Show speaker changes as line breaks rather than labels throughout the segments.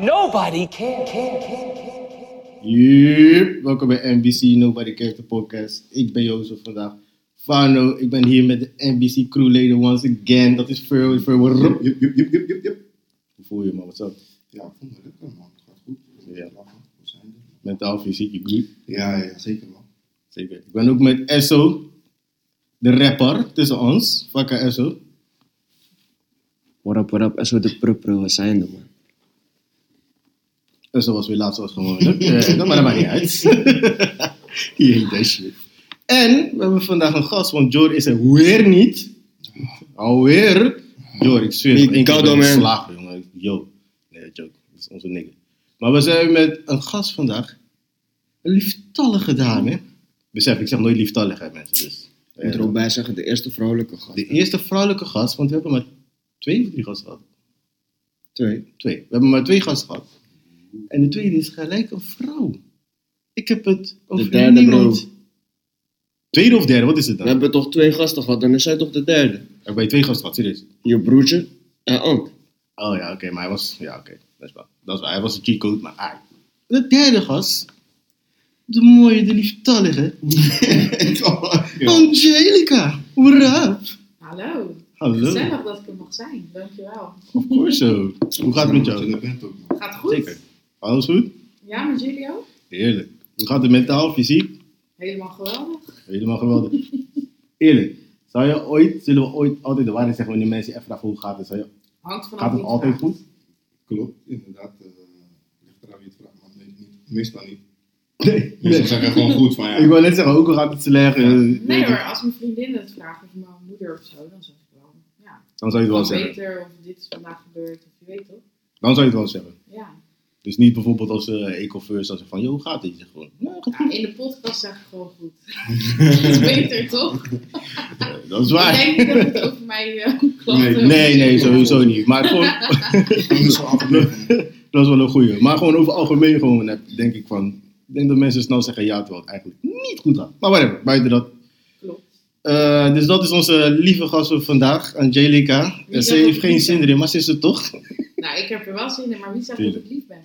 Nobody cares. Care, care, care,
Yep. Welkom bij NBC Nobody Cares, de podcast. Ik ben Jozef vandaag. Fano, ik ben hier met de NBC crewleden once again. Dat is Furl, Furl, rup.
Jup, jup, jup, jup, jup, jup.
Hoe voel je man, wat is dat?
Ja, ik vond het lekker, man. Het gaat goed.
Ja.
Lachen, we zijn er.
Mentaal, fysiek, je goed?
Ja, ja, zeker, man.
Zeker. Ik ben ook met Esso, de rapper tussen ons. Fakka Esso.
What up, what up? En zo de pro we zijn er, man.
Esso was weer laatst als gewoon. hè? Eh, maar dat maakt niet uit. Die heet dat shit. En we hebben vandaag een gast, want Jor is er weer niet. Alweer. Jor, ik zweer.
Die
nog één keer
Galdo,
ben ik
man.
geslagen, jongen. Yo. Nee, joke. Dat is onze nigger. Maar we zijn met een gast vandaag. Een lieftallige dame. Besef, ik zeg nooit lieftallig, hè, mensen. Dus.
Ik moet er
Eh,
ook bij zeggen, de eerste vrouwelijke gast.
De eerste vrouwelijke gast, want we hebben maar twee of drie gasten gehad.
Twee.
Twee. We hebben maar twee gasten gehad. En de tweede is gelijk een vrouw. Ik heb het over
derde,
niemand.
bro.
Tweede of derde, wat is het
We
dan?
hebben toch twee gasten gehad en is zij toch de derde?
Er bij twee gasten gehad, serieus.
Je broertje en Ank.
Oh ja, oké, maar hij was. Ja, oké, dat is wel. Dat is wel. Hij was een cheat maar ai. De derde gast, de mooie, de lieftallige, Angelica. Hoera!
Hallo,
Hallo.
gezellig dat ik er mag zijn. Dankjewel.
Of course, zo. Hoe gaat het met
Dat je
jou?
er bent ook, man.
Gaat goed?
Zeker. Alles goed?
Ja, met jullie ook?
Heerlijk. Hoe gaat het mentaal, fysiek?
Helemaal geweldig.
Helemaal geweldig. Eerlijk, zou je ooit, zullen we ooit altijd de waarheid zeggen wanneer mensen je echt vragen hoe gaat het? Zou je,
Hangt vanaf
gaat het
wie
altijd
vraagt.
goed?
Klopt, inderdaad. eh, Ligt eraan wie het vraagt, maar nee, niet. meestal niet.
Nee.
Meestal zeggen gewoon goed van
Ik
ja.
wou net zeggen, ook al gaat het slecht, eh,
Nee hoor, als mijn vriendin het vraagt of mijn moeder of zo, dan zeg ik wel. Ja,
dan zou je het wel
kan
zeggen.
beter of dit is vandaag gebeurd of je weet toch?
Dan zou je het wel zeggen.
Ja.
Dus niet bijvoorbeeld als eh eco first, als ze van, joh, hoe gaat het? Je zegt gewoon, nou, gaat
ja. In de podcast zeg ik gewoon goed. dat is beter toch?
goed. Dat is
Ik
waar.
denk niet dat het over mij eh
Nee,
klachten
Nee, nee, sowieso niet. Maar gewoon,
Dat is wel afgelopen.
dat is wel een goeie. Maar gewoon over het algemeen gewoon, eh, denk ik van, ik denk dat mensen snel zeggen ja, terwijl het eigenlijk niet goed gaat. Maar whatever, buiten dat.
Klopt.
Eh, dus dat is onze lieve gast van vandaag, Angelica. Eh,
Wie
ze
dat ook
heeft geen
niet,
zin
hè?
erin, maar ze is er toch?
Nou, ik heb er wel zin in, maar wie zegt dat
Tuurlijk.
ik lief ben?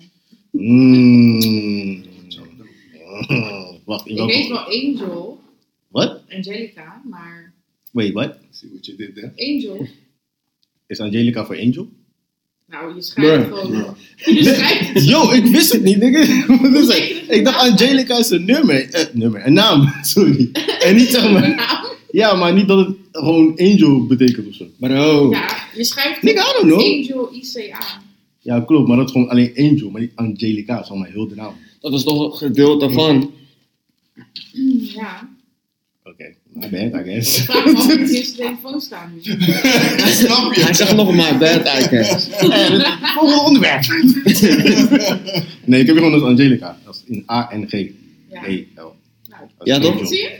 Mm. Wacht, in
Ik weet
welke...
wel Angel,
Wat?
Angelica, maar
Wait, wat?
Zie wat je dit hè?
Angel.
Is Angelica voor Angel?
Nou, je schrijft
Nee.
gewoon. Je schrijft het
Yo, ik wist het niet, nigga. Wat is het? Ik dacht Angelica is een nummer. Eh, nummer, een naam, sorry. En niet zeg maar...
nou.
Ja, maar niet dat het gewoon Angel betekent of zo.
Bro.
Ja, je schrijft
Nigga, Oh. I don't know.
Angel ICA.
Ja, klopt, maar dat is gewoon alleen Angel, maar niet Angelica. Dat is allemaal heel de naam.
Dat is toch een gedeelte van.
Ja.
Oké, maar my bad, I guess.
Ik vraag me af of ik deze telefoon staan nu.
Snap je?
Hij zegt nog maar bad eigenlijk.
Volgende onderwerp. nee, ik heb hier gewoon als Angelica. Dat is in A-N-G.
Ja.
E-L.
Nou,
Ja, toch?
zie je?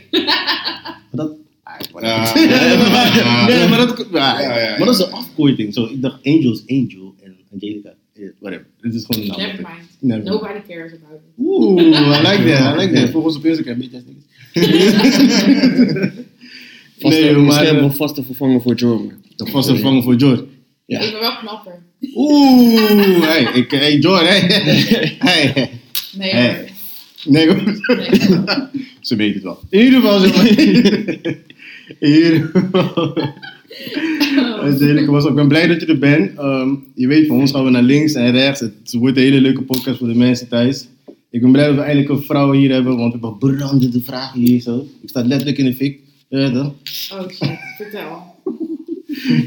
Dat...
Ja.
Nee, maar dat, Ah, ja,
Ja, ja, ja.
maar dat is een afkorting. Zo, ik dacht Angel is Angel en Angelica is whatever. Dit is gewoon een naam.
Never mind.
Never mind.
Nobody cares about it.
Oeh, I like that, I like that. Volgens op Instagram, beetje als niks.
Vast
Nee,
nee,
maar,
Misschien hebben
eh,
we vast te vervangen voor Jordan.
Dat was een vang voor George.
Ja.
Ik ben wel knapper.
Oeh, hey, ik, hey George, hey. hey.
Nee
Hey.
hoor.
Nee, hoor.
Nee.
Ze weet het wel. In ieder geval, zeg maar. In ieder geval. Het is heerlijk, was ook. Ik ben blij dat je er bent. Ehm, je weet, van ons gaan we naar links en rechts. Het wordt een hele leuke podcast voor de mensen thuis. Ik ben blij dat we eindelijk een vrouw hier hebben, want we hebben brandende vragen hier zo. Ik sta letterlijk in de fik. Ja, dan.
Oh shit, vertel.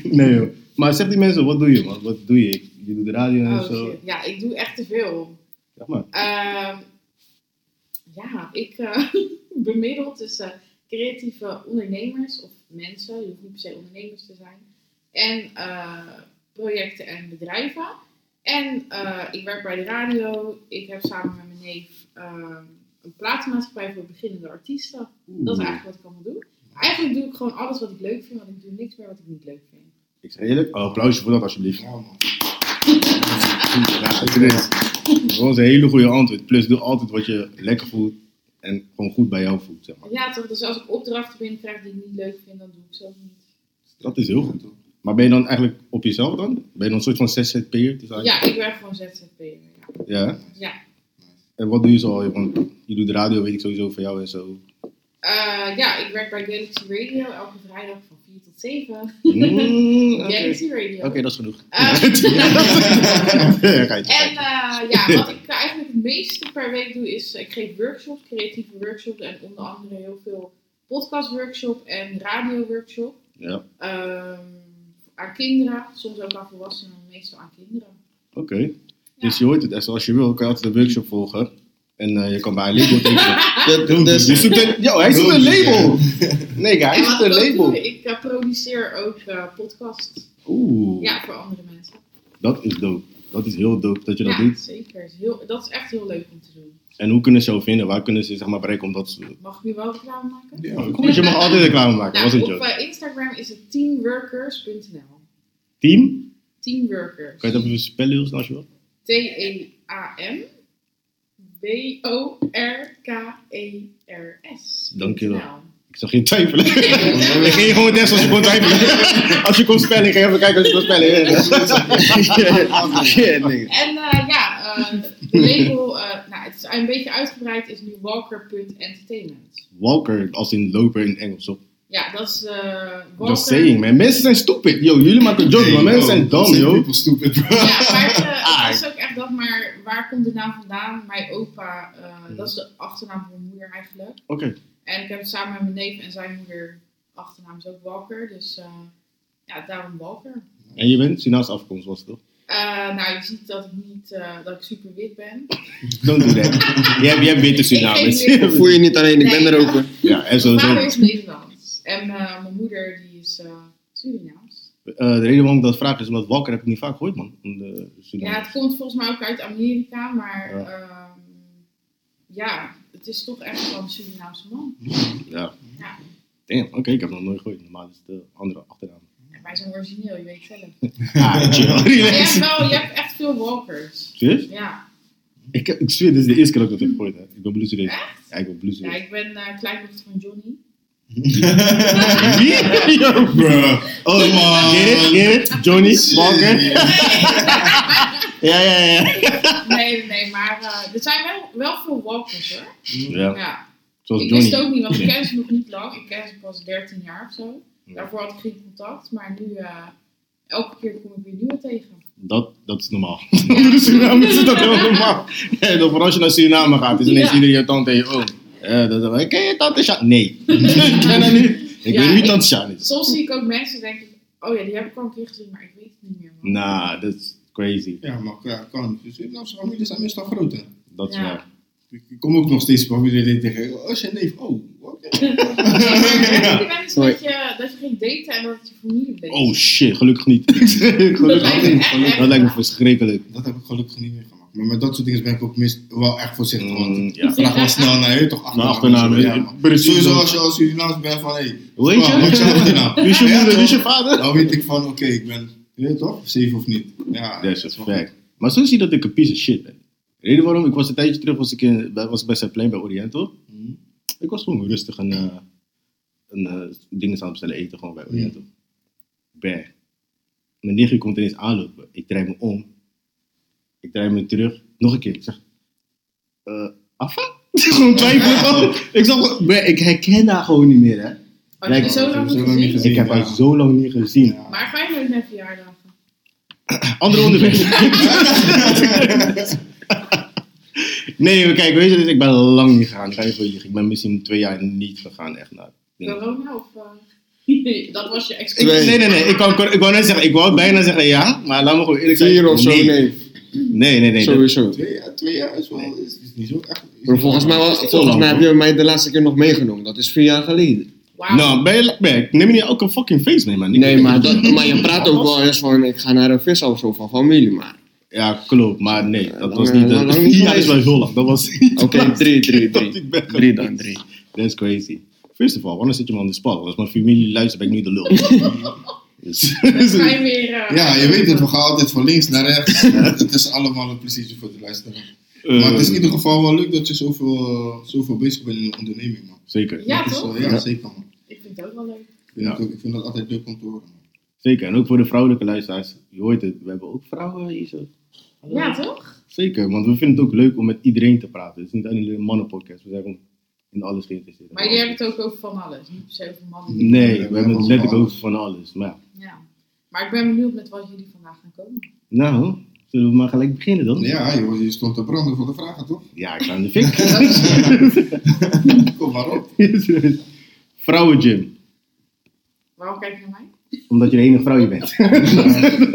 Nee joh. Maar zeg die mensen, wat doe je man? Wat doe je? Je doet de radio en
Oh
zo.
shit. Ja, ik doe echt te veel.
Zeg maar.
Ehm, ja, ik eh bemiddel tussen creatieve ondernemers of mensen, je hoeft niet per se ondernemers te zijn, en eh, projecten en bedrijven. En eh, ik werk bij de radio, ik heb samen met mijn neef ehm, een platenmaatschappij voor beginnende artiesten. Dat
Mm.
is eigenlijk wat ik allemaal doe. Eigenlijk doe ik gewoon alles wat ik leuk vind, want ik doe niks meer wat ik niet leuk vind.
Ik zeg eerlijk, een applausje voor dat alsjeblieft.
Ja, Nou, man.
Ja, het is. Dat was een hele goede antwoord. Plus, doe altijd wat je lekker voelt en gewoon goed bij jou voelt. Zeg maar.
Ja, toch? Dus als ik opdrachten binnenkrijg die ik niet leuk vind, dan doe ik ze ook niet.
Dat is heel goed. Maar ben je dan eigenlijk op jezelf dan? Ben je dan een soort van zzp'er? Het is eigenlijk-
Ja, ik werk gewoon ZZP'er. Ja.
Ja?
Ja.
En wat doe je zo al? Want je doet radio, weet ik sowieso van jou en zo.
Eh, ja, ik werk bij Galaxy Radio elke vrijdag van 4 tot 7.
Mm, Oké,
Galaxy Radio.
Oké, dat is genoeg.
Eh,
Ja, ga je
En
kijken.
eh, ja, wat ik eigenlijk het meeste per week doe is, eh, ik geef workshops, creatieve workshops en onder andere heel veel podcastworkshop en radioworkshop.
Ja.
Ehm, aan kinderen, soms ook aan volwassenen, maar meestal aan kinderen.
Oké. Dus je hoort het. Dus als je wil, kan je altijd een workshop volgen. En eh, je kan bij een label tekenen. Dat- dat- dat- Je zoekt een... Yo, hij zoekt een
dus-
label! Nee, guy, hij
Dus- Oh, en wat
zoekt
ik
een
ook doe,
label.
ik eh, produceer ook eh, podcasts
Oeh,
ja, voor andere mensen.
dat is dope. Dat is heel dope dat je dat
ja,
doet.
zeker. Is heel, dat is echt heel leuk om te doen.
En hoe kunnen ze jou vinden? Waar kunnen ze zeg maar bereiken omdat ze...
Mag ik nu wel reclame maken?
Ja,
Want je mag altijd reclame maken, was
Nou,
het
op
joke.
eh, Instagram is het teamworkers.nl.
Team?
Teamworkers. E
Kan je dat even spellen heel snel als je wil?
T-E-A-M. E B-O-R-K-E-R-S.
Dankjewel.
Nou.
Ik zag je twijfelen. Ik ging gewoon testen als je kon twijfelen. Als je kon spellen, ik ging even kijken als je kon spellen. Ja, Shit, nigga.
En eh, ja, eh, de label, eh, nou, het is een beetje uitgebreid, is nu Walker.entertainment.
Walker, als in loper in Engels. Op.
Ja, dat is eh Walker.
Just saying, man. Mensen zijn stupid. Yo, jullie maken jokes, maar mensen zijn dom, yo.
People stupid, bro.
Ja, maar het, eh,
Ah.
het is ook echt dat, maar waar komt de naam vandaan? Mijn opa, eh, dat is de achternaam van mijn moeder eigenlijk.
Oké.
En ik heb het samen met mijn neef en zijn moeder, achternaam is ook Walker, dus eh, ja, daarom Walker.
En je bent Surinaamse afkomst, was het toch?
Eh, nou, je ziet dat ik niet eh, dat ik super wit ben.
Don't do that. Jij hebt- jij hebt witte Surinamers.
Ik
Voel je niet alleen, ik ben er ook. hoor.
Ja, en zo.
Mijn
zo.
vader is Nederlands. En eh, mijn moeder die is eh Surinaams.
Eh, de reden waarom ik dat vraag is omdat Walker heb ik niet vaak gehoord, man. Om de
Ja,
Surinamers.
het komt volgens mij ook uit Amerika, maar
Ja.
ehm, ja, het is toch echt wel een Surinaamse man.
Ja.
Ja.
Damn, oké, ik heb het nog nooit gehoord. Normaal is het de andere achternaam.
En wij zijn origineel, je weet het zelf.
Ah, chill.
Maar je hebt
Relax.
wel, je hebt echt veel walkers.
Serieus?
Ja,
Ik, ik zweer, dit is de eerste keer dat ik dat heb gehoord. Hè. Ik ben blue serieus. Ja, ik ben blue
ja
serieus.
ik ben eh kleindochter van Johnny.
Wie? Yo, bro. Oh, man. Get it? Get it? Johnny? Walker? ja, ja, ja.
Nee, nee, maar eh, er zijn wel, wel veel walkers hoor.
Ja,
Ja.
zoals
ik
Johnny.
wist ook niet, want ik ken ze nog niet lang. Ik ken ze pas 13 jaar of zo.
Ja.
Daarvoor had ik geen contact, maar nu eh, elke keer kom ik weer nieuwe tegen.
Dat, dat is normaal. Onder de Suriname is dat heel normaal. Ja, dan vooral als je naar Suriname gaat, is ineens
Ja.
iedereen je tante en je oom. Ja, dan zeg je, ken je tante Sjaan? Nee. ik ken haar niet. Ik
Ja,
weet niet wie
ik-
tante Sjaan is.
Soms zie ik ook mensen en denk ik, oh ja, die heb ik al een keer gezien, maar ik weet het niet meer. man.
Nou, dat is crazy.
Ja, maar ja, kan. Dus Surinaamse families zijn meestal groot, hè.
Dat is
Ja.
waar.
Ik ik kom ook nog steeds familie die tegen, oh, is je neef, oh, oké.
Ik denk wel eens
Hoi.
dat je, dat je ging daten en dat het je familie bent.
Oh shit, gelukkig niet. gelukkig
lijkt me
niet.
echt erg.
Dat lijkt me verschrikkelijk.
Dat heb ik gelukkig niet meer gemaakt. Maar met dat soort dingen ben ik ook mis, wel echt voorzichtig. Want
Mm,
ik
ja.
vraag wel snel naar je, toch?
Naar achternaam,
en zo,
ja,
man.
precies.
Sowieso als je als Surinaams bent van, hé, hey,
Hoe heet
wat is je
je?
achternaam?
Wie is je
Ja,
moeder, wie is je
toch?
vader?
Dan weet ik van, oké, ik ben, je weet toch, zeven of niet. Ja,
Dat is
dat
een
is wel
fact. Maar zo zie je dat ik een piece of shit ben. De reden waarom, ik was een tijdje terug was ik in, bij- was ik bij Saplein bij Oriental.
goed. Mhm.
Ik was gewoon rustig een, eh een eh, dingen aan het bestellen eten gewoon
Mm-hmm.
bij Oriental. Bah. Mijn nichtje komt ineens aanlopen. Ik draai me om. Ik draai me terug. Nog een keer. Ik zeg, eh Afa? gewoon twijfelen. gewoon. Ik, zag, gewoon- bah, ik herken haar gewoon niet meer, hè.
Had je
Lijkt-
er zo lang
zo
niet
lang niet
gezien?
gezien.
Ik heb haar
ja.
zo lang niet gezien.
Ja.
Maar ga je nooit naar verjaardagen?
Andere onderwerp. nee, maar kijk, weet je, dus ik ben lang niet gegaan. Ik, ga je voor je, liegen. ik ben misschien twee jaar niet gegaan, echt. Nou, ik denk-
Corona of... eh, dat was je
ik,
excuus.
nee, nee, nee. Ik, wou- ik, wou net zeggen, ik wou bijna zeggen ja, maar laat me gewoon eerlijk zijn.
Vier of zo,
Nee,
nee.
nee, nee. nee, dat-
Sowieso.
Twee jaar, twee jaar is wel, is, is niet zo echt. is
Maar
niet
volgens
zo-
mij, wel-
Zo
volgens
lang,
mij heb
hoor.
je mij de laatste keer nog meegenomen. Dat is vier jaar geleden.
Wauw.
Nou, ben je, ben, ik neem je niet elke fucking feest mee, man. Ik-
Nee, maar, dat, maar je praat ook wel eens van, ik ga naar een vis of zo van familie, maar...
Ja, klopt, maar nee, dat
Lang-
was niet...
lang-
de
lang
vier
niet
jaar is wel
geweest.
heel lang, dat was niet...
Oké, drie, drie,
Dat
drie.
ik ben
Drie dan, drie.
That's crazy. First of all, wanneer zit je me aan de spot? Als mijn familie luistert, ben ik niet de lul. Dus-
Dan ga je weer... eh,
Ja, je weet het, we gaan altijd van links naar rechts. het is allemaal een pleziertje voor de luisteraar.
Ehm,
Maar het is in ieder geval wel leuk dat je zoveel, eh, zoveel bezig bent in een onderneming, man.
Zeker.
Ja,
Dat is,
toch?
eh, ja,
Ja.
zeker, man.
Ik vind het ook wel leuk.
Ik vind
Ja.
het ook- Ik vind dat altijd leuk om te horen, man.
Zeker. En ook voor de vrouwelijke luisteraars. Je hoort het. We hebben ook vrouwen hier zo. Hallo.
Ja, toch?
Zeker. Want we vinden het ook leuk om met iedereen te praten. Het is niet alleen een mannenpodcast. We zijn gewoon in alles geïnteresseerd.
Maar jullie hebben het ook over van alles. Niet per se over
Nee,
mannen.
we
hebben
hebben het
van
letterlijk
alles.
over van alles. Maar ja.
Ja. Maar ik ben benieuwd met wat jullie vandaag gaan komen.
Nou, zullen we maar gelijk beginnen dan?
Ja, joh, je stond te branden voor de vragen, toch?
Ja, ik ga aan de fik.
Kom maar op.
Vrouwengym.
Waarom kijk je naar mij?
Omdat je de enige vrouwje bent.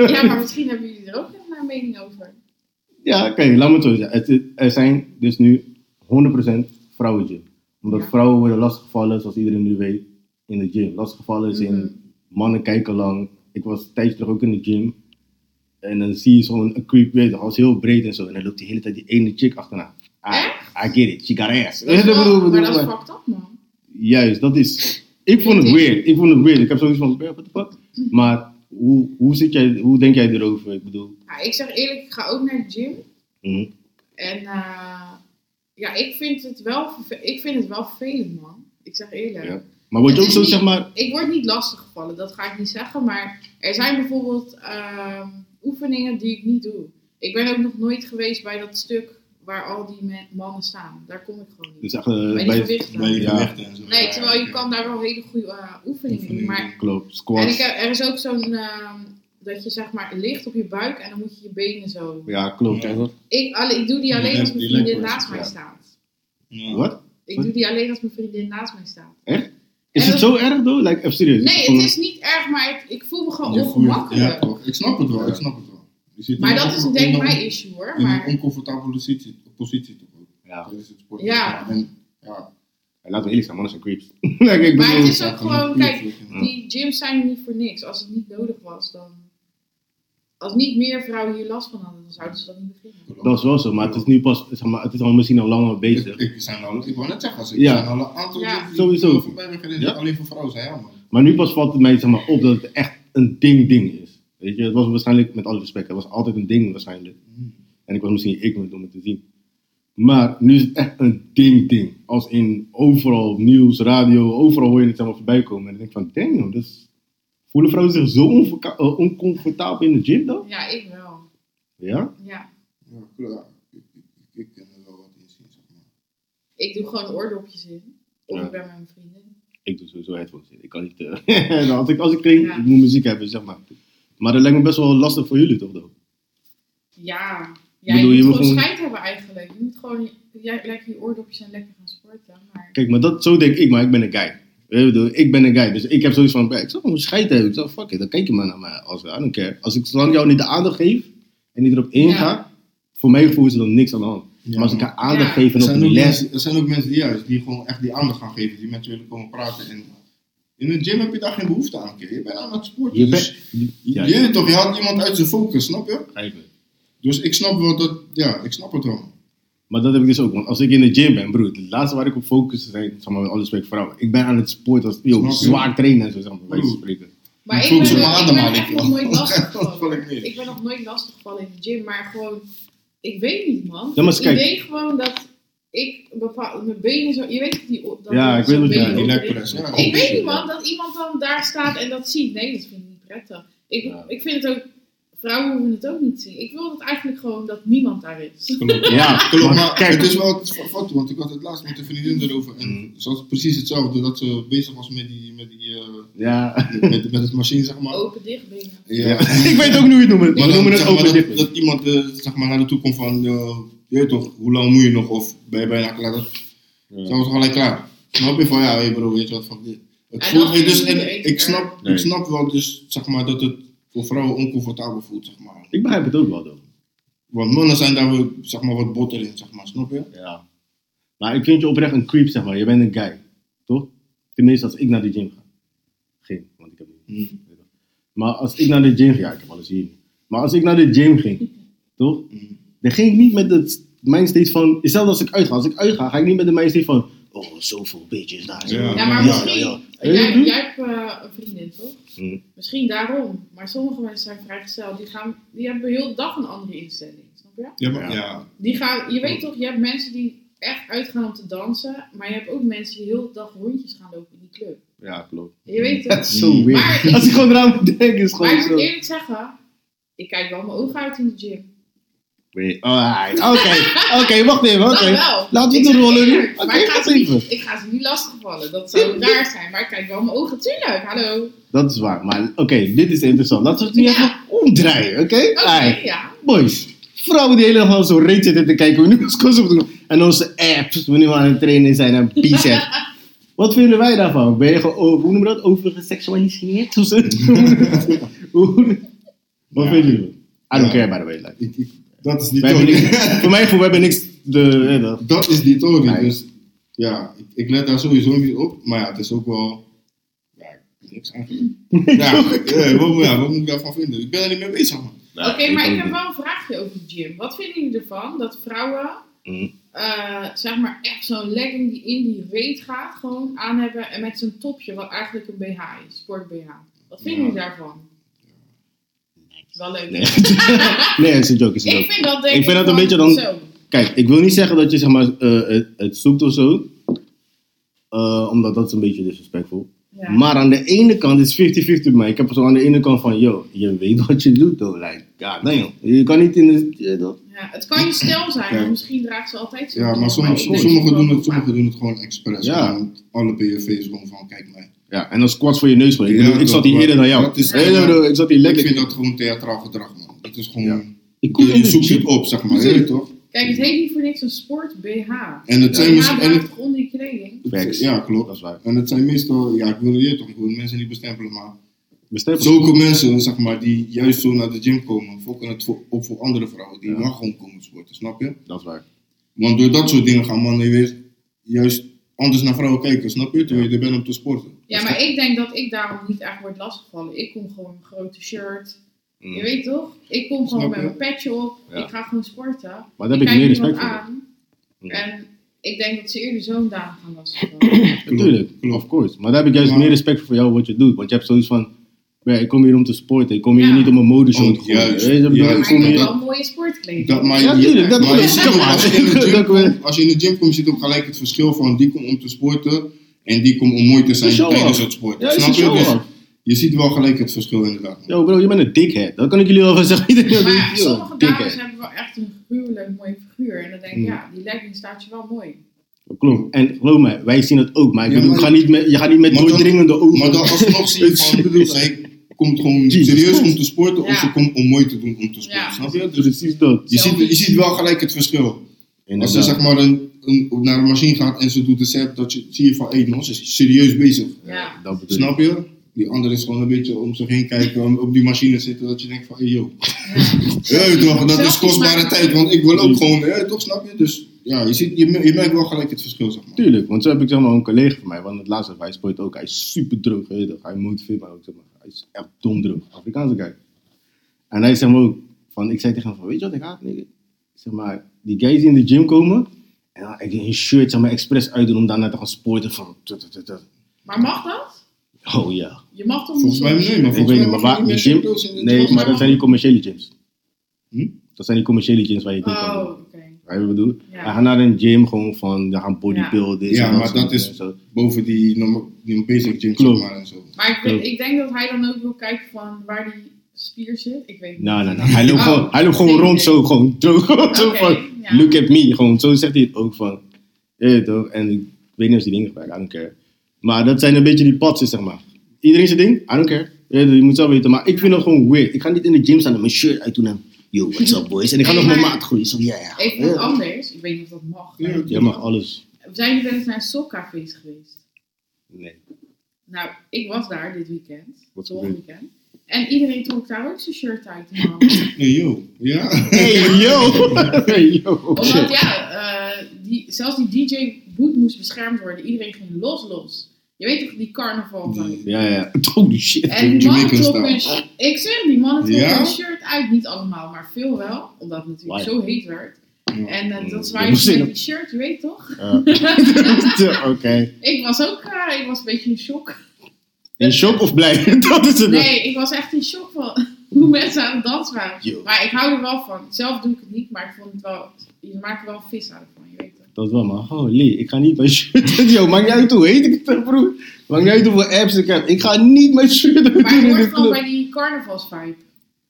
Ja, maar misschien hebben jullie er ook nog een eh, mening over.
Ja, oké, laat me het zo zeggen. Het is- Er zijn dus nu 100% vrouwengym. Omdat
Ja.
vrouwen worden lastiggevallen, zoals iedereen nu weet, in de gym. Lastiggevallen is
Mhm.
in mannen kijken lang. Ik was een tijdje terug ook in de gym. En dan zie je zo'n een creep, weet je, hij was heel breed en zo. En dan loopt de hele tijd die ene chick achterna. I, I get it, she got ass.
Dat is
Weet je wat ik
wel-
bedoel?
maar dat is
Maar-
fucked up, man.
Juist, dat is. Ik vond het weird. Ik vond het weird. Ik heb zoiets van, "Eh, what the fuck?
Mhm.
Maar hoe, hoe, zit jij, hoe denk jij erover? Ik bedoel,
Ja, ik zeg eerlijk, ik ga ook naar de gym.
mhm.
En eh, ja, ik vind, het wel verve- ik vind het wel vervelend, man. Ik zeg eerlijk.
Ja. maar word je ook
Het is
zo,
niet-
zeg maar.
Ik word niet lastiggevallen, dat ga ik niet zeggen. Maar er zijn bijvoorbeeld ehm, oefeningen die ik niet doe. Ik ben ook nog nooit geweest bij dat stuk waar al die men- mannen staan. Daar kom ik gewoon niet.
Dus echt, eh,
bij die
bij,
gewichten.
Bij je
Ja.
gewichten en zo.
Nee, terwijl je
Ja,
kan daar wel hele goede eh, oefeningen doen.
Oefeningen
Maar
klopt,
en
squats.
ik, eh, heb- er is ook zo'n ehm, dat je zeg maar ligt op je buik en dan moet je je benen zo.
Ja, klopt.
Ja.
hoor.
Ik, alle, ik doe die alleen
leg-
als mijn
die leg
vriendin
press,
naast mij
ja.
staat.
ja.
Wat?
Ik doe die alleen als mijn vriendin naast mij staat.
Is
En
het
dat-
zo erg, though? Like, even serieus.
Nee,
Gewoon-
het is niet erg, maar het- ik voel me gewoon
Je voelt-
ongemakkelijk.
Ja, toch. Ik snap het wel, ik snap het wel. Je zit
Maar
in
dat
een
is
on-
denk ik
on-
mijn issue hoor.
In een
Maar
oncomfortabele positie, positie toch ook.
Ja,
Dat is het sport.
Ja.
En, ja.
en laten we eerlijk zijn, mannen zijn creeps. like, ik
Maar het
bedoel,
is- ook
Ja,
gewoon,
ja.
kijk, die gyms zijn er niet voor niks. Als het niet nodig was, dan. Als niet meer vrouwen hier last van hadden, dan zouden ze dat niet beginnen.
dat is wel zo, maar het is nu pas, zeg maar, het is al misschien al langer
Ik,
bezig.
ik, zijn al, ik wou net zeggen, als ik
Ja.
zijn al een aantal
Ja.
die- die
Sowieso.
er voorbij zijn gereden,
Ja.
alleen voor vrouwen zijn, ja man.
Maar nu pas valt het mij zeg maar, op dat het echt een ding-ding is. Weet je, het was waarschijnlijk, met alle respect, het was altijd een ding waarschijnlijk. En ik was misschien ignorant om het te zien. Maar nu is het echt een ding-ding. Als in overal nieuws, radio, overal hoor je het helemaal voorbij komen. En dan denk ik van, damn, joh, dus voelen vrouwen zich zo onverka- eh, oncomfortabel in de gym dan?
Ja, ik wel.
Ja?
Ja.
Ja, klopt, ja. Ik, ik, ik, ik ken er wel wat in zien, zeg maar.
Ik doe gewoon oordopjes in. Of
Ja.
ik ben met mijn vriendin.
Ik doe sowieso headphones in. Ik kan niet... eh, als ik, als ik train,
Ja.
ik moet muziek hebben, zeg maar. Maar dat lijkt me best wel lastig voor jullie, toch? Though?
Ja. ja
Bedoel,
je
je
moet
moet
gewoon
gewoon-
scheid hebben eigenlijk. Je moet gewoon ja, lekker je oordopjes en lekker gaan sporten. Maar
Kijk, maar dat, zo denk ik, maar ik ben een guy. Ik bedoel, ik ben een guy, dus ik heb zoiets van, ik zal gewoon scheid hebben. Ik zal, fuck it, dan kijk je maar naar mij. Als, I don't care. Als ik zolang ik jou niet de aandacht geef en niet erop inga,
Ja.
voor mijn gevoel is er dan niks aan de hand.
Ja,
maar als ik haar aandacht
Ja.
geef en
Er
op
zijn,
de
ook
les,
mensen, er zijn ook mensen die juist, die gewoon echt die aandacht gaan geven, die met je willen komen praten. En in een gym heb je daar geen behoefte aan, keer. Je bent aan het sporten.
je
dus-
bent... Ja,
je weet toch, je haalt iemand uit zijn focus, snap je?
begrijp het.
Dus ik snap wel dat, ja, ik snap het wel.
Maar dat heb ik dus ook, want als ik in de gym ben, broer, het laatste waar ik op focus zijn, zeg maar, met alle respect vrouwen. Ik ben aan het sporten, als, yo,
Snap je?
zwaar trainen en zo, zeg maar, bij wijze van spreken.
Maar
Ik
ik ben,
voel ze
nog-
mijn
ik ben
ademhaling,
echt nog
joh.
nooit lastig
Dat val ik
gevallen.
niet.
ik ben nog nooit lastig gevallen in de gym, maar gewoon, ik weet niet man.
Ja, maar eens
het
kijk.
idee gewoon dat ik bepaal, mijn benen zo, je weet het, die o- dat
Ja, ik
zo'n
weet wat je
benen
bedoelt.
Die
ook
opdringen.
lekpress, ja.
Oh,
Ik weet niet man, dat iemand dan daar staat en dat ziet. Nee, dat vind ik niet prettig. Ik,
Ja.
ik vind het ook, vrouwen hoeven het ook niet te zien. Ik wil het eigenlijk gewoon dat niemand daar is.
Klopt.
Ja,
Klopt,
maar
maar
kijk,
het is wel het vat, want ik had het laatst met de vriendin erover. En
Mm.
ze had precies hetzelfde, dat ze bezig was met, die, met, die, eh,
ja.
met, met het machine, zeg maar.
Open, dicht benen.
Ja.
ik weet ook niet hoe je het noemt, maar
Maar
we
dan,
noemen het
zeg maar,
open
dat,
dippen.
dat iemand eh, zeg maar, naar de toe komt van, eh, je weet toch, hoe lang moet je nog? Of ben je bijna klaar? Dat,
Ja.
Zijn we toch gelijk klaar? Snap je van, ja, hey bro, weet je wat, van dit. Het
En
voelt,
dat
dus,
vind ik
en
niet
ik
erg.
snap,
Nee.
ik snap wel dus, zeg maar, dat het voor vrouwen oncomfortabel voelt, zeg maar.
Ik begrijp het ook wel, though.
Want mannen zijn daar wel, zeg maar, wat botter in, zeg maar, snap je?
Ja. Maar ik vind je oprecht een creep, zeg maar. Je bent een guy. Toch? Tenminste, als ik naar de gym ga. Geen, want ik heb niet. Maar als ik naar de gym ga, ja, ik heb alles hier. Maar als ik naar de gym ging, toch? Dan ging ik niet met het mindset van, hetzelfde als ik uitga. Als ik uitga, ga ik niet met de mindset van, oh, zoveel bitches daar. zo.
Ja.
Ja, maar misschien,
ja.
Jij,
Hm?
jij hebt eh, een vriendin toch?
Hm.
Misschien daarom. Maar sommige mensen zijn vrijgezel. Die, gaan, die hebben heel de dag een andere instelling. Snap je?
Ja,
maar-
ja.
Die gaan, je
Mhm.
weet toch, je hebt mensen die echt uitgaan om te dansen. Maar je hebt ook mensen die heel de dag rondjes gaan lopen. Die die club.
Ja, klopt.
Je weet
Dat
het.
is zo weird.
Maar,
Als ik gewoon eraan moet denken, is het
maar
gewoon
ik moet
zo.
eerlijk zeggen, ik kijk wel mijn ogen uit in de gym.
Wait, alright. Oké, oké, wacht even, oké.
Dat wel.
Laat
Ik
het
zeg je
rollen nu.
eerlijk,
Oké,
maar ik ga,
wacht
ze
even.
niet, ik ga ze niet lastigvallen. Dat zou raar zijn. Maar ik kijk wel mijn ogen. Tuurlijk, hallo. Oké,
Dat is waar, maar oké, dit is interessant. Laten we het nu
Ja.
even omdraaien, oké? Alright.
ja.
Boys, vrouwen die helemaal zo reet zitten te kijken, we nu als kost op doen. En onze apps, we nu aan het trainen zijn en bicep. Wat vinden wij daarvan? Ben je gewoon, over- hoe noem je dat, overgeseksualiseerd? Of zo? Hoe- Wat
Ja.
vinden jullie? I don't
Ja.
care, by the way. Like,
Ik- ik- Dat is
wij
niet
hebben
Tony.
niks, voor mij voor, we hebben niks de, eh, dat-
dat is die Tony.
Nee.
Dus ja, ik, ik let daar sowieso niet op. Maar ja, het is ook wel. Ja, ik heb niks eigenlijk. ja, eh, wat, moet- ja, wat moet ik daarvan vinden? Ik ben er niet mee bezig, man.
Oké, maar ik heb wel een vraagje over de gym. Wat vinden jullie ervan dat vrouwen,
Mhm.
eh, zeg maar, echt zo'n legging die in die reet gaat, gewoon aan hebben en met zo'n topje, wat eigenlijk een BH is, sport BH. Wat vinden
Ja.
jullie daarvan? Wel leuk.
Nee. nee, het is een joke, het is een
Ik
joke.
vind dat denk
Ik vind dat een
van
beetje dan-
zo.
Kijk, ik wil niet zeggen dat je zeg maar, eh, het, het zoekt of zo. Eh, omdat dat is een beetje disrespectful.
Ja.
Maar aan de ene kant is 50-50 bij mij. Ik heb zo aan de ene kant van, yo, je weet wat je doet, though. Like, god damn. Je kan niet in de... je weet toch?
Ja, het kan je stijl zijn,
Ja.
maar misschien draagt ze altijd zo'n
Ja, maar
ding.
sommigen
ik denk
sommigen
wel-
doen, het- sommigen doen het gewoon expres.
Ja.
Want alle PFV's gewoon van: kijk mij.
Ja, en dan squats voor je neus. gewoon. Ik,
Ja,
bedoel, ik
dat-
zat hier
maar-
eerder dan jou.
dat is-
Nee, nee, nee, ik zat hier
Ik
lekker.
vind dat gewoon theatraal gedrag, man. Het is gewoon.
Ja. Ik kom
Je,
in
je
de
zoekt het
gym.
op, zeg maar.
Precies.
Weet je toch?
Kijk, het heet niet voor niks een sport BH.
En het zijn
BH
misschien. en
draagt
het-
toch onder je kleding.
Facts.
Ja, klopt.
Dat is waar.
En het zijn meestal, ja, ik wil je toch, ik wil mensen niet bestempelen, maar
Bestel-
zulke mensen, zeg maar, die juist zo naar de gym komen, fokken het voor, op voor andere vrouwen die
Ja.
wel gewoon komen sporten, snap je?
Dat is waar.
Want door dat soort dingen gaan mannen weer juist anders naar vrouwen kijken, snap je? Terwijl je er bent om te sporten. Dus
Ja, maar ik denk dat ik daarom niet echt word lastiggevallen. Ik kom gewoon een grote shirt.
Mm.
Je weet toch? Ik kom gewoon
Snap
met
je?
mijn petje op.
Ja.
Ik ga gewoon sporten.
Maar daar heb
ik
ik meer
kijk
respect
niemand
voor.
aan.
Ja.
En ik denk dat ze eerder zo'n dame gaan lastigvallen.
Natuurlijk,
Klopt.
of course. Maar daar heb ik juist
Maar-
meer respect voor jou wat je doet. Want je hebt zoiets van, ja, ik kom hier om te sporten. Ik kom hier
Ja.
niet om een modeshow
Oh,
te gooien.
juist,
Weet je, ik bedoel, ik
juist.
kom
maar ik heb
hier...
wel mooie sportkleding.
Dat, maar,
Ja,
je-
tuurlijk, dat
maar
moet
je
je
ziet ook,
zeggen,
als, je in de
man.
gym
Dat we-
komt, als je in de gym komt, zit ook gelijk het verschil van die komt om te sporten en die komt om mooi te zijn
Een show-off.
tijdens het sporten.
Ja, is
snap
een
je?
show
Dus je ziet wel gelijk het verschil inderdaad.
Yo bro, je bent een dickhead. Dat kan ik jullie wel van zeggen.
Maar ja,
Yo,
sommige dames
dickhead.
hebben wel echt een gruwelijk mooie figuur. En dan denk ik,
Mm.
ja, die legging staat je wel mooi.
Klopt. En geloof mij, wij zien dat ook. Maar ik
Ja,
bedoel,
maar-
ga niet met, je gaat niet met
Maar dan-
doordringende ogen.
Maar dan alsnog zie je van, ik bedoel, zij komt gewoon
Jezus
serieus
Christus.
om te sporten
Ja.
of ze komt om mooi te doen om te sporten,
Ja.
snap je? Dus
Precies dat.
je ziet, je ziet wel gelijk het verschil. Als ze
Inderdaad.
zeg maar een, een, naar een machine gaat en ze doet een set, dat je, zie je van, hé, hey, ze is serieus bezig.
Ja.
Dat bedoel ik.
Snap je? Die andere is gewoon een beetje om zich heen kijken, om- op die machine zitten, dat je denkt van, hé hey, joh. Hé, toch, dat is
Zelfs
kostbare
maken.
tijd, want ik wil ook gewoon, hé, toch, snap je? Dus ja, je, ziet, je, mer- je merkt wel gelijk het verschil, zeg maar.
Tuurlijk, want zo heb ik zeg maar een collega van mij, want het laatste hij sport ook, hij is super droog, weet je toch? hij motiveert mij ook, zeg maar. hij is echt dom droog, Afrikaanse guy. En hij zegt me ook, van, ik zei tegen hem van, weet je wat ik haat, nigga? Zeg maar, die guys die in de gym komen, en dan ik een shirt zeg maar expres uitdoen om daarna te gaan sporten van, tut, tut, tut, tut.
Maar mag dat?
oh ja.
Je mag toch
Volgens mij nee, maar
Ik
volgens
weet
mij
niet, maar
mag
waar,
je
de
niet
gym,
meer pills in de
nee,
gym.
maar dat zijn die commerciële gyms.
Hm?
Dat zijn die commerciële gyms waar je het niet kan
Oh,
doen.
oké.
Weet je wat ik bedoel?
Ja.
Hij gaat naar een gym gewoon van, ja, gaan bodybuilders.
Ja,
en
maar
soort
dat is-
dingen en zo.
boven die, norma- die basic gym, zeg
Klopt.
maar, en zo.
Maar ik, weet- ik denk dat hij dan ook wil kijken van waar die spier zit. Ik weet niet.
Nou, nou, nou. Hij loopt
Oh.
gewoon, hij loopt gewoon
Nee,
rond
nee.
zo, gewoon droog. zo
Oké,
van,
ja.
look at me. Gewoon, zo zegt hij het ook van, je weet toch? En ik weet niet of ze die dingen gebruiken, I don't care. Maar dat zijn een beetje die patjes, zeg maar. Iedereen zijn ding, I don't care. Je, weet toch, je moet zelf weten, maar ik vind dat gewoon weird. Ik ga niet in de gym staan en mijn shirt uitdoen en, yo, what's up boys? En ik ga
Nee,
nog mijn
maar-
maat groeien, zo ja, ja.
Even wat anders. Ik weet niet of dat mag.
Ja,
maar-
Jij mag alles.
Zijn jullie wel eens naar een sokcafés geweest?
Nee.
Nou, ik was daar dit weekend.
Wat
Vorig
gebeurt?
weekend. En iedereen trok daar ook zijn shirt uit. in de hand.
Nee, joh. Ja.
Hey, yo! hey, yo!
Omdat, ja, eh, die, zelfs die DJ Boet moest beschermd worden. Iedereen ging los, los. Je weet toch, die carnaval van.
Ja, ja. Holy shit.
En die mannen
Jamaican
trokken hun sh- Ik zeg, die mannen trokken
Ja?
hun shirt uit. Niet allemaal, maar veel wel. Omdat het natuurlijk
Why?
zo heet werd. En eh, dat is waar
Mm. Je
je
moest
met
in-
die shirt, je weet toch?
Ja. Oké.
Ik was ook, eh, ik was een beetje in shock.
In shock of blij? dat is het.
Nee, ik was echt in shock van hoe mensen aan het dansen waren.
Yo.
Maar ik hou er wel van. Zelf doe ik het niet, maar ik vond het wel... Je maakt er wel een vis uit van, je weet toch?
Dat wel, maar holy, ik ga niet bij shirt. Yo, maakt niet uit hoe heet ik het, broer. Maakt niet uit hoeveel apps ik heb. Ik ga niet mijn shirt doen
Maar je
in de
hoort wel bij
club.
die carnavalsvibe.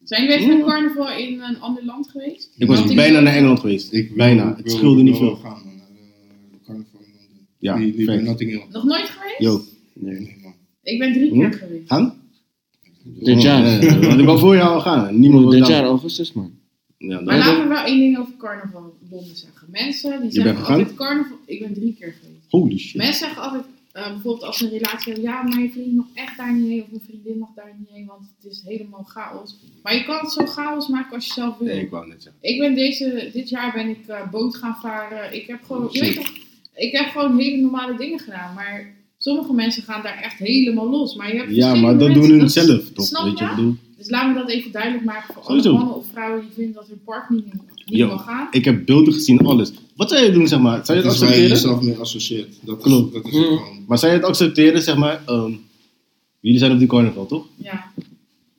Zijn jullie even
Ja.
een carnaval in een ander land geweest?
Ik was
Want
bijna naar Engeland geweest.
Ik wil-
bijna.
ik
Het
wil-
scheelde
ik
niet
wil
veel.
wel gaan, man. Naar, eh, carnaval in Londen.
Ja,
Die- die bij
fact.
Notting Hill.
Nog nooit geweest?
Yo.
Nee, man.
Ik ben drie
Hm?
keer geweest.
Gaan?
Dit jaar.
Oh, nee, Want ik wou voor jou al gaan. Niemand
Niemand
wil
dit jaar augustus, man.
Ja,
Maar
dan
laten we wel één ding over carnaval Londen zeggen. Mensen die
Je bent
zeggen
gegaan?
altijd carnaval... Ik ben drie keer geweest.
Holy shit.
Mensen zeggen altijd, eh, bijvoorbeeld als ze een relatie hebben, ja, mijn vriend mag echt daar niet heen of mijn vriendin mag daar niet heen, want het is helemaal chaos. Maar je kan het zo chaos maken als je zelf wil.
Nee, ik wou net zeggen.
Ik ben deze, dit jaar ben ik eh, boot gaan varen. Ik heb gewoon, je
Shit.
weet toch, ik heb gewoon hele normale dingen gedaan, maar sommige mensen gaan daar echt helemaal los. Maar je hebt
Ja,
verschillende
maar dat
mensen,
doen hun
dat-
zelf, toch?
Snap
Weet je
je?
wat ik bedoel?
Dus laten we dat even duidelijk maken voor
Sowieso.
alle mannen of vrouwen die vinden dat hun partner niet, niet
Yo.
mag gaan.
Ik heb beelden gezien, alles. Wat zou je doen, zeg maar? Zou je
Dat
het
is waar je
accepteren?
jezelf mee associeert. Dat is,
Klopt.
dat is
Mm.
het gewoon.
Maar zou je het accepteren, zeg maar? ehm, jullie zijn op die carnaval, toch?
Ja,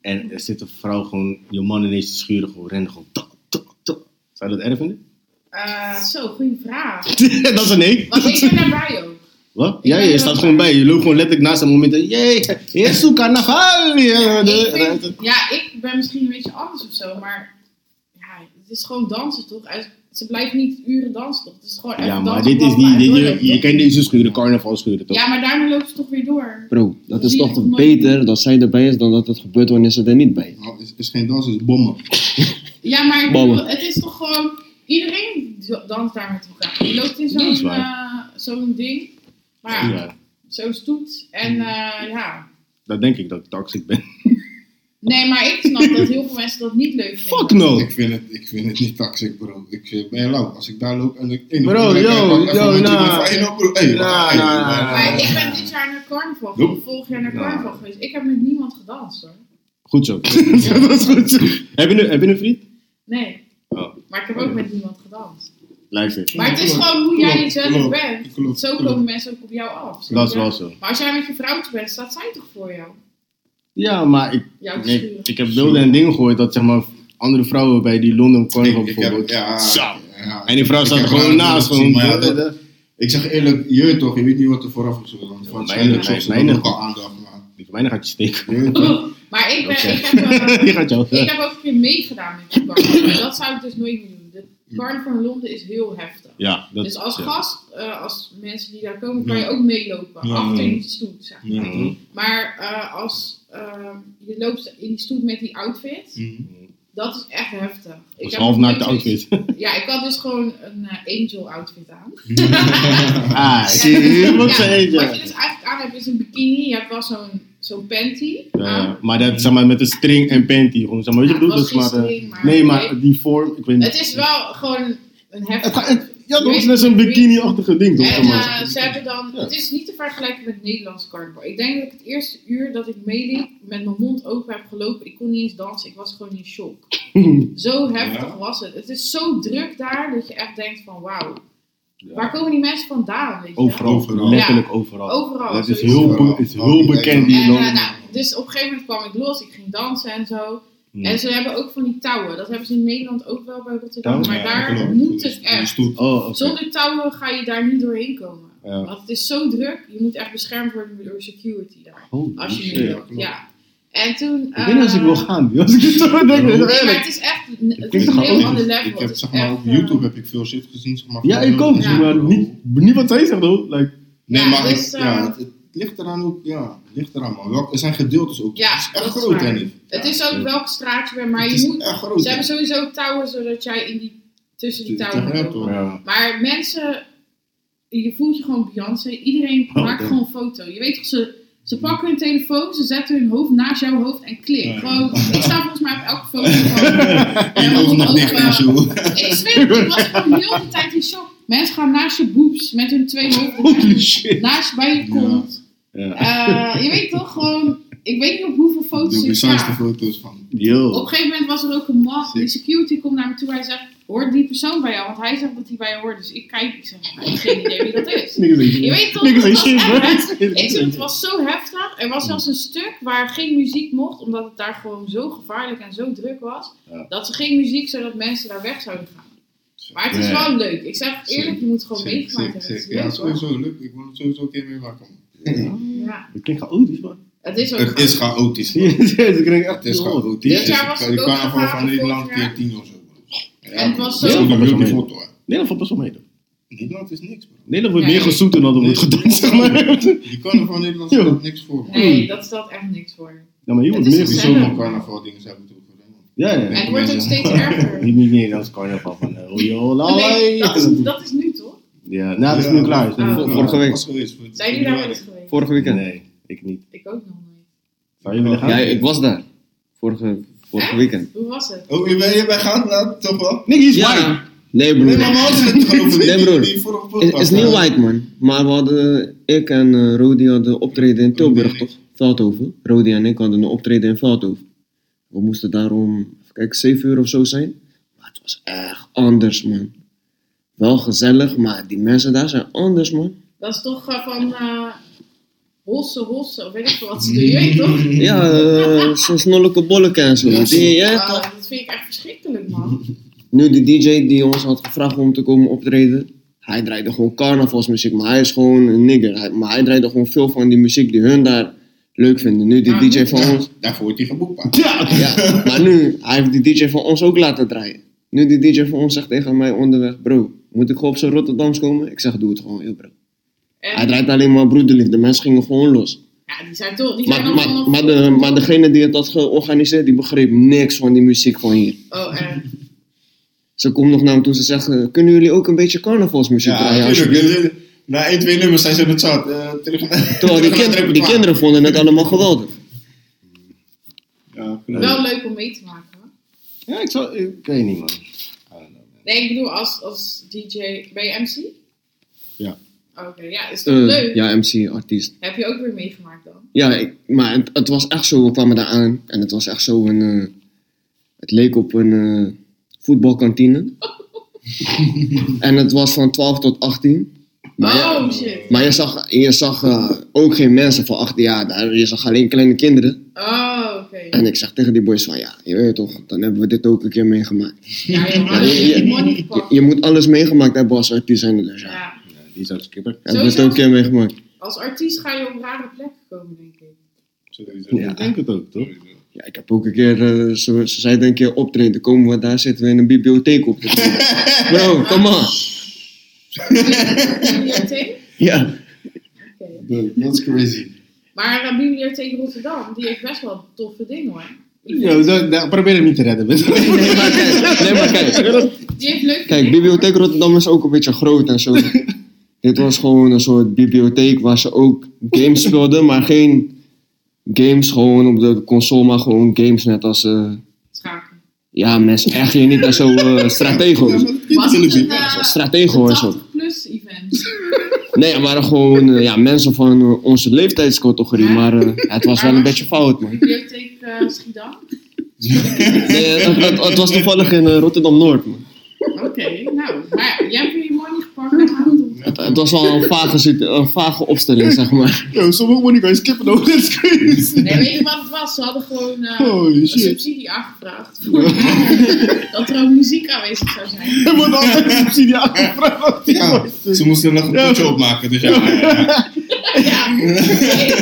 En er zit een vrouw gewoon, je man ineens te schuren, gewoon rennen, gewoon tak, tak, tak. Zou je dat erg vinden?
Eh, zo, goede vraag.
dat is een nee.
Want ik ben daarbij ook.
Wat?
Ik
Ja,
ben
je
er
staat
wel
gewoon bij. Je loopt gewoon letterlijk naast een moment. en, Jee, is zo'n carnaval. Ja,
Ik
de-
vind- ja, ik ben misschien een beetje anders of zo, maar ja, het is gewoon dansen toch? Uit- Ze blijft niet uren dansen toch? Het is gewoon
Ja,
even
maar
dansen,
dit is
blablabla,
niet, dit-
doorlopen,
je, je
toch?
kent deze schuren, carnaval schuren, toch?
Ja, maar daarna loopt ze toch weer door.
Bro, dat is
Zie je
toch
echt nooit
beter dat zij erbij is dan dat het gebeurt wanneer ze er niet bij is.
Nou, Het is, is geen dans, het is bommen.
Ja, maar ik
Ballen.
bedoel, het is toch gewoon iedereen zo- danst daar met elkaar. Je loopt in
Dat is
zo'n
waar.
eh, zo'n ding, maar ja,
Ja,
zo'n stoet en eh, ja.
dat denk ik dat ik toxic ben.
Nee, maar ik snap dat heel veel mensen dat niet leuk vinden.
Fuck no.
Ik vind, het, ik vind het niet toxic, bro. Ik eh, ben lauw. Als ik daar loop en ik... Hey,
Bro,
ik
yo, yo, nah.
Hey,
Nah,
hey,
nah, nah,
eh,
Maar ik ben dit jaar naar carnaval,
Nope.
geweest, vorig jaar naar
Nou.
carnaval geweest. Ik heb met niemand gedanst hoor.
Goed zo. dat is goed zo. Heb je, een- heb je een vriend?
Nee.
Oh.
Maar ik heb ook met niemand gedanst.
Luister.
Maar het is
klopt,
gewoon hoe jij
klopt,
jezelf
klopt,
bent.
klopt,
zo
klopt.
komen mensen ook op jou af. snap
Dat is
je?
wel zo.
Maar als jij met je vrouwtje bent, staat zij toch voor jou?
Ja, maar ik,
Jou te
nee,
schuren.
ik heb beelden en dingen gehoord dat zeg maar andere vrouwen bij die Londen carnaval bijvoorbeeld.
ja,
Zo.
ja.
En die vrouw
Ik
staat er
heb
gewoon
wel
naast.
gezien,
Gewoon,
maar ja, dat-
dat-
Ik zeg eerlijk, je toch, je weet niet wat er vooraf is. Want
Ja,
waarschijnlijk
mijn-
zocht
mijn-
ze ook al aandacht, maar...
die van mij gaat je steken.
Je toch?
Maar ik, ben,
Oké.
ik, heb, eh,
Die gaat jou.
ik heb ook een keer meegedaan met die carnaval. Maar dat zou ik dus nooit meer doen. De carnaval in Londen is heel heftig.
Ja, dat
dus als
ja.
gast, eh, als mensen die daar komen, kan je
Ja.
ook meelopen.
Ja,
achter
ja.
in die stoet. zeg maar.
Mm-hmm.
Ja, toch?
Maar eh, als eh, je loopt in die stoet met die outfit,
Mhm.
dat is echt heftig. Ik
Dus
heb
half
nog
naakt de
nooit
outfit.
zoiets- Ja, ik had dus gewoon een eh, angel outfit aan.
Ah, zie je? Wat
Ja,
ze eet,
Wat
ja.
je dus eigenlijk aan hebt is een bikini, je hebt wel zo'n zo'n panty aan.
Ja, Eh, Maar dat zeg maar met een string en panty. Gewoon, zeg maar, weet je
Ja,
wat ik
het
bedoel?
was
Dat is maar,
geen
eh,
string, maar-
nee, maar die vorm, ik weet niet.
Het is wel gewoon een
Het
heftig
gaat- het- ja, dat is
weet-
net zo'n bikini-achtige ding, toch?
En
zeg maar.
eh, ze hebben dan,
Ja.
het is niet te vergelijken met Nederlands carnaval. Ik denk dat ik het eerste uur dat ik meeliep met mijn mond open heb gelopen, ik kon niet eens dansen, ik was gewoon in shock. zo heftig
Ja.
was het. Het is zo druk daar dat je echt denkt van wauw, waar komen die mensen vandaan? Weet je?
Overal,
Overal.
letterlijk overal.
Overal,
Dat is
sowieso.
heel,
Overal.
be- is heel
Overal.
bekend
En,
hier in
eh,
Londen.
nou, dus op een gegeven moment kwam ik los, ik ging dansen en zo.
Hmm.
En ze hebben ook van die touwen. Dat hebben ze in Nederland ook wel bij Rotterdam.
Touwen?
Maar
Ja,
daar
klopt.
moet het
Die
echt.
stoet.
Oh, oké.
Zonder touwen ga je daar niet doorheen komen.
Ja.
Want het is zo druk. Je moet echt beschermd worden door security daar.
Holy
Als je
shit.
mee
ja,
wilt.
klopt.
Ja. En toen... eh,
Ik weet niet als ik wil gaan, joh. als ik het zo denk.
Ja,
dat is
Nee, maar
eerlijk.
het is echt... Het
Ik
is
Ik
een
ga
heel
ook
ander
niet.
level.
Ik
Het
heb,
is
zeg maar,
echt,
op YouTube
eh,
heb ik veel shit gezien. Zeg maar,
Ja,
van-
ik ook.
Ja.
Maar niet, niet wat zij zegt, hoor. Like,
Nee,
Ja,
maar
dus,
ik- ja,
eh,
het, het ligt eraan ook. Ja, het ligt eraan, man. Welk, er zijn gedeeltes ook.
Ja,
het is echt
dat is
groot,
waar.
hè, niet?
eh, Het
Ja,
is ook welke straat je bent, maar
het
je
is
moet...
echt groot.
Ze hebben sowieso touwen zodat jij in die, tussen die touwen
Ja,
kan
toch.
lopen.
ja.
Maar mensen, je voelt je gewoon Beyoncé. Iedereen
Oh,
maakt
damn.
gewoon een foto. Je weet toch, ze, ze pakken hun telefoon, ze zetten hun hoofd naast jouw hoofd en klik.
Ja.
Gewoon, ik sta volgens mij op elke foto van.
En ook nog dicht en zo.
eh, Ik zweer, het, ik was gewoon heel de tijd in shock. Mensen gaan naast je boobs met hun twee hoofden.
Holy shit.
Naast bij je kont.
Ja.
Eh, je weet toch gewoon, ik weet niet op hoeveel foto's
Doe
ik
ik saaiste
sta.
foto's van.
Yo.
Op een gegeven moment was er ook een man, die security komt naar me toe. Hij zegt, hoort die persoon bij jou? Want hij zegt dat hij bij je hoort. Dus ik kijk, ik zeg, ik heb geen idee wie dat is.
Niggas ain't shit.
Je weet toch,
Niggas
het
ain't
was
shit,
echt heftig.
bro.
Ik zeg, het was zo heftig. Er was zelfs een stuk waar geen muziek mocht, omdat het daar gewoon zo gevaarlijk en zo druk was.
Ja.
Dat ze geen muziek, zodat mensen daar weg zouden gaan. Maar het is
Ja.
wel leuk. Ik zeg eerlijk, je moet gewoon
Sick,
meegemaakt
sick,
hebben. Het is
sick. Ja,
leuk, hoor.
sowieso leuk. Ik wil het sowieso een keer meemaken. man.
Ja. Ja,
Het klinkt chaotisch, man.
het is ook.
Het is chaotisch.
Zie je? Ik denk echt,
Het is
wow.
chaotisch.
Dit jaar was het
Je
ook
kan gewoon
gevaarlijk
van Nederland
vorig jaar.
keer tien of zo. bro. Ja,
En het was zo-
Heel
Nederland
veel
was
die
mee.
foto. hè.
Nederland valt best wel mee. toch?
Nederland is niks, bro.
Nederland wordt
Ja,
meer
nee.
gezoend dan er wordt gedaan, zeg maar.
Je carnaval in Nederland
Ja.
staat niks voor. man.
Nee, dat stelt echt niks voor.
Ja, maar hier
Het
wordt
is dus
meer
gezellig.
gezoend.
Sowieso mijn carnaval dingen zijn moeten doen.
Ja, ja.
En het
Ja.
wordt ook steeds erger.
Niet meer nee, dat is carnaval van eh, hoi, hoi, hoi.
Nee, dat, is, dat is nu toch?
Ja, nou, dat is nu klaar.
Ah.
Voor- voor-
Vorige week.
Was geweest, voor-
Zijn jullie daar wel eens geweest?
Vorige weekend.
Nee, ik niet.
Ik ook nog nooit.
Zou je willen gaan?
Ja, ik was daar. Vorige, vorige weekend.
Hoe was het?
Oh, je bent, je bent gaan, nou, toch wel?
Nicky is white.
Ja. Nee,
Nee,
broer.
maar we hadden het toch over die-
Nee, broer.
die vorige podcast.
Het is niet white, man. Maar we hadden, ik en eh, Rodi hadden optreden in Tilburg, toch? Veldhoven. Rodi en ik hadden een optreden in Veldhoven. We moesten daarom, kijk, 7 uur of zo zijn. Maar het was echt anders, man. Wel gezellig, maar die mensen daar zijn anders, man.
Dat is toch eh, van eh hossen, hossen, of weet ik veel wat ze doen. Je weet toch?
Ja, eh, zo'n snolleke bolleke en zo.
Ja,
Die, ja, toch?
Ah, dat vind ik echt verschrikkelijk, man.
Nu de DJ die ons had gevraagd om te komen optreden, hij draaide gewoon carnavalsmuziek, maar hij is gewoon een nigger. Hij- maar hij draaide gewoon veel van die muziek die hun daar leuk vinden. Nu die
Ja,
DJ van ons,
Daarvoor wordt hij geboekt, pa.
Ja.
ja, maar nu, hij heeft die DJ van ons ook laten draaien. Nu die DJ van ons zegt tegen mij onderweg, bro, moet ik gewoon op zijn Rotterdams komen? Ik zeg, doe het gewoon, heel bro. Hij
En,
draait alleen maar broederliefde, mensen gingen gewoon los.
ja, die zijn toch, die zijn
Maar, maar,
allemaal...
maar, de, maar degene die het had georganiseerd, die begreep niks van die muziek van hier.
Oh, echt.
Ze komt nog naar hem toe, ze zegt, eh, kunnen jullie ook een beetje carnavalsmuziek draaien
Ja,
alsjeblieft?
natuurlijk. Dus, eh, Na 1, 2 nummers zijn ze het zat. Eh, terug naar-
Terwijl die,
terug naar
kind-
het
die
repertoire.
kinderen vonden het allemaal geweldig.
Ja, klopt.
Wel leuk om mee te maken, hoor.
Ja, ik zou... Ik weet niet, man.
Nee, ik bedoel, als, als DJ... Ben je MC?
Ja.
Oké, ja, is toch
Eh,
leuk?
ja, MC, artiest.
Heb je ook weer meegemaakt dan?
Ja, ik, maar het, het was echt zo, we kwamen daar aan en het was echt zo een... eh, het leek op een eh, voetbalkantine. en het was van 12 tot 18. Maar, eh, je,
oh, shit.
maar je zag, je zag eh, ook geen mensen van 18 jaar daar, je zag alleen kleine kinderen.
Oh, oké.
En ik zeg tegen die boys van, ja, je weet toch, dan hebben we dit ook een keer meegemaakt.
Ja, joh, maar
Ja,
dat
je-
is
je-
money
Je,
gepakt.
je moet alles meegemaakt hebben als artiest zijn dus ja.
Ja.
Ja, die zou ik skippen.
Hebben we het
Sowieso-
ook een keer meegemaakt.
Als artiest ga je op rare plekken komen, denk ik.
Sowieso.
Ja.
Ik denk het ook, toch?
Sowieso.
Ja, ik heb ook een keer, eh, ze, ze zeiden een keer optreden, komen we daar zitten we in een bibliotheek op te treden. Bro, come on.
Bibliotheek?
Ja.
Oké.
Dude, That's crazy.
Maar eh, Bibliotheek Rotterdam, die heeft best wel toffe dingen hoor.
Ja, dat- dat- probeer hem niet te redden. man.
Nee, maar kijk, nee, maar kijk.
Die heeft leuke
Kijk,
dingen.
Bibliotheek Rotterdam is ook een beetje groot en zo. Dit was gewoon een soort bibliotheek waar ze ook games speelden, maar geen games gewoon op de console, maar gewoon games net als, eh,
Schaken.
ja, mensen echt hier niet als zo eh,
Ja,
stratego's.
maar dat kind
Was
natuurlijk
het een,
niet.
eh,
Stratego en zo.
80 plus event.
Nee, er waren gewoon eh, ja, mensen van eh, onze leeftijdscategorie, maar eh, het was wel een beetje fout, man.
Bibliotheek eh, Schiedam.
Nee, het, het- het was toevallig in Rotterdam Noord. Man.
Oké, nou, maar jij hebt je money gepakt en gaat het om.
Het, het was wel een vage, situ- een vage opstelling, zeg maar.
Yo, sommige money kan je skippen, though. That's crazy.
Nee, weet je wat het was? Ze hadden gewoon eh,
Holy
een
shit.
subsidie aangevraagd. Voor, eh, dat er ook muziek aanwezig zou zijn.
Er wordt altijd een subsidie aangevraagd.
Ja, ze moesten nog een
Ja.
potje opmaken, dus ja. Ja, ja.
Ja, nee,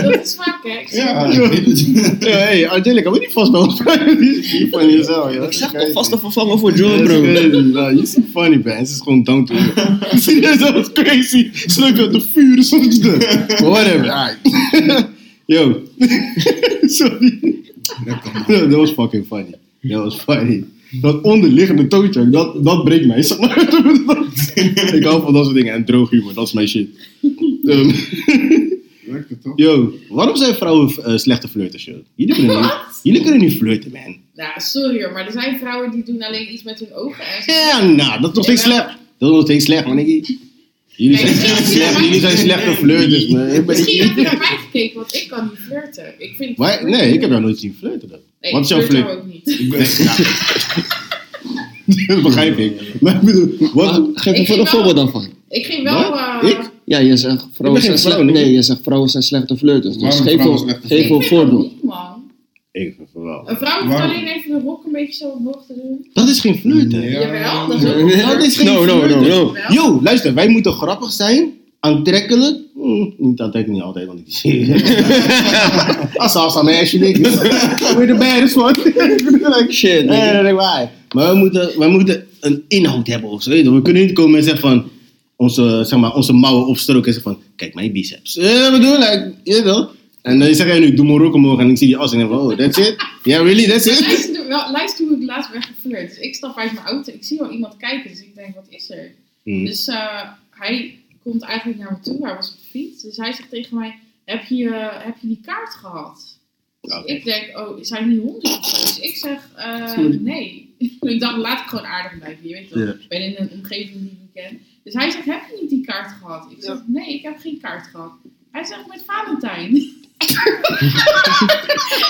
dat is vaak hè. Ik snap
ja,
het.
ik weet het.
Ja, hey, Angelica, moet je niet vasthouden? Die is hier van jezelf, ja.
Ik zeg toch vast een vervanger voor John,
That's
bro.
crazy, bro. You see funny, man. Het is gewoon down to earth. Serieus, dat was crazy. Sluk dat de vuur soms de. Maar whatever, alright. Yo. Sorry.
Dat kan.
Ja, Dat was fucking funny. Dat was funny. Dat onderliggende toontje, dat, dat breekt mij. zeg maar. Ik hou van dat soort dingen. En droog humor, dat is mijn shit. Ehm,
Werkt het toch?
yo, waarom zijn vrouwen eh, slechte flirters, yo? Jullie kunnen, niet, jullie kunnen niet flirten, man.
Nou, sorry hoor, maar er zijn vrouwen die doen alleen iets met hun ogen. En zo.
Ja, nou, dat is nog steeds
Jawel.
slecht. Dat is nog steeds slecht, man. Nicky. Jullie
Nee,
zijn
misschien
echt slecht.
heb je daar-
Jullie zijn slechte flirters, man. Ik ben
Misschien heb je
niet...
naar mij gekeken, want ik kan niet flirten. Ik vind
Waar- Nee, ik heb jou nooit zien flirten. dan.
Nee,
Wat
ik
is jouw
flirt
flirt?
ook niet.
Ik ben... Ja. dat begrijp ik. Maar ik bedoel, wat...
Maar Geef
Ik
even een
wel-
voorbeeld dan van.
Ik ging wel...
Wat?
eh,
Ik?
Ja, je zegt vrouwen
geen
zijn,
vrouw,
sle-
nee.
nee, je zegt vrouwen zijn slechte flirters. Dus
Waarom
geef
vrouwen
een,
slechte
geef
ik
een
vind dat
voorbeeld.
niet, man.
Ik vind het wel.
Een vrouw hoeft
Waarom?
alleen even de rok een beetje zo omhoog te doen.
Dat is geen flirten.
Ja.
Jawel, dat is ook
Nee,
flirt.
Dat is geen
No, no, no,
flirten.
no.
Wel.
Yo, luister, wij moeten grappig zijn, aantrekkelijk. Hm, Mm, niet, dat denk ik niet altijd, want ik zie Als ze aan mij alsjeblieft. Hoe je erbij is, man.
Shit,
Nee, nee, nee, waar. Maar we moeten, we moeten een inhoud hebben of zo. weet je. We kunnen niet komen en zeggen van onze, zeg maar, onze mouwen opstroken en zeggen van kijk mijn biceps. Eh, bedoel, like, je wel. En dan zeg jij nu doe Marokko omhoog en ik zie die as en denk van oh that's it. Yeah really that's it.
Lijst, wel, lijst toen ik laatst werd geflirt. Dus ik stap uit mijn auto, ik zie wel iemand kijken, dus ik denk, wat is er?
Mhm.
Dus eh, hij komt eigenlijk naar me toe, hij was op de fiets. Dus hij zegt tegen mij, heb je, eh, heb je die kaart gehad?
Oké.
Ik denk, oh, zijn die honderd of zo? Dus ik zeg, eh,
Sorry.
nee. ik dacht, laat ik gewoon aardig blijven hier, weet je wel.
Ja.
Ik ben in een omgeving die ik niet ken. Dus hij zegt, heb je niet die kaart gehad? Ik zeg, nee, ik heb geen kaart gehad. Hij zegt, met Valentijn.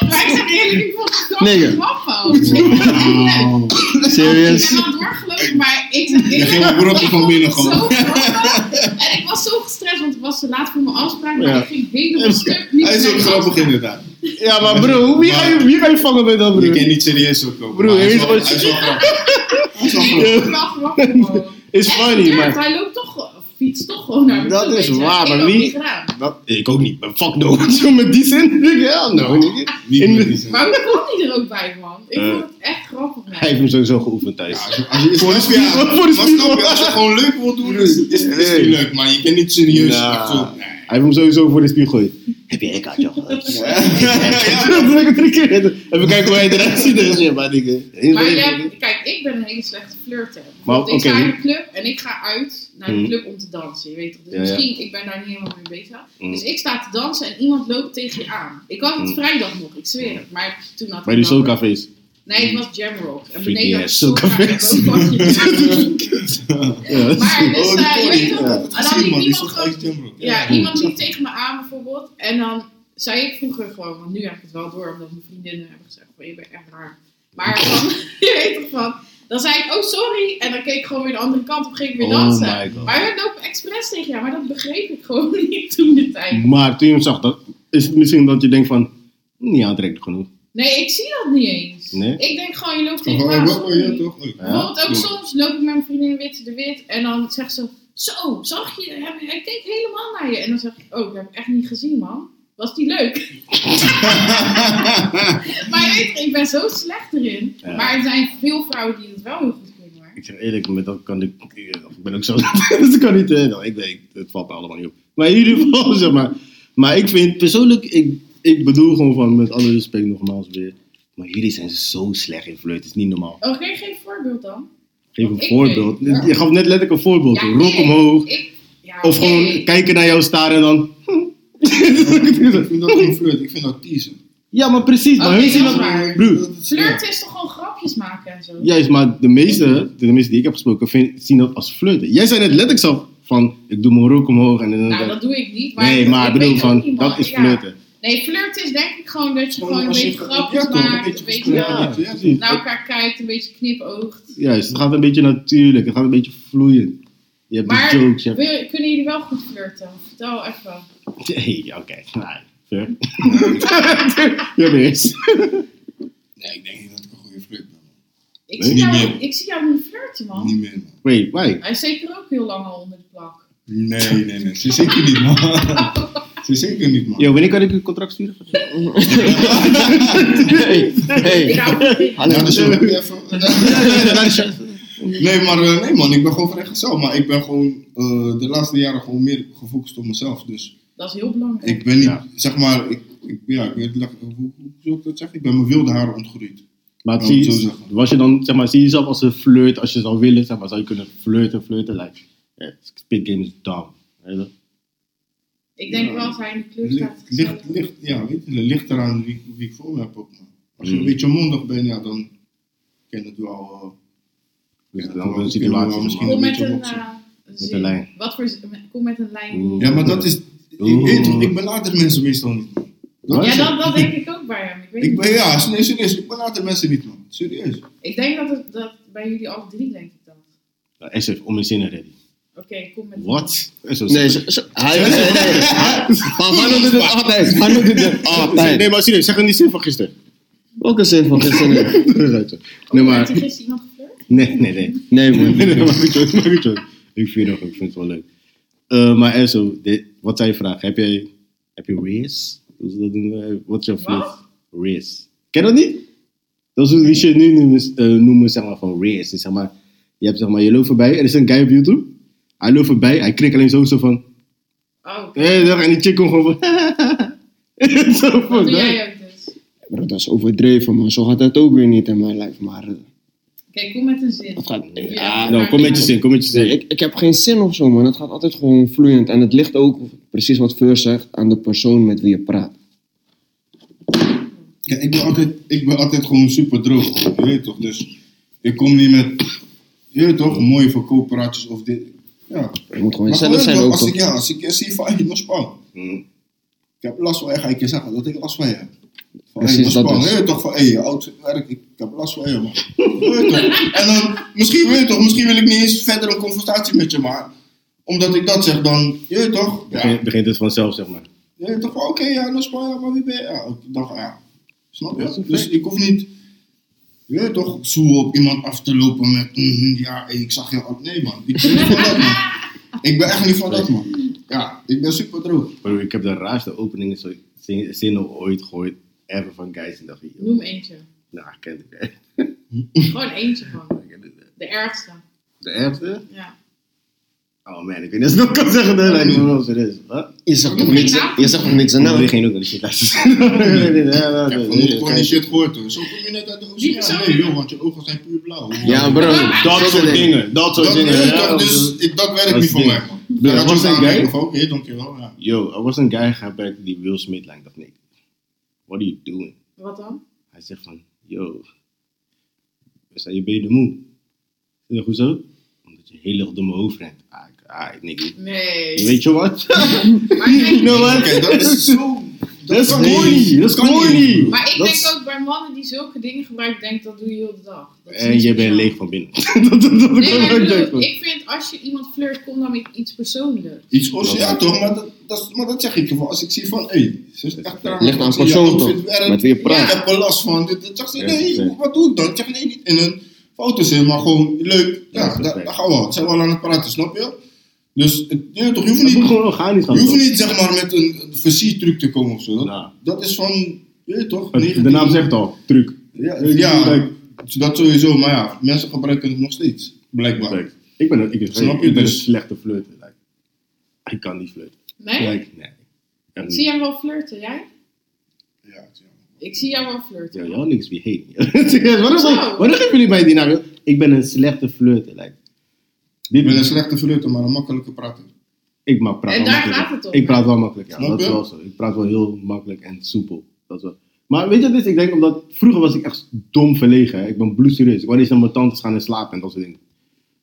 maar ik zeg eerlijk, ik vond het
Nigger.
toch grappig.
Wauw.
Ik ben
Serieus?
al doorgelopen, maar ik zeg
Je
eerlijk,
ging een brokje van binnen gewoon.
zo grappig. En ik was zo gestrest, want het was te laat voor mijn afspraak. Maar
Ja.
ik ging helemaal stuk. Niet
Hij is
naar
ook
mijn
grappig
afspraak.
inderdaad.
Ja maar bro, wie ga je, wie ga je vangen met dat
Je
bro?
kan niet serieus ook komen.
Broer,
maar
hij
hij
is
is wel
wel-
hij is wel grappig. Hij is wel grappig.
Ik vond het wel grappig, man.
Is
En
funny
inderdaad,
maar
Hij loopt toch, of fietst toch gewoon naar me
Dat
toe,
is
weet je.
waar,
Ik
maar
had
wie-
niet gedaan.
dat, ik ook niet. Maar fuck no. Zo met die zin denk ik hell no. nigga.
Niet
In-
met die zin.
Maar hoe kwam hij er ook bij, man? Ik
Eh.
vond het echt grappig, man.
Hij heeft hem sowieso geoefend thuis.
Ja, als je- als je-
Voor de
snap je, ja,
spiegel, voor de
maar
spiegel.
snap je, Als je gewoon leuk wil doen, is is- is het
Nee.
niet leuk. Maar je kan niet serieus.
Nah.
echt zo- nee. Oh,
Hij heeft hem sowieso voor de spiegel gegooid. Heb jij een kaartje al gehad?
Ja.
Dat doe ik het drie keer. Even kijken hoe hij eruit ziet. Dus ja, maar dingen.
Maar jij, kijk, ik ben een hele slechte flirter.
Maar,
Want ik
oké.
ga naar de club en ik ga uit naar de
Mhm.
club om te dansen. Je weet toch? Dus
Ja, ja.
misschien, ik ben daar niet helemaal mee bezig.
Mhm.
Dus ik sta te dansen en iemand loopt tegen je aan. Ik had het
Mhm.
vrijdag nog, ik zweer het. Maar toen had
Bij
ik
die
wel-
soulcafés.
Nee, het was Jam Rock. En
Freaky
beneden had
ass
ik soulcafé.
soulcafé. Ja.
Maar dus,
Oh, die
eh, je
Tony.
weet toch? En dan
Ja.
liep
Zie, man, die
iemand
stond
gewoon
uit Jumbo.
ja, iemand liep tegen me aan bijvoorbeeld. En dan zei ik vroeger gewoon, want nu heb ik het wel door, omdat mijn vriendinnen hebben gezegd: van je bent echt raar. Maar van, je weet toch van. Dan zei ik, oh sorry. En dan keek ik gewoon weer de andere kant op, ging ik weer
Oh
dansen.
my god.
Maar hun lopen expres tegen jou, maar dat begreep ik gewoon niet toen de tijd.
Maar toen je hem zag, dat, is het misschien dat je denkt van... Niet aantrekkelijk genoeg.
Nee, ik zie dat niet eens.
Nee?
Ik denk gewoon, je loopt tegen me
Gewoon,
aan.
oh, wat wil je
sorry.
toch? Leuk.
Bijvoorbeeld ook
Ja.
soms loop ik met mijn vriendin Witte de Wit en dan zegt ze: Zo, zag je? Hij, hij keek helemaal naar je. En dan zeg ik: Oh, ik heb hem echt niet gezien, man. Was die leuk? maar je weet, ik ben zo slecht erin.
Ja.
Maar er zijn veel vrouwen die het wel heel goed kunnen. hoor.
Ik zeg eerlijk, met dat kan ik... Ik ben ook zo... dus ik kan niet... eh, nou, ik weet, het valt me allemaal niet op. Maar in ieder geval, zeg maar... Maar ik vind persoonlijk... Ik, ik bedoel gewoon van, met alle respect nogmaals weer... Maar jullie zijn zo slecht in flirt. Het is niet normaal.
Oh, geef geen voorbeeld dan.
Geef een
Ik
voorbeeld.
weet-
Je gaf net letterlijk een voorbeeld.
Ja,
Rok
nee.
omhoog.
Ik, ja,
Of gewoon
nee.
kijken naar jou staren en dan.
Ik vind dat geen flirt, ik vind dat teasen.
ja, maar precies. Maar
Oké,
hun zien
dat is
dat.
waar.
Broer,
Flirt is toch gewoon grapjes maken en zo?
juist, maar de meeste, de meeste die ik heb gesproken, vind- zien dat als flirten. Jij zei net letterlijk zo van: ik doe mijn rok omhoog en dan.
Nou, dat doe ik niet. Maar
nee, maar ik
ik
bedoel
weet ook
van:
niet,
dat
man.
is
Ja.
flirten.
Nee, flirt is denk ik gewoon dat je gewoon een
als je-
beetje grapjes
ja, toch, een
maakt.
beetje
Een beetje
gesprek.
naar-
Ja, precies.
naar Nou, elkaar kijkt, een beetje knipoogt.
Juist, het gaat een beetje natuurlijk, het gaat een beetje vloeiend. Je hebt
Maar
de jokes, je hebt.
wil- kunnen jullie wel goed flirten? Vertel even.
Hey, oké, nou, fair. ja, maar eerst.
Nee, ik denk niet dat ik een goede flirt ben. man.
Ik,
Nee,
zie
niet
jou,
meer.
ik zie jou niet flirten, man.
Niet meer, man.
Wait, why?
Hij is zeker ook heel lang al onder de plak.
Nee, nee, nee. Ze zeker niet, man. Ze zeker niet, man.
Yo, wanneer kan ik een contract sturen?
Hey,
Ik
hey.
hou van
Ja,
Hallo.
dus we hebben even- Nee, maar eh, nee, man, ik ben gewoon vrijgezel. Maar ik ben gewoon eh, de laatste jaren gewoon meer gefocust op mezelf. Dus
Dat is heel belangrijk.
ik ben niet,
Ja.
zeg maar, ik, ik, ja, ik weet, niet, hoe, hoe zou ik dat zeggen? Ik ben mijn wilde haren ontgroeid.
Maar
Laat ik het
zie,
zo zeggen.
was je dan, zeg maar, zie je jezelf als een flirt, als je zou willen, zeg maar, zou je kunnen flirten, flirten, like, yeah, spit game is dumb. Weet je?
Ik denk
Ja.
wel dat hij in de club staat.
Licht, licht, licht, ja, weet je, licht eraan wie, wie ik voor me heb ook, man. Als je
Mm.
een beetje mondig bent, ja, dan ken het wel. eh,
Dus
Ja,
een andere
dat
situatie,
kunnen we
zeg
Kom
maar.
misschien-
met
beetje
een,
boksen.
eh, zin.
een lijn.
Wat voor z- met- kom met een lijn.
Oeh.
eh. ja, maar dat is, ik weet toch, ik ben later mensen meestal niet, man. Dat
Ja,
is-
dat, dat denk ik ook bij hem. Ik, weet
Ik
niet.
ben, ja, nee, serieus, ik ben later mensen niet, man. Serieus.
ik denk dat, het, dat bij jullie alle drie denk ik dat.
Ja, SF, om mijn zinnen ready.
Oké, kom met
What? SF.
Nee, ze- ze- hij... Nee, nee, nee. Maar Manu doet het altijd. Manu doet het
Ah,
altijd.
Nee, maar serieus, zeg dan die zin van gisteren.
Welke zin van gisteren?
Nee,
Oh, Heeft
maar,
er gisteren iemand geflirt?
nee, nee, nee. Nee,
Nee, man.
nee, maakt niet uit, maakt niet uit. Ik vind het nog, ik vind het wel leuk. Eh, maar Enzo, dit- wat zijn je vraag? Heb jij, heb je race? Hoe ze dat eh, noemen? Wat is jouw
Wat?
vlucht? Race. Ken je dat niet? Dat is hoe die shit nu noemen, eh, noemen zeg maar, van race. Dus zeg maar, je hebt zeg maar, je loopt voorbij. Er is een guy op YouTube. Hij loopt voorbij. Hij knikt alleen zo, zo van...
Oh, oké.
Hé, hey, dag. En die chick komt gewoon van... zo van...
Wat doe
dat.
jij ook dus?
Bro, dat is overdreven, man. Zo gaat dat ook weer niet in mijn lijf. Maar eh,
Kijk, kom met een zin.
dat gaat... ah,
Ja,
Ja,
Nou, kom met je zin, kom met je
nee,
zin.
ik, ik heb geen zin of zo, man. Het gaat altijd gewoon vloeiend. En het ligt ook, precies wat Fur zegt, aan de persoon met wie je praat.
Ja, ik ben altijd, ik ben altijd gewoon super droog, je weet toch? Dus ik kom niet met, je weet toch, mooie verkooppraatjes of dit. Ja.
Je moet gewoon
Maar
jezelf zijn
gewoon,
ook,
als
toch?
ik, ja, als ik je zie van, hey, nog span.
Hm.
Ik heb last van je, ga ik je zeggen dat ik last van je heb. Van,
Precies,
hey, nog
dat dus.
span.
is-
Je weet toch, van, hey, je oud werk, ik heb last van je, man. Je weet toch? En dan, misschien, weet je toch, misschien wil ik niet eens verder een confrontatie met je, maar omdat ik dat zeg, dan, je weet toch? Ja,
Begint- Begint het vanzelf, zeg maar.
je weet toch, van, oké, ja, nog span, ja, maar wie ben je? Ja, ik dacht, ja, snap
Dat is
je?
een
Dus ik hoef niet, je weet toch, zo op iemand af te lopen met, mhm, ja, hey, ik zag je al. Nee, man, ik ben niet van dat, man. Ik ben echt niet van dat, man. Ja, ik ben super droog.
Bro, ik heb de raarste openingen zo- zin- zinnen ooit gehoord. Ever van guys. En dacht ik, joh,
Noem eentje.
nou, ik ken het.
Gewoon Oh, eentje van.
Ik ken het.
De ergste.
De ergste?
Ja.
Oh man, ik weet niet of ik dat kan zeggen. Nee, lijkt me wel serieus. Wat?
Je zegt nog niks, je zegt nog niks aan
Nou,
naam.
die geen ook naar de shit luisteren. Nee, nee,
Ik heb
nee,
vanochtend
nee,
gewoon die
nee.
shit gehoord hoor. Zo kom je net uit de oceaan. Nee joh, want je ogen zijn puur blauw.
Ja, bro.
Dat soort dingen, dat soort
Dat,
dingen.
eh,
ja,
dat,
dat-
dus, ik, dat
dat
werkt
is
niet voor
ding.
mij man.
Bro, er was een guy-
Oké, dankjewel. Ja.
Yo, er was een guy gehaald die Will Smith lijkt. Ik dacht, nee, what are you doing?
Wat dan?
Hij zegt van, yo, we zijn je benen moe. Ik zeg, hoezo? Omdat je heel erg door mijn hoofd rent. Ah, ik- ah, ik niks.
Nee.
Weet je wat?
Maar, ik-
You know what?
Oké, dat is zo...
Dat is
kan
corny,
niet.
dat is
Kan
corny.
niet.
maar ik
Dat
denk
is-
ook bij mannen die zulke dingen gebruiken, denk dat doe je heel de dag. Dat is
En
niet
je bent
speciaal.
leeg van binnen. dat dat- dat
Nee, maar
kan
ik
ook
bedoel,
denken.
ik vind als je iemand flirt, kom dan met iets persoonlijks.
Iets os, ja toch, maar dat, dat, is- maar dat zeg ik je van. Als ik zie van, hé, hey, ze is echt eh, raar.
Ligt aan
Ik zie je
persoon,
outfit
toch?
werkt.
Met wie je
Ik
praat.
heb er last van. Dit, dat zeg ze,
Ja,
nee,
ja.
wat doe ik dan? Ik zeg nee, niet in een foute zin, maar gewoon leuk.
Ja,
Ja,
perfect.
daar daar gaan we al. Zijn we al aan het praten, snap je? Dus, het- je weet toch, je hoeft
Het
niet...
moet gewoon organisch gaan.
Je hoeft
toch?
niet zeg maar met een een versiertruc te komen of zo. Dat,
Nou.
dat is van, je weet toch?
De naam zegt al, truc.
Ja,
Weet je,
ja,
like-
dat sowieso, maar ja, mensen gebruiken het nog steeds, blijkbaar.
Like, ik ben, een- ik,
Snap
ik
je?
ben een
Dus-
slechte flirter. Like, ik kan niet flirten.
Nee?
Like, nee. Echt
Ik
niet.
zie hem wel flirten, jij?
Ja, het is jammer.
Ik zie jou wel
Ja,
flirten.
jou niks wie heen. Serieus, Waarom
Zo.
waarom geven jullie mij die naam? joh? Ik ben een slechte flirter. Like.
Ik
Dit
ben een
is,
slechte flirter, maar een makkelijke prater.
ik ma- praat
En
wel
daar
makkelijk.
gaat het om,
Ik praat
hè?
wel makkelijk, ja.
Snap
Dat is
je?
wel zo. Ik praat wel heel makkelijk en soepel. Dat is wel. Maar weet je wat het is? Ik denk omdat... Vroeger was ik echt dom verlegen. Hè. Ik ben bloedserieus. Ik wou eens naar mijn tantes gaan en slapen en dat soort dingen.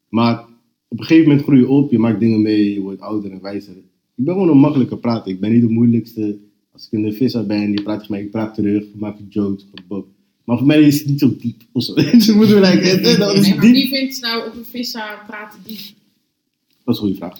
Maar op een gegeven moment groei je op. Je maakt dingen mee. Je wordt ouder en wijzer. Ik ben gewoon een makkelijke prater. Ik ben niet de moeilijkste. Als ik in de visser ben, je praat tegen mij. Ik praat terug. Ik maak jokes. bob. Maar voor mij is het niet zo diep. Of zo. Ze moeten me like, eh, eh, dat is
Nee, maar
diep.
wie vindt nou op een vissa praten die?
Dat is een goede vraag.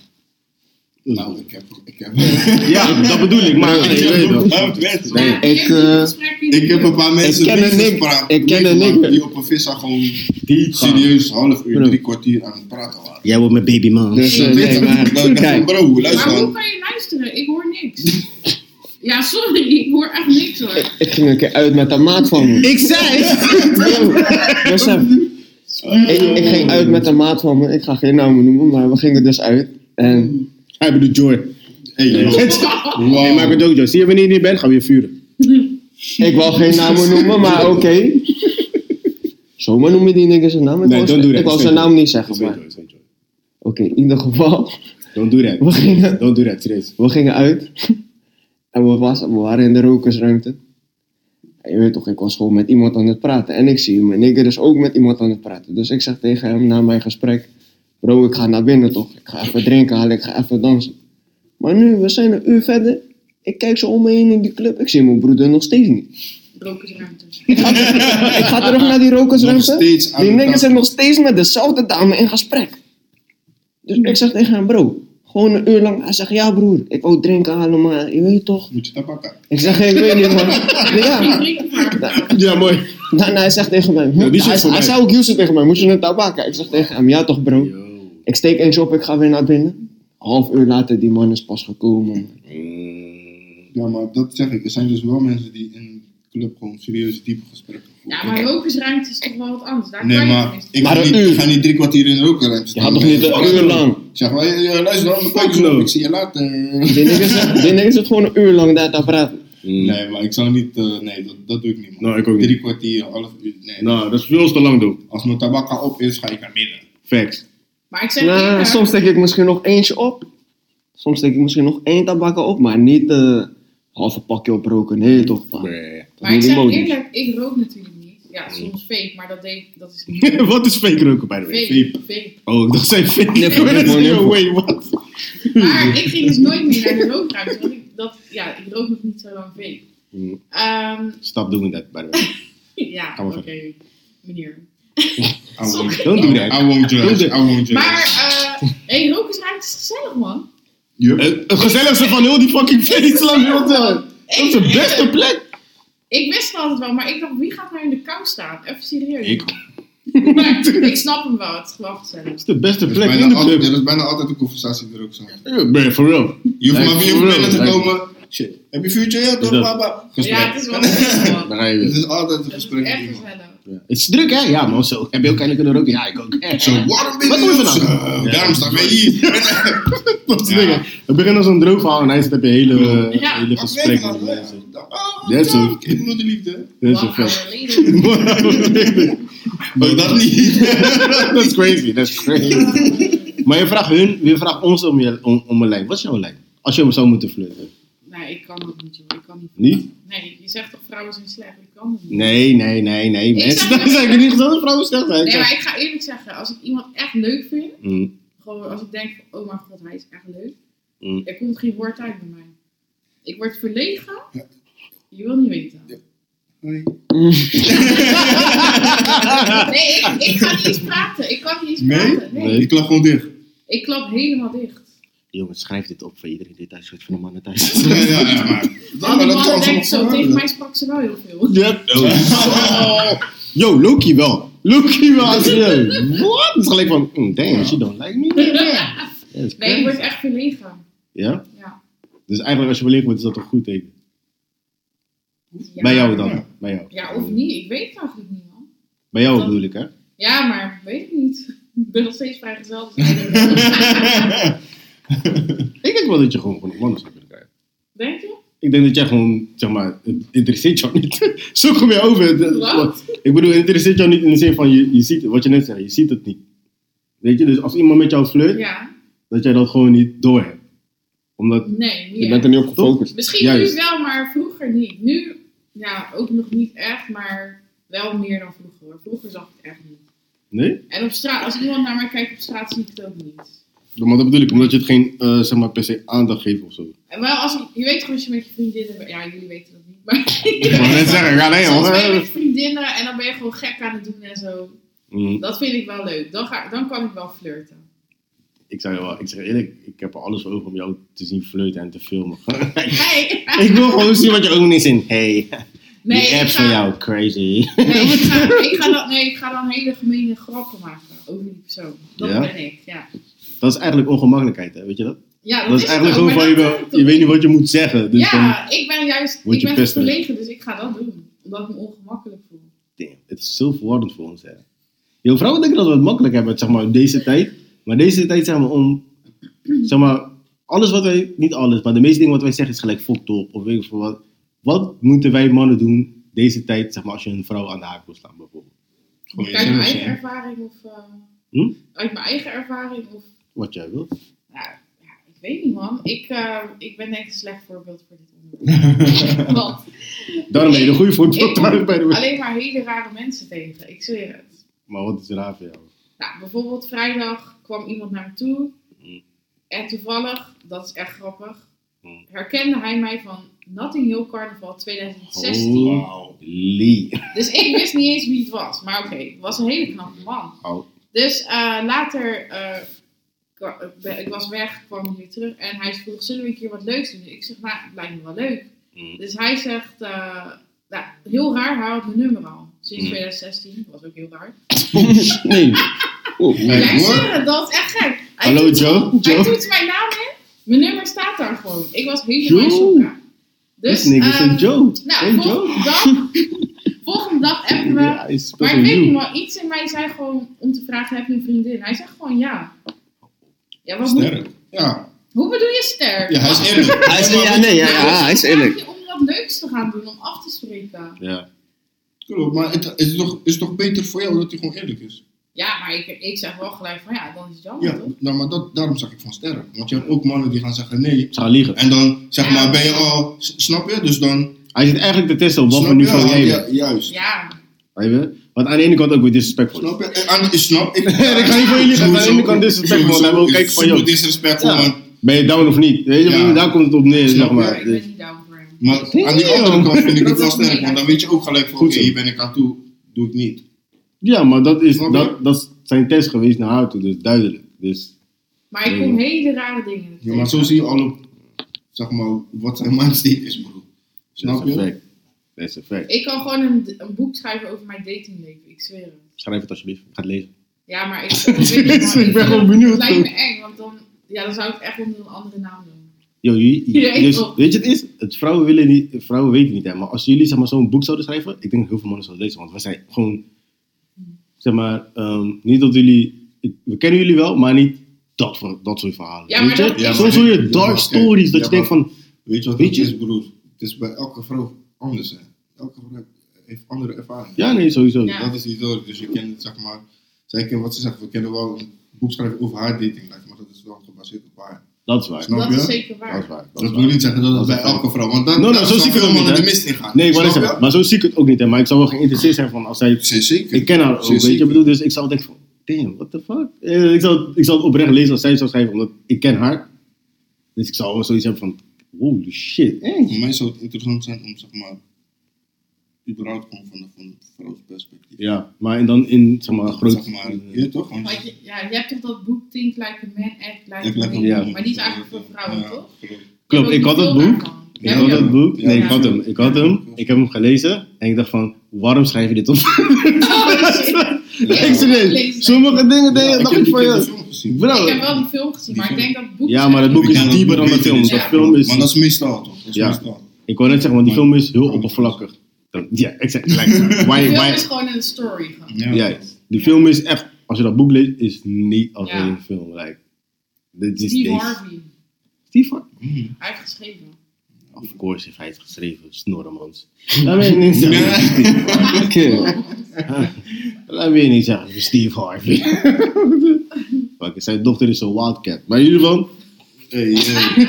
Nou, ik heb... Ik heb,
Ja, dat bedoel ik. Maar
ik,
je weet
heb een
toch.
paar mensen-
Maar je
ik,
hebt die
eh,
gesprekken die-
ik heb een paar mensen
Ik ken een
meegespraakt-
nigger. Ik ken een
meegemaakt
nigger.
die op een vissa gewoon
Diep gaan.
serieus half uur,
Bro.
drie kwartier aan het praten waren.
Jij wordt mijn baby man.
Dus, eh, nee, maar
Dat ik dacht van,
kijk.
bro, luister
Maar hoe
man.
kan je luisteren? Ik hoor niks. Ja, sorry, ik hoor echt niks hoor.
Ik ging een keer uit met een maat van me.
Ik zei!
Yo, Besef. Ik, ik ging uit met een maat van me. Ik ga geen namen noemen, maar we gingen dus uit. En
Hij bedoelt Joy.
Hey, joh. Wow.
Hij maakt het ook Joy. Zie je wanneer je niet bent, gaan we je vuren.
ik wou geen namen noemen, maar oké. Zomaar noem je die nigger zijn naam. Ik
Nee,
wou
don't
ze-
do that.
Ik wou
It's
zijn
not
naam
Joy.
niet zeggen.
It's not
maar-
Joy, it's not Joy.
Oké, in ieder geval.
Don't do that.
We gingen,
Don't do that, serieus.
we gingen uit. En we, was, we waren in de rokersruimte. En je weet toch, ik was gewoon met iemand aan het praten. En ik zie mijn nigger dus ook met iemand aan het praten. Dus ik zeg tegen hem na mijn gesprek. Bro, ik ga naar binnen toch. Ik ga even drinken halen, ik ga even dansen. Maar nu, we zijn een uur verder. Ik kijk zo om me heen in die club. Ik zie mijn broeder nog steeds niet.
Rokersruimte.
Ik ga terug naar die
Nog
rokersruimte.
steeds aan
Die
het
nigger
praten.
zijn nog steeds met dezelfde dame in gesprek. Dus ik zeg tegen hem, bro, gewoon een uur lang. Hij zegt, ja broer, ik wou drinken halen, maar je weet toch.
Moet je tabakken.
Ik zeg, ik weet niet man. Ja.
Ja, mooi.
Daarna hij zegt tegen mij,
Ja, die zit
hij,
voor
hij
mij.
zei ook Houston tegen mij, moet je een tabakken? Ik zeg tegen hem, ja toch bro. Ik steek eentje op, ik ga weer naar binnen. half uur later, die man is pas gekomen.
Ja, maar dat zeg ik. Er zijn dus wel mensen die in een club gewoon serieus diepe gesprekken voeren.
Ja, Nou, maar rokersruimte is toch wel wat anders. Daar
Nee,
kan je
maar
tenminste.
ik
Maar
ga
een
niet,
uur.
ik ga niet drie kwartier in de rookruimte
Je
staan.
had toch niet een uur lang?
Zeg maar, ja, ja, luister dan, kijk eens op, ik zie je later.
Die nigga is- die nigga zit gewoon een uur lang daar te praten.
Nee, maar ik zou niet, eh, nee, dat, dat doe ik niet. Man.
Nou, ik ook niet.
Drie kwartier, half uur, nee.
Nou, dat is veel te lang, doe.
Als mijn tabak al op is, ga ik naar binnen.
Facts.
Maar ik zeg
Nou,
eerder,
soms steek ik misschien nog eentje op. Soms steek ik misschien nog één tabakka op, maar niet eh half een pakje oproken. Nee, toch? pa. Dat
maar
is
ik
niet de
zeg
mode.
eerlijk, ik rook natuurlijk niet. Ja, soms fake, maar dat, deed, dat is niet
Wat is fake roken, by the way?
fake. fake.
Oh, dat zijn fake.
Nee,
Nee,
nee, nee, nee.
wait, what?
Maar ik ging dus nooit meer naar de rookruimte. Want ik, dat, ja, ik rook nog niet zo lang fake.
Mm.
Hmm.
Ehm,
Stop doing that, by the way.
ja,
Kan maar
oké,
verder.
meneer.
I won't,
Don't do that.
I won't judge, I won't judge.
Maar, eh hey, rokersruimte is gezellig, man.
Yup.
Eh, Het gezelligste van heel die fucking feestlang heel Dat is de beste plek.
Ik wist het altijd wel, maar ik dacht, wie gaat nou in de kou staan? Even serieus.
Ik.
Maar ik snap hem wel, het is gewoon gezellig.
Het is de beste
Dat is
plek
bijna
in de
altijd-
club.
Dat is bijna altijd een conversatie die er ook zo.
Ja, Man, for real.
Je hoeft maar
Lijkt
weer
me
op
wel,
binnen te
lijkt me.
komen. Shit, heb je vuurtje? Ja,
Is
toch,
dat-
papa? Gesprek.
Ja, het is wel gezellig, man.
Daar ga je
Het
weer.
is altijd een
Het is
gesprek. met
echt
iemand.
gezellig.
Ja. Het is druk, hè? Ja, man. Zo. Heb je ook eindelijk kunnen roken? Ja, ik ook.
Zo, waarom ben
Wat doe
je
je vandaag?
Zo,
Ja.
Daarom staan wij hier.
Dat is
Ja.
dingen. We beginnen als een droog verhaal en hij zit op je hele, eh,
Ja,
hele
Wat ben je
gesprek met
vandaag?
mensen.
Oh,
That's
dank.
all.
Ik bedoel de liefde.
Dat is
One
een
hour
vet.
later.
Oh, dat niet.
That's crazy, that's crazy. maar je vraagt hun, je vraagt ons om, je, om, om een lijn. Wat is jouw lijn? Als je hem zou moeten flirten.
Nee, ik kan dat niet, joh. Ik kan niet.
Niet?
Nee, je zegt toch vrouwen zijn slecht? Ik kan dat niet.
Nee, nee, nee, nee.
Ik
Mensen,
zou-
dat zijn niet gezond dat vrouwen slecht zijn.
Nee, maar ik ga eerlijk zeggen, als ik iemand echt leuk vind,
Mm,
gewoon als ik denk van, oh mijn god, hij is echt leuk,
Mm.
er komt geen woord uit bij mij. Ik word verlegen. Je wil niet weten. Nee, ik, ik ga niet eens praten. Ik kan niet eens
Nee?
praten. Nee.
Nee.
Ik klap gewoon dicht.
Ik klap helemaal dicht.
Jongens, schrijf dit op voor iedereen die thuis zit, voor de mannen thuis.
Ja, ja, ja, maar.
Al die mannen denken zo, tegen
mij.
mij sprak ze wel heel veel.
Ja. Oh. Yo, Loki wel. Loki wel. als je- Wat? Het is gelijk van, mm, damn, she don't like me. That's
Nee,
crazy.
ik word echt verlegen.
Ja?
Ja.
Dus eigenlijk als je beleefd wordt, is dat een goed teken.
Ja.
Bij jou dan.
Ja.
Bij jou.
Ja, of niet. Ik weet het eigenlijk niet, man.
Bij jou bedoel ik, hè?
Ja, maar weet ik niet. Ik ben nog steeds vrijgezel. dus ik denk-
Ik denk wel dat je gewoon genoeg mannen zou kunnen krijgen.
Denk je?
Ik denk dat jij gewoon, zeg maar, het interesseert jou niet. Zo kom je over. De-
Wat?
Ik bedoel, het interesseert jou niet in de zin van, je, je ziet, wat je net zei, je ziet het niet. Weet je, dus als iemand met jou flirt,
Ja.
dat jij dat gewoon niet doorhebt. Omdat,
Nee, niet
Je
echt.
bent er niet op gefocust.
Misschien
Juist.
nu wel, maar vroeger niet. Nu, ja, ook nog niet echt, maar wel meer dan vroeger. hoor. Vroeger zag ik het echt niet.
nee?
En op straat, als iemand naar mij kijkt op straat, zie ik het ook niet.
Maar dat bedoel ik, omdat je het geen, eh, zeg maar, per se aandacht geeft of zo.
En wel, als ik, je weet gewoon als je met je vriendinnen bent. Ja, jullie weten dat niet, maar...
Ik wou net zeggen, ga nee,
Soms ben je
hoor.
met vriendinnen en dan ben je gewoon gek aan het doen en zo.
Mm,
Dat vind ik wel leuk. Dan, ga, dan kan ik wel flirten.
Ik zeg je wel, ik zeg eerlijk, ik heb er alles voor over om jou te zien flirten en te filmen.
Hey.
ik wil gewoon zien wat je ogen is in. Hey,
Nee,
die
ik
app
ga-
van jou, crazy.
Nee, ik ga, ik ga dan, nee, ik ga dan hele gemene grappen maken over die persoon. Dat
Ja?
ben ik, ja.
Dat is eigenlijk ongemakkelijkheid, hè? weet je dat?
ja
Dat is
het
eigenlijk
ook,
gewoon van,
maar
je,
dat doe
wel,
ik
je
toch
weet niet wat je moet zeggen. Dus dan,
ja, ik ben juist
word
ik
je
ben
pester.
verlegen, dus ik ga dat doen. Omdat ik me ongemakkelijk voel.
damn, het is zo verwarrend voor ons, hè. Yo, vrouwen denken dat we het makkelijk hebben, zeg maar, in deze tijd. Maar deze tijd, zeg maar, om, zeg maar, alles wat wij, niet alles, maar de meeste dingen wat wij zeggen is gelijk fokt op, of weet ik veel wat. Wat moeten wij mannen doen deze tijd, zeg maar, als je een vrouw aan de haak wil slaan, bijvoorbeeld?
Gewoon
uit mijn
jezelf
eigen
zijn.
ervaring of... eh,
Hm?
Uit mijn eigen ervaring of...
Wat jij wilt.
Nou, ja, ik weet niet man. Ik, eh, ik ben denk ik een slecht voorbeeld voor dit onderwerp. Want
Daarom ben je een goede
ik
voorbeeld
kom
bij de way.
alleen maar hele rare mensen tegen. Ik zweer het.
Maar wat is raar voor jou?
Nou, bijvoorbeeld vrijdag kwam iemand naar me toe.
Mm.
En toevallig, dat is echt grappig,
Mm.
herkende hij mij van Notting Hill Carnaval 2016.
Wow. Oh, Lee.
Dus ik wist niet eens wie het was. Maar oké, het was een hele knappe man.
Oh.
Dus eh, later, eh, kwa- eh, ben- ik was weg, kwam ik weer terug. En hij vroeg, zullen we een keer wat leuks doen? Ik zeg, nou, het lijkt me wel leuk.
Mm.
Dus hij zegt, eh, nou, heel raar, hij had mijn nummer al. Sinds
Mm.
2016, was ook heel raar.
Nee. Oh,
Kijk,
Ja, ik
hoor.
zeg het, dat is echt gek. Hij Hij
Hallo
doet-
Joe.
Hij
Joe.
toetste mijn naam in. Mijn nummer staat daar gewoon. Ik was helemaal in
Joe.
shock. Dus,
This nigga is
ehm,
een Joe.
Nou,
Hey, Joe.
volgende dag, volgende dag appen we.
Ja, hij speelt
Maar
een
ik weet
joe.
niet, maar iets in mij zei gewoon om te vragen, heb je een vriendin? Hij zegt gewoon ja. Ja, maar hoe,
Sterk. Ja.
hoe bedoel je sterk? dus
ja, hij is eerlijk.
Hij is, ja, nee, ja, ja, hij is eerlijk.
je om wat leuks te gaan doen, om af te spreken.
Ja.
Klopt, maar het is toch, is toch beter voor jou dat hij gewoon eerlijk is?
Ja, maar ik, ik zeg wel gelijk van ja, dan is het jammer
Ja,
toch?
nou, maar dat, daarom zeg ik van sterk. Want je hebt ook mannen die gaan zeggen nee.
Ze gaan liegen.
En dan zeg
Ja.
maar, ben je al, s- snap je? Dus dan.
Hij zit eigenlijk te testen op wat
snap
voor
je?
niveau
Ja,
jij
ja,
bent.
juist.
Ja,
Weet je? Want aan de ene kant ook weer disrespectful.
Snap je? En aan- ik snap. Ik,
Ik ga niet voor je liegen, aan de ene kant disrespectful,
Sowieso
aan de andere kant
is
van, joh.
super disrespectful,
Ja.
man.
Ben je down of niet? Weet je,
Ja.
Daar komt het op neer,
Snap
zeg
je?
maar.
ik
Dus-
ben niet down voor hem.
Maar aan die
Damn.
andere kant vind ik het wel
Dat is
sterk. Want dan weet je ook gelijk van,
Goed
oké,
zo.
hier ben ik aan toe. Doe ik niet.
Ja, maar dat is,
Snap je?
dat, dat is zijn test geweest naar haar toe, dus duidelijk. Dus
Maar ik kom hele rare dingen.
Ja, maar zo zie je al op, zeg maar, wat zijn mindset is, bro. Snap
dat is een
je?
fact. Dat is een fact.
Ik kan gewoon een, een boek schrijven over mijn datingleven, ik zweer het.
Schrijf het alsjeblieft, ik ga het lezen.
Ja, maar ik, ik weet niet, maar
Ik ben gewoon benieuwd.
Het lijkt me eng, want dan, ja, dan zou ik het echt onder een andere naam doen.
Yo, jullie-
Ja, ik
dus,
ook.
weet je, het is, het, vrouwen, willen niet, vrouwen weten niet, hè, maar als jullie zeg maar, zo'n boek zouden schrijven, ik denk dat heel veel mannen zouden lezen, want we zijn gewoon, zeg maar, ehm, niet dat jullie, ik- we kennen jullie wel, maar niet dat, voor, dat soort verhalen.
Ja, maar
weet je?
dat- Ja, maar
Soms hoor je dark
dit- ja, maar kijk,
stories, dat
ja,
je denkt
maar-
van,
Weet je wat
Weet
het
je?
is, broer? Het is bij elke vrouw anders, hè. Elke vrouw heeft andere ervaring.
ja nee, sowieso.
Ja.
Dat is die door. Dus je kent het, zeg maar... Zij kent wat ze zegt. We kennen wel een boek schrijven over haar datinglijf, maar dat is wel gebaseerd op haar.
Dat is waar,
Snap
Dat
je?
is zeker waar.
dat is waar.
Dat,
Dat is
wil
waar.
niet zeggen dat
Dat
dat
is
bij
waar.
elke vrouw... Want
Nou,
dan,
nou,
daar
zo
zou
zie ik het
veel
ook
mannen
niet,
de
hè.
mist in gaan.
Nee, ik wou net
Snap
zeggen,
je?
maar zo zie ik het ook niet, hè, maar ik zou wel geïnteresseerd zijn van als zij
Zeer Zeker.
Ik ken haar ook,
Zeer
weet je.
zeker.
bedoel, dus ik zou denken van, damn, what the fuck? Eh, ik, zou, ik zou het oprecht lezen als zij het zou schrijven, omdat ik ken haar. Dus ik zou wel zoiets hebben van, holy shit. eh.
Voor mij zou het interessant zijn om, zeg maar... überhaupt gewoon van een vrouwsperspectief.
Ja, maar en dan in, zeg maar, groot...
Zeg maar, je toch? Want
Want je, ja, je hebt toch dat boek Think Like a Man, Act Like
Ik
a
leg
Man.
hem
Ja.
op.
Maar die is eigenlijk voor vrouwen, toch?
klopt.
Klopt, ik had dat boek. Ik
Ja,
had
ja.
dat boek.
Ja,
Nee, ik
ja.
had hem. Ik had hem. Ik heb hem gelezen. En ik dacht van, waarom schrijf je dit op?
Ja.
ik serieus. Sommige dingen
Ja,
denk ik
ik
nog
heb
niet
die
van
keer dus- de
jou.
film gezien.
Ik heb
Bro.
wel die film gezien, maar ik denk dat het boek...
Ja, maar het boek
Ik
is
denk dat
dieper
het
dan de
beter
film.
is.
Dat
Ja.
film
Maar dat
is...
is meestal toch? Dat is
Ja.
meestal.
Ik wou net zeggen, want die
Maar-
film is heel
maar-
oppervlakkig. Ja, exact. Like,
De
why,
film
why,
is gewoon een story. gewoon.
Ja.
Juist. De
Ja.
film is echt, als je dat boek leest, is niet als
Ja.
een film. Like, dit is
Steve
deze.
Harvey.
Steve Harvey?
Mm.
Hij heeft geschreven.
Of course heeft hij het geschreven, snorremans. Laat me je niet zeggen. Oké. Laat me je niet zeggen, van Steve Harvey. Fuck, zijn dochter is een wildcat. Maar in ieder geval,
Hey, hey.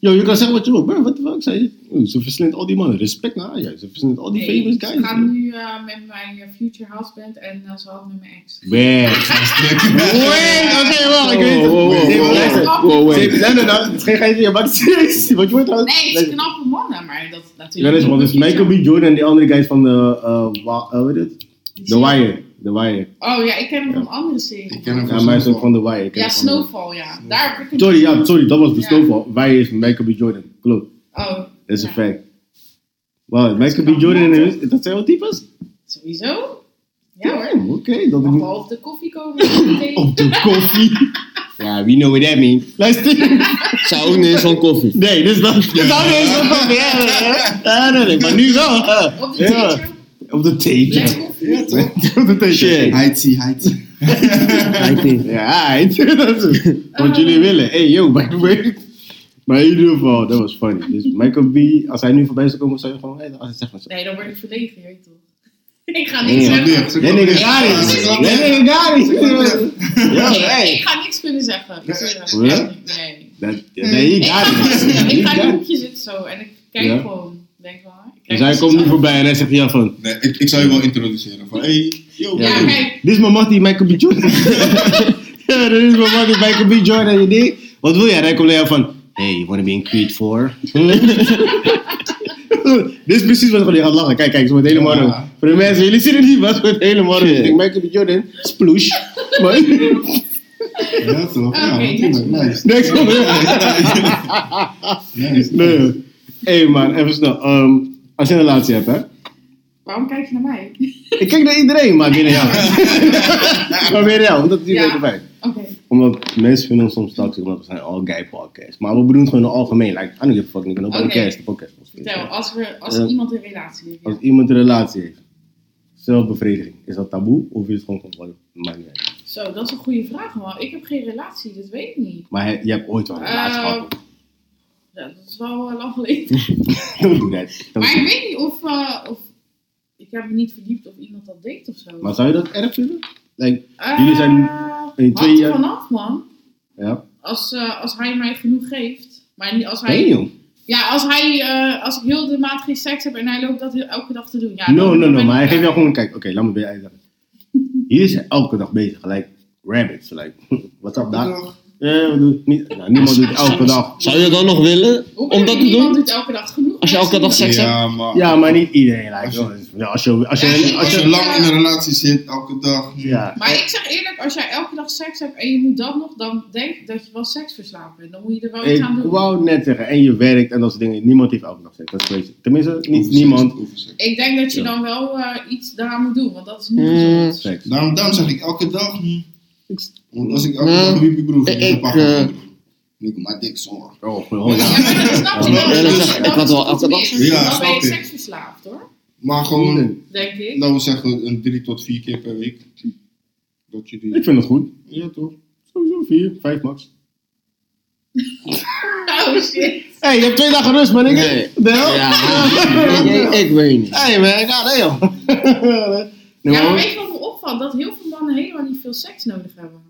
yo, je kan zeggen wat je wil. Bro, wat de fuck, zei je? Oeh, Ze verslindt al die mannen. Respect naar haar, juist. Ze verslindt al die
Nee,
famous
Ze
guys.
gaan nu eh, met mijn eh, future husband en eh, ze had met mijn ex.
Weg. Wait, oké, wacht, ik weet het.
Oh,
Nee, maar luister. Nee, nee, nee, nee, het is geen geintje, maar het is serieus. Wat je hoort trouwens.
Nee, het is
luister.
knappe mannen, maar dat is natuurlijk...
Ja, dat is dus want het is
niet
Michael B.
zo-
Jordan en die andere guys van de, eh, wa- eh, hoe heet het? The Wire. The Wire.
Oh ja, ik ken hem
Ja.
van andere series.
Ik ken hem
Ja, maar hij is ook van The Wire. Ik ken
Ja,
hem van de-
Snowfall, ja. Daar heb ik hem-
Sorry, ja, sorry, dat was de
Ja.
Snowfall. Wire is Michael B. Jordan. Klopt,
Oh,
dat is
ja.
een fact. Wow, Michael
knap,
B. Jordan
man,
en dat zijn wel types?
Sowieso? Ja hoor.
Damn, Oké, dat
Mag
ik
wel op de koffie komen. op de thee.
Op de koffie. Ja, we know what that means. Luister.
Zou ook niet eens van koffie.
Nee, dus dat. Dat zou niet eens wel koffie hebben, hè? Ja, nee, nee, maar nu wel. hè.
Op de
Ja.
teacher.
Op de
Black
theetje.
koffie.
Ja, toch?
Op de theetje.
Heitsie, heitsie.
Ja, hij- dat is het. Wat jullie willen. Hey, yo, by the way. Maar in ieder geval, dat was funny. Dus Michael B, als hij nu voorbij zou komen, zou je gewoon, hey, als hij zegt van zo.
Nee, dan word ik verlegen, je weet toch. Ik ga
Nee,
niks zeggen.
Nee, nee, daar is. Nee, nee, daar is. Ja,
Nee,
hey.
ik ga niks kunnen zeggen. Ik zweer het.
Ja?
Nee.
Dat- ja, Nee,
Ik
daar
ga-
is.
ik ga in een
Daar is.
hoekje zitten zo en ik kijk
Ja.
gewoon. Denk wel, hè? Ik kijk
Dus hij
als
komt
het
nu
zo-
voorbij en hij zegt ja van.
Nee, ik, ik zou je wel introduceren. Van, hey, yo.
Ja,
yo.
kijk.
Dit is mijn mattie Michael B. Jordan. Ja, Dit is mijn mattie Michael B. Jordan, je ding. Wat wil jij? En Hij komt naar jou van, hey, you wanna be in Creed 4? Dit is precies wat je gaat lachen. Kijk, kijk, zo met hele morgen.
Ja.
Voor de mensen, jullie zien het niet, maar zo met hele morgen. Ik denk, Michael B. Jordan, sploesh. Maar,
Ja,
Ah,
toch? Ja,
Oké,
natuurlijk. Nice.
niks van
Nice.
Nee. Hé man, even snel. Ehm, als je een relatie hebt, hè?
Waarom kijk je naar mij?
Ik kijk naar iedereen, maar binnen jou. maar binnen jou, omdat die
Ja.
weten bij.
Oké.
Omdat mensen vinden ons soms toxic, omdat we zijn all guy podcast. Maar we bedoelen het gewoon in het algemeen. Like, I don't give a fuck, ik ben ook een
Oké.
podcast. de podcast was.
Vertel, als, we, als
Ja. Oh.
iemand een relatie heeft.
Als iemand een relatie heeft, zelfbevrediging, is dat taboe of is het gewoon controle? Maakt niet uit.
Zo, dat is een goede vraag, man. Ik heb geen relatie, dat weet ik niet.
Maar hij- je hebt ooit wel een relatie
Eh,
gehad.
Ja, dat is wel eh, lang geleden.
Don't do that. Don't
Maar
do
ik
that.
weet niet of, eh, of... Ik heb me niet verdiept of iemand dat deed of zo.
Maar zou je dat erg vinden? Like,
Eh,
jullie zijn in twee
hangt er
jaar-
vanaf, man.
ja.
Als, eh, als hij mij genoeg geeft. Maar niet als hij...
Nee, Oh, joh.
Ja, als, hij, eh, als ik heel de maand geen seks heb en hij loopt dat heel- elke dag te doen. Ja,
no,
dan-
no,
dan
no.
ben
Maar hij
ik-
geeft jou gewoon, kijk, oké, laat me weer uitleggen. Hier is hij elke dag bezig, gelijk rabbits. Like, what's up, daar? Eh, we doen het niet, nou, niemand doet het elke dag.
Zou je dan nog willen
Hoe kan
om dat
je-
te
Iemand
doen?
doet elke dag genoeg.
Als je elke dag seks hebt?
Ja, maar
Ja, maar niet iedereen. Like,
Als je-
joh, dus, ja, als je, als je, als je,
als je lang in een relatie zit, elke dag.
ja.
Maar ik zeg eerlijk, als jij elke dag seks hebt en je moet dat nog, dan denk dat je wel seksverslaafd bent. Dan moet je er wel iets aan
Ik
doen.
wou net zeggen, en je werkt en dat soort dingen. Niemand heeft elke dag seks. Dat is een beetje- Tenminste, niet,
Overzicht,
niemand.
overzicht.
Ik denk dat je
Ja.
dan wel eh, iets daaraan moet doen, want dat is niet
Mm.
gezond.
Seks.
Daarom, daarom zeg ik elke dag. hm. Want als ik elke
Nou,
dag een wiepje broer
ik-
ik eh, een pak
ik,
broer. Ik maar dik zonder.
Oh, gewoon,
Ja,
ja.
maar dat snap je
Ja,
wel.
dat
Dat
zeg
is-
ik.
Ik
dat
had
is
wel
goed
elke dag
mis.
seks. Ja,
Dan ben
snap
je
ik.
seksverslaafd hoor,
Maar gewoon,
denk ik.
laten we zeggen, een drie tot vier keer per week. Dat je
Ik
die...
vind het goed.
Ja, toch?
Sowieso vier, vijf max.
Oh shit.
Hé, hey, je hebt twee dagen rust, man. Ik
Nee.
de hel?
Ja, ik, ik weet niet.
Hé, hey, man, ga nee, joh. nee,
Ja, maar
maar-
weet je wat me opvalt? Dat heel veel mannen helemaal niet veel seks nodig hebben.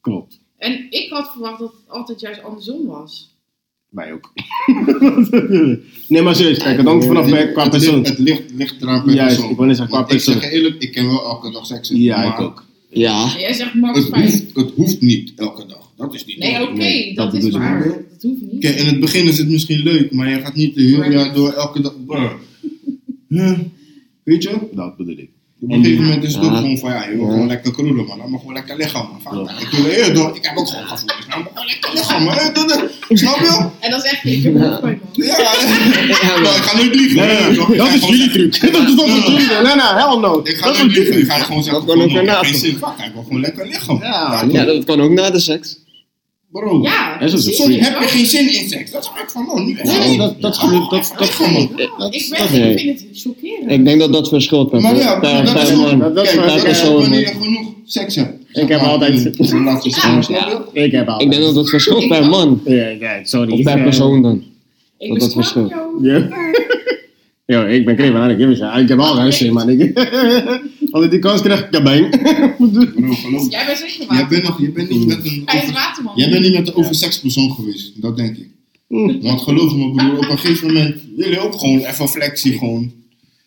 Klopt,
En ik had verwacht dat het altijd juist andersom was.
wij ook. nee, maar serieus, kijk, het hangt vanaf bij, qua
het, ligt-
persoon.
het ligt, ligt eraan per
Juist,
persoon.
ik wou net zeggen, qua
Want ik zeg
persoon.
je eerlijk, ik ken wel elke dag seks.
Ja, ik
maar
ook.
Ja,
En jij zegt max
Het
5.
hoeft, het hoeft niet elke dag. Dat is niet
Nee,
nodig.
oké,
Nee,
dat,
dat
is
bedoel ik.
waar. Dat hoeft niet.
Kijk, in het begin is het misschien leuk, maar je gaat niet de hele
Maar-
jaar door elke dag. Brr. Ja, Weet je?
Dat bedoel ik.
Op een gegeven moment is het
Ja.
ook gewoon van ja, je wil
Ja.
gewoon lekker kroelen, man. Dan mag gewoon lekker liggen, man. Vaak,
Ja.
Ik, wil, eh, door- ik heb ook gewoon gevoelens. Dan mag gewoon lekker liggen, man. Eh, dat- dat- Snap je?
En dat is echt, ik heb hoofdpijn, man.
Ja, Nou, ik ga nooit liegen.
Nee, nee,
Ik ga
nee, dat is
gewoon-
jullie truc. Dat is toch
Ja.
wat jullie doen. Nee, nee, hell no.
Ik ga
Dat is
nooit
wat
liegen.
jullie
Ik
doen.
ga gewoon zeggen:
Dat kan ook
van, man, ik heb
daarna.
geen zin. Fuck, ik wil gewoon lekker liggen. man.
Ja,
ja, dat kan ook na de seks.
Bro,
Ja,
Dat is een
precies.
freak.
soms heb je geen zin in seks. Dat is echt van, man. nu echt
Nee,
niet.
dat- dat-
Ja,
dat-
echt
dat-
lekker, man.
Ik, dat,
Ik,
ik,
ben, ik vind het chockerend.
ik denk dat dat verschilt per,
Maar ja,
per,
dat
per
is ook-
man.
dat- dat is
Kijk,
waar.
dat
Elke
is
persoon.
wanneer je genoeg seks hebt.
Ik heb
Maar
altijd-
in een relatie staan, snap je?
Ik heb al.
Ik denk dat dat verschilt per man.
Ja, ja, sorry.
Of per
Ja.
persoon dan.
Ik
dat
ben
dat
Scorpio.
Ja. Yo, ik ben Kreven aan ik heb een- Ik heb al ruis, man. Ik, als ik die kans krijg, kabang.
Bro, geloof me.
Dus Jij bent zeker
Jij
water.
bent, nog, je bent niet met een
Hij is
over,
waterman.
jij bent niet met een oversekspersoon geweest, dat denk ik.
Hm.
Want geloof me, broer, op een gegeven moment wil je ook gewoon even flexie, gewoon,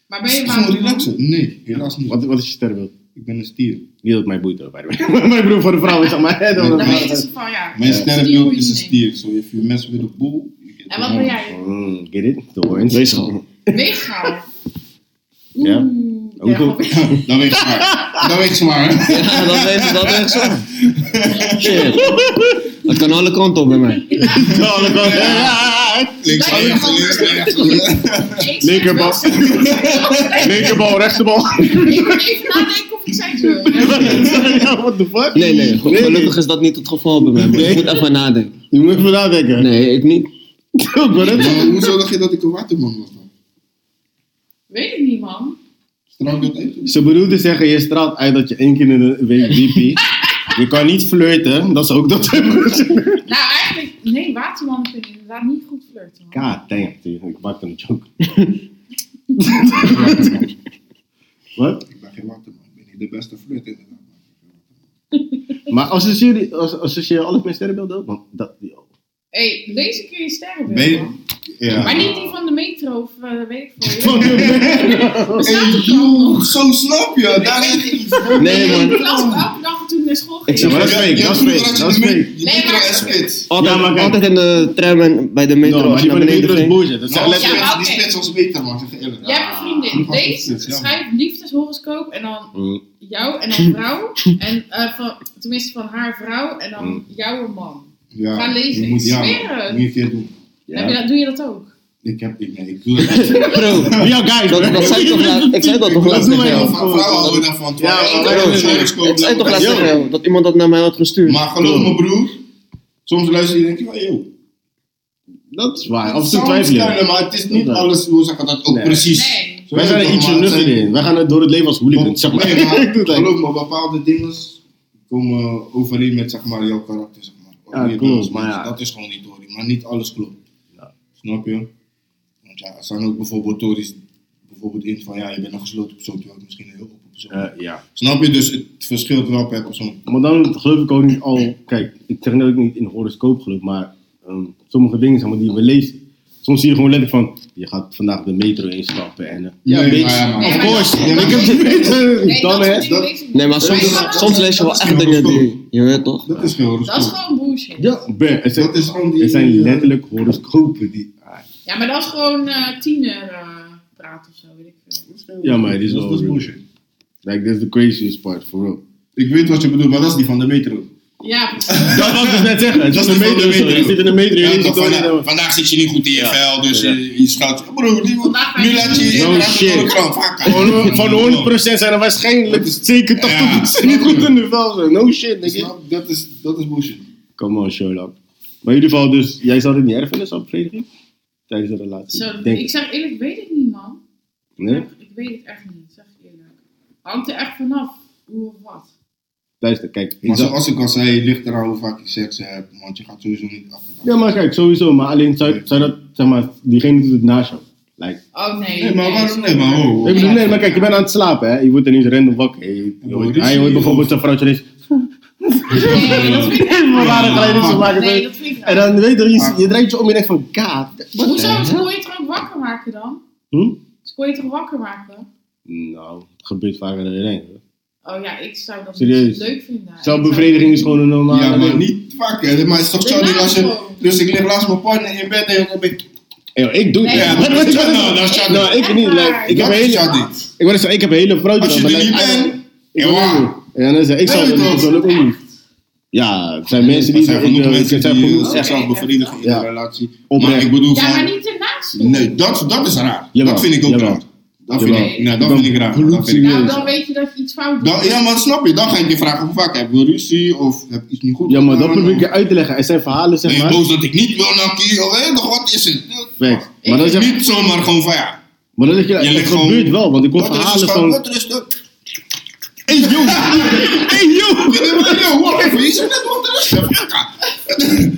Maar ben je
gewoon
waterman?
relaxen. Nee, helaas niet.
Wat, wat is je sterrenbeeld?
Ik ben een stier.
Niet dat het mij boeit, hoor, by the way. Mijn broer voor de vrouw is zeg maar. hè, dan-
Dan weten ze van, ja.
Mijn
stier
sterrenbeeld is een
meaning.
stier. So if you mess with a bull, you get
En
the
wat ben
hump.
jij?
Mm, get it? De horns.
Wees gewoon.
Weegschaal. Oeh,
Ja.
ja,
Hoeveel?
gewoon-
Dat weegt zwaar. Dat weegt zwaar.
Ja, dat is dat echt zo. Shit. Dat kan alle kanten op bij mij.
Alle kanten. Ja.
Links,
Dat
rechts,
weegt
links,
zwaar.
rechts.
Ik zeg wel
Linkerbal.
seks. Ik
Linkerbal, rechterbal.
moet even nadenken of ik seks wil.
Ja, What the fuck?
Nee, nee. ge- Gelukkig is dat niet het geval bij mij. Maar
Nee.
ik moet even nadenken.
Je moet even nadenken.
Nee, ik niet.
Ik ben het.
Maar Hoezo dacht je dat ik een waterman was dan?
Weet ik niet, man.
Strak dat uit?
Ze bedoelt te zeggen, je straalt uit dat je één keer in de week DP. Je kan niet flirten, dat is ook dat.
Nou, eigenlijk, nee, watermannen kunnen inderdaad niet goed flirten. man.
God damn, dude. ik maakte een joke. Wat?
Ik ben geen waterman. Ik ben niet de beste flirt inderdaad.
Maar associeer, die- as- associeer je alles met sterrenbeelden ook? Want dat,
Hé, hey, lees een keer je
Ben
sterrenbeeld,
je-
man.
Ja.
Maar niet die van de metro of eh, weet ik veel.
Van de-
Bestaat
Hey,
het wel, man?
joh, zo snap je. Daar ligt iets.
Nee, man.
Ik las het elke dag toen ik naar school ging.
Ik zeg
maar dat is fake, dat is fake, dat is fake.
Je
Nee,
bent
maar-
er een spits.
Altijd,
Ja, maar kijk.
altijd in de tram en bij de metro.
No, maar
als
die
je
van
naar
de
beneden
metro is
ging.
bullshit. Dat is echt
Nou,
letterlijk...
Ja, maar
Die
oké.
spits was beter, man. Zeg je eerlijk.
Jij hebt een vriendin. Lees,
Ja.
schrijf liefdeshoroscoop en dan
Oh, Mm,
jou en dan vrouw. En eh, van, tenminste van haar vrouw en dan
Mm.
jouw man.
Ja,
Ga lezen.
Je moet, ja,
Smerig.
moet je een keer doen.
Heb je
Ja.
dat, doe je dat ook?
Ik heb, ik, nee, ik doe het niet.
Bro,
Wie jouw guys,
dat, dat zei ik toch laat, ik zei dat toch laatst
doen
tegen
wij
jou.
nog.
Vrouwen houden daarvan.
Ja,
terwijl-
maar-
Terwijl-
Ik zei
Ik zei toch laatst tegen jou, dat iemand dat naar mij had gestuurd.
Maar geloof me broer, soms luister je en denk je van, joh.
Dat is waar, af en toe
sounds
twijfel je.
kleiner, maar het is niet
Ja.
alles, hoe zeg ik dat, ook
Nee.
precies.
Nee.
Zo
Wij
is
zijn
het
er
toch,
ietsje
maar het
nuttiger
zijn-
in. Wij gaan het door het leven als hooligans, zeg maar.
Nee, maar
Ik doe het eigenlijk.
geloof me, bepaalde dingen komen overeen met zeg maar, jouw karakter. Zeg maar. Wat
Ja,
je bent
klopt,
als
maar
mens.
ja.
Dat is gewoon die Tory, maar niet alles klopt.
Ja.
Snap je? Want ja, er zijn ook bijvoorbeeld Tories bijvoorbeeld in van ja, je bent een gesloten persoon, terwijl ik misschien een heel open persoon ben.
Eh, Ja.
Snap je? Dus het verschilt wel per persoon.
Maar dan geloof ik ook niet al. Kijk, ik zeg net ook niet in horoscoop geloof, maar ehm, sommige dingen zeg maar, die we lezen. Soms zie je gewoon letterlijk van: je gaat vandaag de metro instappen en. eh, ja,
Nee,
bitch.
maar ja, maar-
of
Nee, maar
course.
dat-
ik heb de metro.
Nee,
dan
dat
hè.
soort dingen weet ik niet.
Nee, maar soms, soms lees je wel echt dingen die, je weet toch?
Dat is geen
Dat is
horoscoop.
gewoon bullshit.
Ja, ben, het, zijn,
Dat is gewoon die-
het zijn letterlijk horoscopen die. ah,
Ja, maar dat is gewoon eh tiener eh praat of zo, weet ik veel.
Ja, maar die is
Dat
wel
Dat is
real.
bullshit.
Like, that's the craziest part, for real.
Ik weet wat je bedoelt, maar dat is die van de metro.
Ja, precies.
Dat was dus net zeggen. Het
Dat
was
is
een
van de
metro. sorry.
metro.
Je zit in een metro. Je
Ja,
leest
toch,
het ook niet,
vandaag,
eh,
vandaag zit je niet goed in je vel, dus
Ja.
je, je schuilt je. Broer, die,
Vandaag
nu laat je je
No
inderdaad
shit.
door de krant. Fuck,
Van, van 100% zijn er waarschijnlijk zeker 80% niet goed in de vel. zijn. No shit, denk ik.
Snap? Dat is, dat is bullshit.
Come on, Sherlock. Maar in ieder geval, dus, jij zou dit niet erg vinden, zo'n bevrediging? Tijdens de relatie?
Zo,
Denk
ik zeg eerlijk, weet ik niet, man.
Nee?
Ik weet het echt niet, zeg ik eerlijk. Hangt er echt vanaf hoe of wat.
Luister, kijk. ik
Maar
zou-
zoals ik al zei, het ligt eraan hoe vaak je seks hebt, want je gaat sowieso niet achter.
Ja, maar kijk, sowieso. Maar alleen, zou, zou dat, zeg maar, diegene doet het naast jou. Like,
Oh nee.
Nee, maar waarom? Nee, maar
sorry.
ho, ho.
ik bedoel, nee, maar kijk, je bent aan het slapen, hè. Je wordt ineens random wakker. hè. Je, je
Ja,
hoort,
maar
hij
dit
hoort
is-
bijvoorbeeld zijn vrouwtje ineens...
Nee, dat vind ik
En we waren gelijk niet zo maken.
Nee, dat vind ik
En
niet.
dan weet je, je, je draait je om en je denkt van, god, what
Hoezo?
the
Ze
hell?
kon je toch ook wakker maken dan?
Hm?
Ze kon je toch wakker maken?
Nou, het gebeurt vaker dan je denkt. hoor.
Oh ja, ik zou dat
Serieus?
niet leuk vinden.
Zo'n bevrediging is gewoon een normale...
Ja, maar
ding.
niet vaak, hè. Maar het is toch zo dat als je... Dus ik lig laatst mijn partner in bed en dan ben ik...
Hey, joh, ik doe
Nee,
dit.
ja,
maar dat is Chaddy. Dat is Chaddy.
Nou, ik niet. like, ik, heb
Dat
een
is
hele,
Chaddy.
ik, wou net zeggen, ik heb een hele vrouwtje.
Als je
dan,
er
maar
niet
like, I-
bent...
Ik wil
Ja.
niet. Ja, dan zeg ik, ik zou
Nee,
dat ik
toch?
zou dat ook niet. Ja, er zijn mensen
Er
die
zijn
zeggen, ik,
genoeg
eh,
mensen
ik zeg
die
gewoon,
eh,
zeg,
zichzelf
zeggen-
bevredigen in
Ja.
een relatie. Maar
Oprecht.
ik bedoel
Ja, maar
van...
niet ernaast. doen. Nou,
Nee, dat, dat is raar.
Jawel,
Dat vind ik ook
jawel.
raar. Dat vind
Jawel.
ik, nou, dat vind ik raar. Dat vind ik
Nou,
serieus.
dan weet je dat je iets fout doet.
Dan, Nou, ja, maar snap je, dan ga ik je vragen hoe vaak heb je ruzie of heb je iets niet goed
Ja, maar dat
gedaan,
probeer ik
of-
je uit te leggen. Er zijn verhalen,
Ben
zeg
je
maar.
boos dat ik niet wil naar kiezen? Of hé, toch wat is het?
Facts. Maar dan zeg
Niet zomaar gewoon van ja.
maar dan zeg je,
Je
het
ligt gewoon-
gebeurt wel, want ik hoor
Wat is
verhalen
het?
van...
Wat is het?
Hey, yo! Hey, yo!
Yo, wacht even, je zei net wat is het?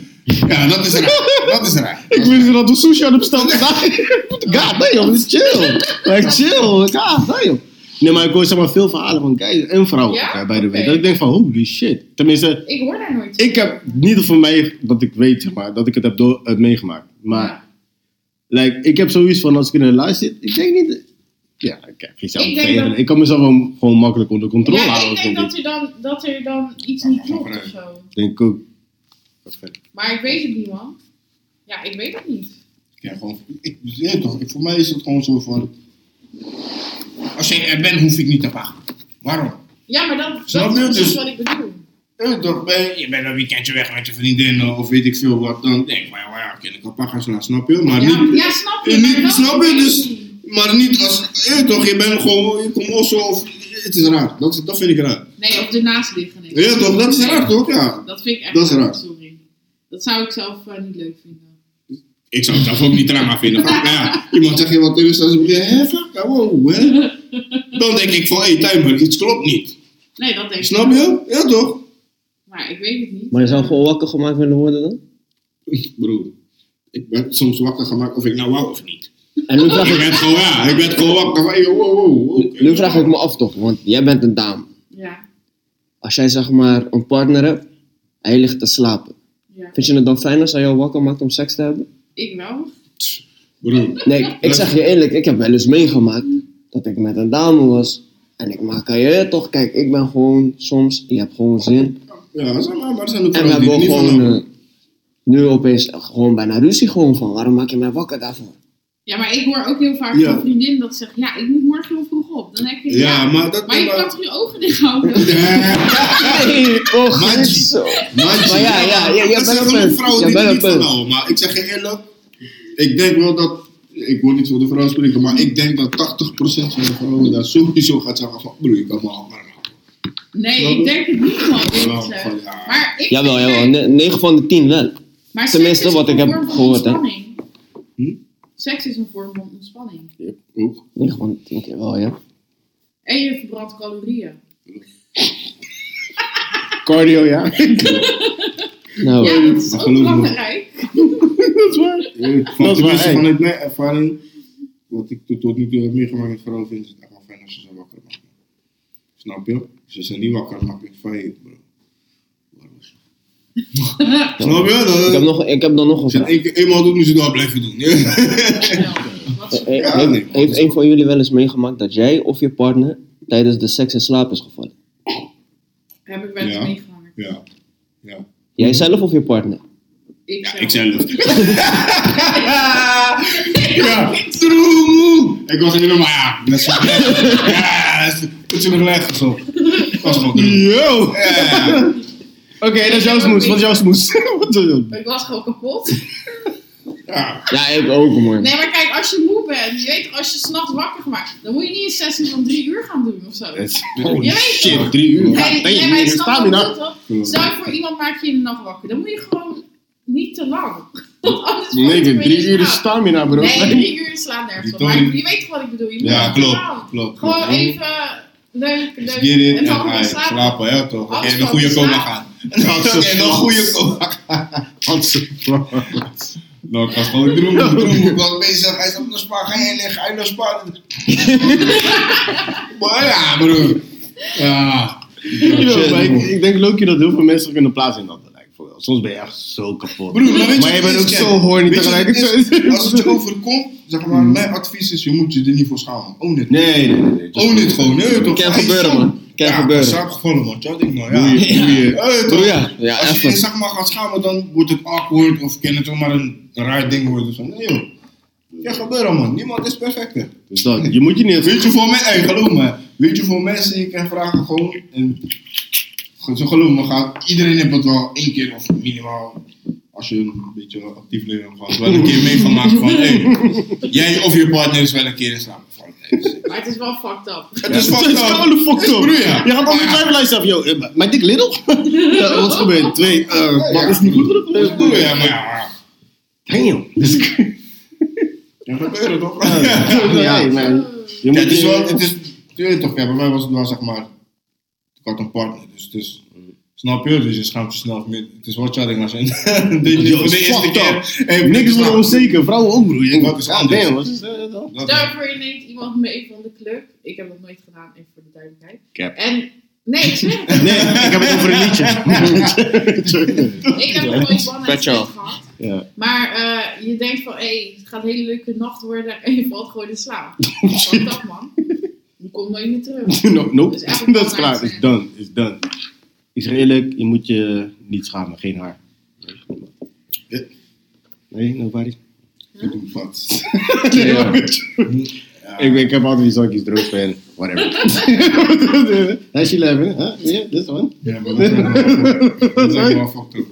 Ja, dat is raar. Dat is raar.
Ik wist niet dat we sushi aan het bestellen zijn. God damn, is chill. Like, chill. God damn. Nee, maar ik hoor zeg maar veel verhalen van guys en vrouwen
Ja?
eh, bij de week.
Oké.
Dat ik denk van, holy shit. Tenminste,
Ik hoor daar nooit.
ik heb niet van mij dat ik weet, zeg maar, dat ik het heb door, het meegemaakt. Maar like, ik heb zoiets van, als ik in een live zit, ik denk niet... Ja, ik krijg geen zelf
Ik denk
tegen.
dat-
Ik kan mezelf gewoon, gewoon makkelijk onder
Ja.
controle
ja,
houden,
ik denk
denk ik.
dat er dan, dat er dan iets
Ja,
niet
maar
klopt of
vooruit.
zo.
Denk ik ook. Oké.
Maar ik weet het niet, man. Ja, ik weet het niet.
Ja, gewoon, ik weet toch, ik- voor mij is het gewoon zo van. Als je er bent, hoef ik niet te wachten. Waarom?
Ja, maar dat,
Snap
dat
je?
is precies
Dus-
wat ik bedoel.
Je weet Eh, toch, ben je, je bent een weekendje weg met je vriendin eh, of weet ik veel wat, dan denk ik, maar ja, ik kan een paar gaan slaan, snap je? Maar
Ja,
niet,
ja, snap je?
Eh, niet-
maar dat-
snap je? Dus-
weet ik niet.
Maar niet als, eh, toch, je bent gewoon, je komt osso of, het is raar. Dat, dat vind ik raar.
Nee, op de naast liggen. nee.
Ja toch, dat is
Nee,
raar toch, ja.
Dat vind ik echt
Dat is raar.
Sorry. Dat zou ik zelf eh, niet leuk vinden.
Ik zou het zelf ook niet drama vinden. Fuck, nou ja, iemand zegt je wat in de statie, hé, fuck, ja, wow, hè. Dan denk ik van, hé, hey, timer, iets klopt niet.
Nee, dat denk ik.
Snap
wel.
je? Ja toch?
Maar ik weet het niet.
Maar je zou gewoon wakker gemaakt willen worden dan?
Broer, ik ben soms wakker gemaakt of ik nou wou of niet.
En nu vraag
Ik
ik,
werd gewoon, ja, ik werd gewoon wakker van, hey, wow, wow, oké.
nu vraag ik me af toch, want jij bent een dame.
Ja.
Als jij zeg maar een partner hebt en je ligt te slapen.
ja.
Vind je het dan fijn als hij jou wakker maakt om seks te hebben?
Ik wel.
Broer,
Nee, ik zeg je eerlijk, ik heb wel eens meegemaakt dat ik met een dame was. En ik maak aan je toch, kijk, ik ben gewoon soms, je hebt gewoon zin.
ja, zeg maar, maar er zijn ook
En we
vrouwen
hebben
die er niet van
gewoon
houden.
eh, nu opeens gewoon bijna ruzie gewoon van. Waarom maak je mij wakker daarvoor?
Ja, maar ik hoor ook heel vaak
Ja.
van vriendinnen dat ze zeggen, ja, ik moet morgen heel vroeg op. Dan denk ik,
Ja, maar dat...
eh, Maar je kan toch je ogen dicht houden?
Ja,
Nee, toch
Maar
niet
die-
zo. ja,
Maar
ja, ja, jij
Er
bent
zijn
een
genoeg
punt.
vrouwen
Jij
die er
bent
niet
een
van
punt.
houden, maar ik zeg je eerlijk, ik denk wel dat ik wil niet voor de vrouwen spreken, maar ik denk dat 80% van de vrouwen daar sowieso gaat zeggen van, broer, ik kan me al maar maken.
Nee, ik denk het niet, man.
Wel,
Dit, eh,
van, ja.
Maar ik
Jawel,
nee,
jawel. 9 van de 10 wel.
maar seks
Tenminste,
is
wat
een
ik heb
vorm van
gehoord, hè.
ontspanning.
Hm?
Seks is een vorm van ontspanning.
Ja, ook.
9 van de 10 keer wel, ja.
En je verbrandt calorieën.
Cardio, ja.
Nou,
ja, dat is
dat
ook
geloof ik wel.
belangrijk.
dat is waar.
Van,
Dat is waar,
tenminste,
hey.
vanuit mijn ervaring, wat ik tot- tot nu toe heb meegemaakt met vrouwen, vinden ze het echt wel fijn als ze zijn wakker maken. Snap je? Ze zijn niet wakker, maak ik van je, bro. Waar was je? Snap je? Dat-
ik heb, nog, ik heb dan nog een
Als je
vraag.
het één keer eenmaal doet, moet je het wel blijven doen.
Ja, wat is-
Eh, eh,
Ja,
heeft-
nee, man, dat
heeft
is
een van jullie wel eens meegemaakt dat jij of je partner tijdens de seks in slaap is gevallen?
Heb ik wel eens
Ja.
meegemaakt.
Ja. Ja.
Jij zelf of je partner?
Ik
Ja,
zelf.
ik zelf. ja, troemoe. Ik was helemaal, ja, net zo. Ja, het is nog leggen zo. Ik was gewoon droe.
Yo! Oké,
Ja.
dat is jouw smoes. Wat is jouw smoes? Wat is jouw-
Ik was gewoon kapot.
Ja.
Ja, ik ook man.
Nee, maar kijk, als je moe bent, je weet toch, als je s'nachts wakker gemaakt, dan moet je niet een sessie van drie uur gaan doen of zo. Nee,
Holy
Je weet
shit,
toch?
drie uur.
Ja,
nee,
ben je
maar
niet
je
in
snapt wat
stamina?
ik bedoel, toch? Stel je voor iemand maakt je in de nacht wakker, dan moet je gewoon niet te lang. Want anders valt
Nee,
je weer
drie
in
uur is
slaap.
stamina, bro.
Nee, drie uur slaan nergens op.
Die
Maar
Tony-
je weet toch wat ik bedoel? Je moet
Ja,
niet te lang.
klopt, klopt.
Gewoon
klopt.
even leuk, leuk.
Get in en
dan
ga
weer
je
slapen.
slapen, ja toch? Oké,
Alles
een goede
gewoon
coma
slapen.
gaan. Oké, nog een goede coma gaan. Nou, ik was gewoon droemoe, droemoe. Ik was bezig, hij is op de spa, ga je liggen, hij naar spa. Maar ja, broer. Ja.
Ja,
Shit,
maar
broer.
ik, ik denk Loki dat heel veel mensen kunnen plaatsen in dat lijkt voor wel. Soms ben je echt zo kapot.
Broer, maar weet je
maar je
wat
bent
het
ook
is,
zo
Ken?
horny
Weet je wat het is?
tegelijkertijd.
Als het je overkomt, zeg maar, mijn advies is, je moet je er niet voor schamen. Own it.
Nee, nee, nee. nee.
Own it gewoon, nee toch?
Kan
Hij is
gebeuren,
zo-
man. Kan
ja,
gebeuren.
Ja, gevallen, man. Tja, ding, man. Ja.
Doe je, doe je.
Hey, toch?
Broer, ja. Ja,
Als je je
even.
zeg maar gaat schamen, dan wordt het awkward of kan het ook maar een raar ding worden. Zo, nee joh. Ja, gebeuren man. Niemand is perfect. hè.
Dus dat, je moet je niet...
Weet je voor mij, hey, geloof me. Weet je voor mensen, ik kan vragen gewoon. En, ge- zo geloof me, gaat, iedereen heeft het wel één keer of minimaal. Als je een beetje actief leven gaat, wel een keer meegemaakt van hey, jij of je partner is wel een keer in slaap gevallen. Hey,
Maar het is wel fucked up.
Het is
Het is gewoon een fucked up.
broer, ja.
Je gaat op de
Ja.
twijfellijst af, yo. eh, Mijn dik little? Ja, wat is gebeurd? Twee, eh, wat is niet goed genoeg?
Dat is broer,
gebeurd?
ja, maar ja.
Damn. Dus,
Ja, gebeuren toch?
ja, man. Je
Ja, het is
je-
wel, het is, je weet toch, ja, bij mij was het wel zeg maar, ik had een partner, dus het is, snap je, dus je schaamt jezelf meer. Het is wel chatting als je dit
Yo,
voor de eerste
fucked
keer.
up.
Hey,
Niks
maar-
wordt onzeker, vrouwen ook broer. Je denkt,
Wat
wat is
is anders?
Damn, wat is eh, dat?
Dat-
Stel je voor je neemt iemand mee van de club. Ik heb dat nooit gedaan, even voor de duidelijkheid.
Cap.
En nee, ik zweer het.
Nee, ik heb het over een liedje.
Ik heb nog nooit one night
Pet
stand
shop.
gehad.
Ja.
Maar eh, je denkt van, hé, het gaat een hele leuke nacht worden en je valt gewoon in slaap.
Oh,
Wat dat man? Je komt nooit meer terug.
nope, nope.
Dus eigenlijk
dat is klaar.
belangrijk
Is done, is done. Is er eerlijk, je moet je niet schamen, geen haar.
Ja.
Nee, nobody.
Ik doe wat.
Ja. Ik, ben- ik heb altijd die zakjes droog en whatever. Hash 11, hè? Ja, this one.
Ja, maar dat is wel- dat is echt wel fucked up.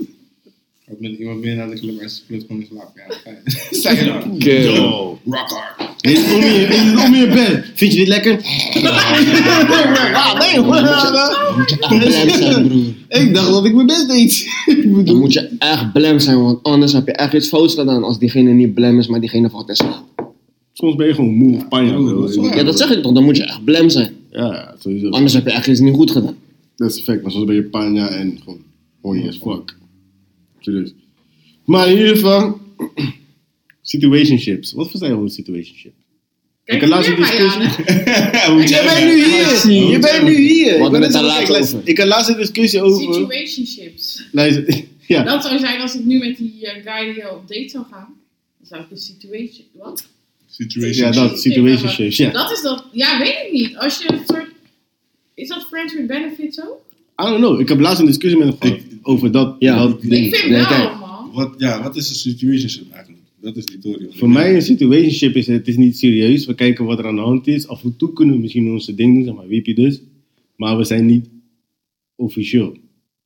Ik met iemand binnen naar de club en ze split gewoon in slaap. Ja, fijn. Sta je dan?
Yo.
Rock hard.
Dit is om je- dit is om je bed. Vind je dit lekker? Ah, damn.
Je moet echt blem zijn, broer.
Ik dacht dat ik mijn best deed. Ik
Dan
bedoel-
moet je echt blem zijn, want anders heb je echt iets fouts gedaan als diegene niet blem is, maar diegene valt in slaap.
Soms ben je gewoon moe of panja. bro.
Ja, dat zeg ik toch, dan moet je echt blem zijn.
Ja, ja, sowieso.
Anders heb je echt iets niet goed gedaan.
Dat is fact, maar soms ben je panja en gewoon horny as fuck. Serieus. Maar in ieder geval, situationships. Wat verstaan we onder situationship?
Kijk,
heb laatst
weer
een
bij je aan,
discussie-
hè?
Jij bent nu hier!
Ja,
Je bent nu hier! Ik
hadden
ben net
het daar
aan het
laatst
kijken.
over.
Ik had laatst een discussie
Oh,
over.
Situationships.
Luister, ja.
Dat zou zijn als ik nu met die eh, guy die op date zou gaan. Dan zou ik een situation... Wat?
Ja,
Situation.
dat, situationships, ja.
Dat is dat. Ja, weet ik niet. Als je een soort. Is dat Friends with Benefits ook?
I don't know, ik heb laatst een discussie met hem gehad over dat.
Ja.
dat
Ik
ding.
vind
nee,
wel,
kijk.
man.
Wat, ja, wat is een situationship eigenlijk? Dat is die theorie.
Voor mij een situationship is het is niet serieus. We kijken wat er aan de hand is. Af en toe kunnen we misschien onze ding doen, zeg maar wiepje dus. Maar we zijn niet officieel.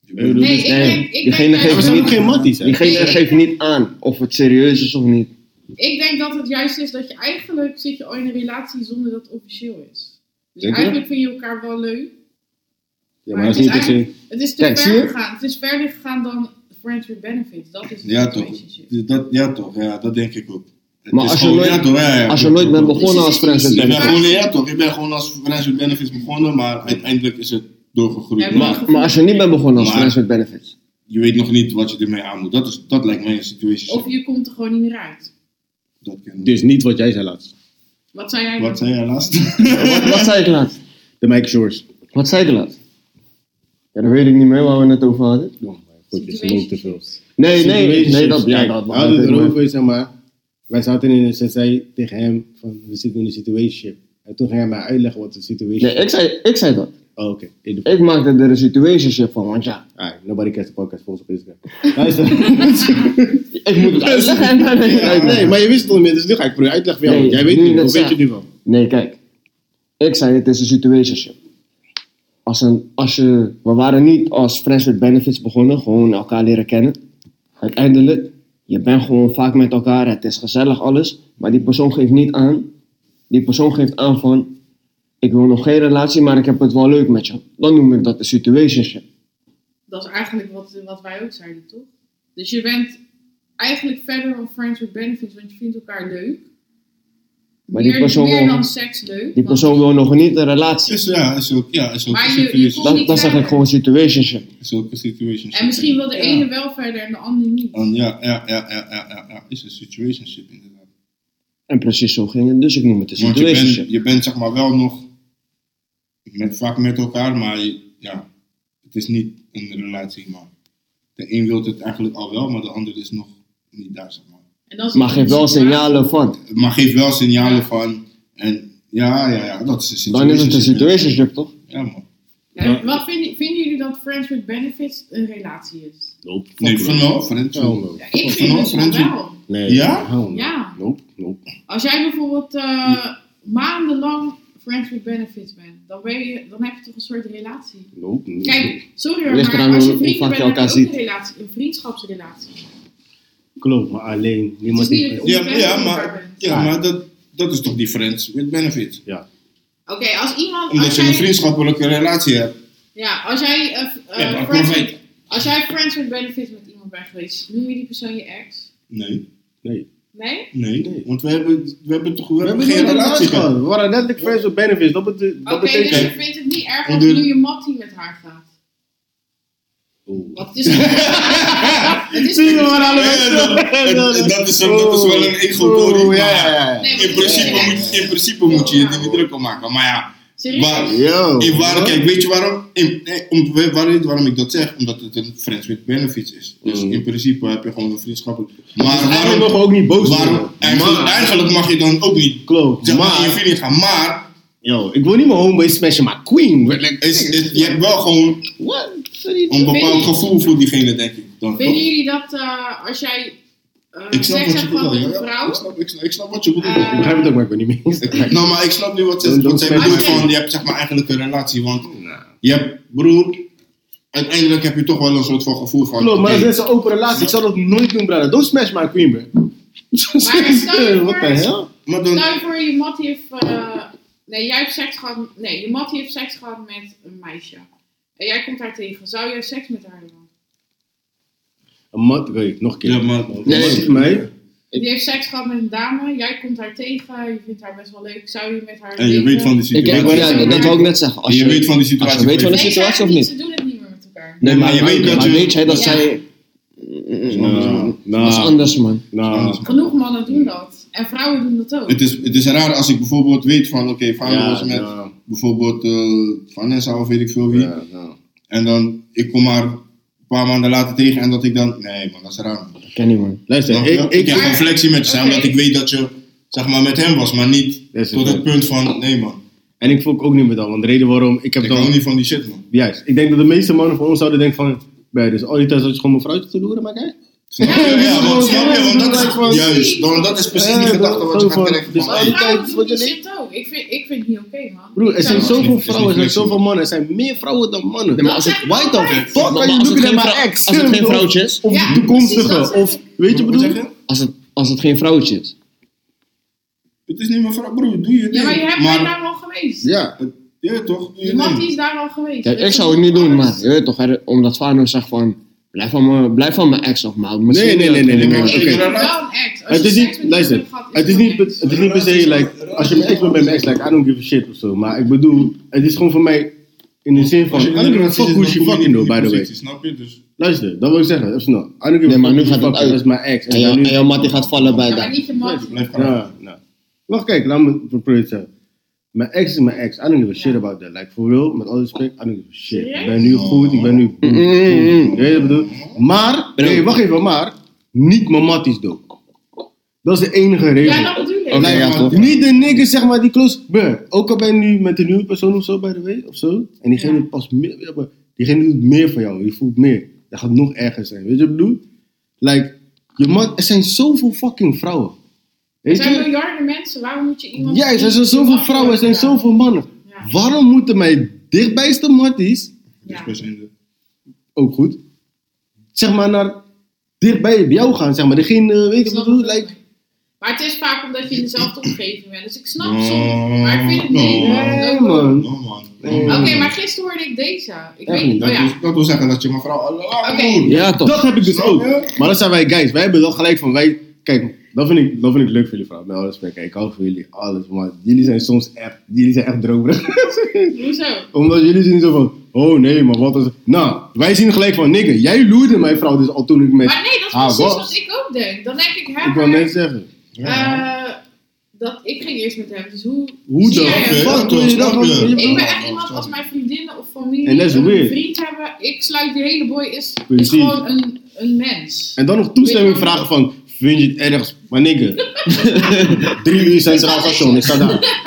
Je bent-
Nee,
dus
ik
Nee,
denk. Ik
diegene
denk
Ja,
geeft
we
dat-
zijn ook
niet-
geen matties, hè?
Diegene geeft niet aan of het serieus is of niet.
Ik denk dat het juist is dat je eigenlijk zit je al in een relatie zonder dat het officieel is. Dus
Denk je?
eigenlijk vind je elkaar wel leuk.
Ja,
maar
maar dat
het
is
is
niet per se.
Het is te
Kijk, zie
ver
je?
gegaan. Het is verder gegaan dan friends with benefits. Dat is het
Ja, toch.
relationship.
Dat, ja toch, ja, dat denk ik ook. Het
Maar
is
als je
gewoon-
nooit-
ja, toch, ja, ja,
Als je
klopt,
nooit bent
klopt.
begonnen
Dus
als
het is
friends with
niet-
Ik ben
Ja.
benefits.
gewoon, ja toch, ik ben gewoon als Friends with Benefits begonnen, maar uiteindelijk is het doorgegroeid.
Ja,
maar
Maar als je niet bent begonnen als
Maar-
friends with benefits.
je weet nog niet wat je ermee aan moet. Dat, is, dat lijkt mij een
Of
situatie.
je komt er gewoon niet meer uit.
Dat kan-
Dus niet wat jij zei laatst.
Wat zei jij?
Wat
dan?
zei jij laatst?
Wat, wat zei ik laatst?
De Mike Shores.
Wat zei ik laatst? Ja, dat weet ik niet meer waar we het over hadden.
Oh, mijn god, je loopt te veel.
Nee, nee, nee, dat, ja,
Kijk,
dat
we
was het
hadden het
maar-
erover, zeg maar. Wij zaten in een, ze zei tegen hem van, we zitten in een situationship. En toen ging hij mij uitleggen wat de situation
Nee, ik zei, ik zei dat.
Oh, oké. In de-
Ik maakte er een situationship van, want ja,
Alright, Ah, nobody cares the podcast, volgens op Instagram. Luister.
ik moet het uitleggen en dan denk ik
Ja,
uit.
nee, maar je wist het al niet meer, dus nu ga ik proberen uitleggen voor jou.
Nee,
want jij weet
nu
het niet,
net
of weet je
zeggen.
het nu wel?
Nee, kijk. Ik zei het is een situationship. Als een, als je, we waren niet als friends with benefits begonnen, gewoon elkaar leren kennen. Uiteindelijk, je bent gewoon vaak met elkaar, het is gezellig alles. Maar die persoon geeft niet aan, die persoon geeft aan van, ik wil nog geen relatie, maar ik heb het wel leuk met je. Dan noem ik dat een situationship.
Dat is eigenlijk wat, wat wij ook zeiden, toch? Dus je bent eigenlijk verder dan friends with benefits, want je vindt elkaar leuk.
Maar die
meer,
persoon
meer
wil-
dan seks leuk.
Die
want-
persoon wil nog niet een relatie.
Is, Dus, ja, is ook, ja, is ook
Maar
een
je- je
situatie.
kon-
Dat, dat zeg ik gewoon situationship.
Is ook een situationship.
En misschien wil de
Ja.
ene wel verder en de ander niet.
En ja, ja, ja, ja, ja, ja, ja, is een situationship inderdaad.
En precies zo ging het, dus ik noem het een
Want je
situationship.
bent, je bent zeg maar wel nog met, vaak met elkaar, maar je- ja, het is niet een relatie. Maar de een wil het eigenlijk al wel, maar de ander is nog niet daar zeg maar.
En dan zit
Maar
je
geef
in een
wel
situatie-
signalen van.
Maar geef wel signalen van en ja, ja, ja, dat is een situationship.
Dan is het een situationship, toch?
Ja man.
Ja, Wat vinden, vinden jullie dat friends with benefits een relatie is?
Nope.
Nee,
Fuck
van
no.
nou, van
Hell no.
Ja, ik
van
vind het
ons,
wel
friends
wel.
Oh, Nee.
Ja?
hell no.
Ja.
Nope, nope.
Als jij bijvoorbeeld eh, maandenlang friends with benefits bent, dan, ben je, dan heb je toch een soort relatie.
Nope. nope.
Kijk, sorry hoor,
Ligt
maar
eraan
als je
hoe- hoe
vrienden
vaak
bent,
je
heb
elkaar
je ook een
ziet.
relatie, een vriendschapsrelatie.
Klopt, maar alleen. Niemand
Het is
heeft-
niet-
Ja,
Onbekend
ja,
elkaar
maar,
bent.
ja, maar dat, dat is toch die friends with benefits.
Oké, als iemand...
Omdat
als
je een
jij-
vriendschappelijke relatie hebt.
Ja, als jij, eh, eh,
Ja, maar
friends
profijt.
with- als jij friends with benefits met iemand bent geweest, noem je die persoon je ex?
Nee,
Nee?
nee,
Nee.
want we hebben, we hebben toch we
We
hebben
hebben
geen relatie gehad.
We waren letterlijk friends with benefits. Dat, bete-
Oké,
dat betekent...
dus je vindt het niet erg als
Onder-
nu je mattie met haar gaat?
Oeh.
Want het is... het is
Zie je waar alle
Ja, dat- dat- dat is een- dat is wel een ego-body,
Oeh, Ja,
maar-
ja, ja.
Nee, maar
In principe, moet, je- in principe moet je je er niet druk om maken. Maar ja,
Serieus?
Waar-
Yo.
in waar, kijk, weet je waarom? In, nee, om, weet waarom, waarom ik dat zeg? Omdat het een friends with benefits is. Dus
Mm. Dus
in principe heb je gewoon een vriendschappelijk. Maar
Waarom mogen
waarom,
we ook niet boos
waarom
worden?
eigenlijk,
Maar-
eigenlijk mag je dan ook niet
Klopt,
zeg maar, in je
maar...
feeling gaan. Maar
Yo, ik wil niet mijn homeboy smashen, maar queen. werd like-
is, is- je hebt wel gewoon
What? Sorry.
een bepaald
Vind je-
gevoel voor diegene, denk ik. Dan, toch?
Vinden jullie dat eh, als jij eh,
Ik snap
seks
wat je
hebt gehad
bedoelt.
met een
ja. Ja,
vrouw,
Ik snap- ik snap- ik snap wat je bedoelt.
Eh,
Ik begrijp het ook, maar ik ben niet mee eens.
Ik- Nou, maar ik snap nu wat ze
Don't-
wat zij
don't
bedoelt
spend-
van, je hebt zeg maar eigenlijk een relatie, want je hebt, broer, uiteindelijk heb je toch wel een soort van gevoel van,
Klopt, maar
oké,
dat is een open relatie. Ik zal dat nooit doen, brother. Don't smash my queen, man.
stel je
What the
voor-
hell?
maar dan,
stel je voor je mattie heeft... eh, nee, jij hebt seks gehad... Nee, je mattie heeft seks gehad met een meisje. En jij komt haar tegen. Zou jij seks met haar hebben?
Een mat, oké, nog een keer.
ja, maar,
Nee,
maar-
mij?
Die heeft seks gehad met een dame. Jij komt haar tegen. Je vindt haar best wel leuk. Zou je met haar...
en je weet van die
Ik,
situatie,
ik, ja,
maar-
dat wou ik net zeggen.
en
Als
je weet van die
als
situatie,
je weet van de
Nee,
situatie
zij-
of niet?
Ze doen het niet meer met elkaar.
Nee, maar je weet dat
maar
je-
weet jij dat
Ja.
zij... Mm,
Nou,
Dat is
nou,
anders, man.
nou.
Genoeg mannen doen dat. En vrouwen doen dat ook.
het is, het is raar als ik bijvoorbeeld weet van, oké, vader
Ja,
was met
nou,
bijvoorbeeld eh, Vanessa of weet ik veel wie,
ja, nou.
en dan, ik kom haar een paar maanden later tegen en dat ik dan, nee man, dat is raar. man.
Ik ken niet, man.
Luister,
Snap je?
ik,
ik
ik,
heb
Maar-
een flexie met je zijn,
Oké.
omdat ik weet dat je zeg maar met hem was, maar niet
Dat is
tot
het.
het punt van, nee man,
en ik volk ook niet meer dan, want de reden waarom, ik heb
ik hou
dan,
niet van die shit man.
juist, ik denk dat de meeste mannen van ons zouden denken van, bij dus al die tijd zat je gewoon mijn vrouwtje te loeren, maar kijk.
Snap je?
Ja,
Ja, want,
ja,
snap je?
ja,
Want dat
ja,
is
ja,
juist, want dat is precies die
Ja,
gedachte wat je
dat-
gaat krijgen
dus
van,
al die-
hey,
Vrouwen
Kijk,
doen
wat je
die shit ook. Ik vind, ik vind het niet oké, man.
Broer, er
Ik zou-
zijn
Ja, zo- dat is
zoveel
niet-
vrouwen, er zijn
dat is niet
zoveel mannen, er zijn meer vrouwen dan mannen.
Nee, maar als
Dat
het-
zeg
Why
ik
the
altijd.
fuck
Maar
are you
als het
looking at
geen
my
vrou-
ex?
Als het geen
Ik bedoel,
vrouwtje is...
Of
Ja,
de toekomstige,
precies, dat zeg
of,
ik.
weet je
Wat
bedoel?
zeg je?
Als het, als het geen vrouwtje is.
Het is niet mijn vraag, broer. Doe je ding.
Ja, maar je hebt
Maar-
daar al geweest.
Ja.
Ja, toch? Doe je
Iemand
ding.
is daar al geweest.
Kijk,
Dat
ik
is
zou het niet doen, maar
anders.
je weet toch, hè, omdat Fano zegt van, blijf van, mijn, blijf van mijn ex afmaken.
Nee, nee, nee, nee, nee, nee.
Als je
Oké.
daarna-
Wel een act. Als
Het
je
is
seks
niet-
met iemand
luister,
hebt gehad,
Het is
dat
niet,
een act.
het is niet per se, like, als je mijn ex bent bij mijn ex, like, I don't give a shit of zo. Maar ik bedoel, het is gewoon voor mij in de zin van,
Als
I
je
don't give a fuck who she fucking though, by the way.
Snap je? Dus
Luister, dat wil ik zeggen, even snel. I don't give a
Nee, maar
fuck
nu
who she
gaat het
fucking,
uit.
Dat is mijn ex.
En jouw,
dan nu-
en jouw mattie gaat vallen bij
Ja, maar
dat.
niet je
ik
man.
blijf graag.
Ja, nou. Wacht, kijk, laat me proberen het zelf. Mijn ex is mijn ex. I don't give a shit about that. Like, for real, met alle respect, I don't give a shit. Ik ben nu goed, ik ben nu...
Mm, mm, mm.
Je weet wat ik bedoel? Maar, nee, wacht even, maar... Niet mijn matties, doe. Dat is de enige reden.
Ja, dat bedoel ik.
Oké, ja,
Like,
toch.
Niet de nigger, zeg maar, die close... Bruh, ook al ben je nu met een nieuwe persoon of zo, by the way, of zo... En diegene
Ja.
past meer... ja, maar Diegene doet meer van jou, je voelt meer. Dat gaat nog erger zijn, weet je wat ik bedoel? Like, je mat, er zijn zoveel fucking vrouwen.
Er
Weet je?
zijn miljarden mensen, waarom moet je iemand...
Juist, er zijn zoveel vrouwen, er zijn
Ja.
zoveel mannen.
Ja.
Waarom moeten mijn dichtbijste matties,
Ja.
Dus we zijn de-
ook goed, zeg maar naar dichtbij bij jou gaan, zeg maar. Degene, eh, weet
Ik
je wat
snap
ik bedoel?
het ook
Like,
niet. Maar het is vaak omdat je in dezelfde omgeving bent. Dus ik snap
Oh.
soms, maar ik vind het niet.
nee
Oké,
man.
No, man.
Nee.
No, man.
maar gisteren hoorde ik deze. Ik
Echt
weet niet,
niet,
oh
Dat
ja.
wil- Dat wil zeggen dat je mevrouw... Ah,
Oké.
broer.
Ja, toch.
Dat heb ik dus
Snap
ook.
je?
Maar dat zijn wij guys, wij hebben wel gelijk van, wij, kijk, dat vind ik, dat vind ik leuk voor jullie vrouw, met alle respect. Kijk, ik hou van jullie, alles, maar jullie zijn soms echt, jullie zijn echt dromerig.
Hoezo?
Omdat jullie zien zo van, oh nee, maar wat is Nou, wij zien gelijk van, nigga, jij loerde mijn vrouw dus al toen ik met...
Maar nee, dat is
Ah,
precies
wat?
wat ik ook denk. Dan denk ik, hè,
Ik wil
maar,
net zeggen.
Ja.
eh, dat ik ging eerst met hem. Dus hoe...
Hoe
zie
de
jij hem?
fuck?
fuck wil je dat
Snap je?
Ik ben
Ja,
echt
ja,
iemand
ja.
als mijn vriendinnen of familie
En dat is
een
weird.
vriend hebben. Ik sluit die hele boy is, is
Precies.
gewoon een, een mens.
En dan nog toestemming vragen van, vind je het erg? Maar nigga, drie uur centraal station, ik sta daar.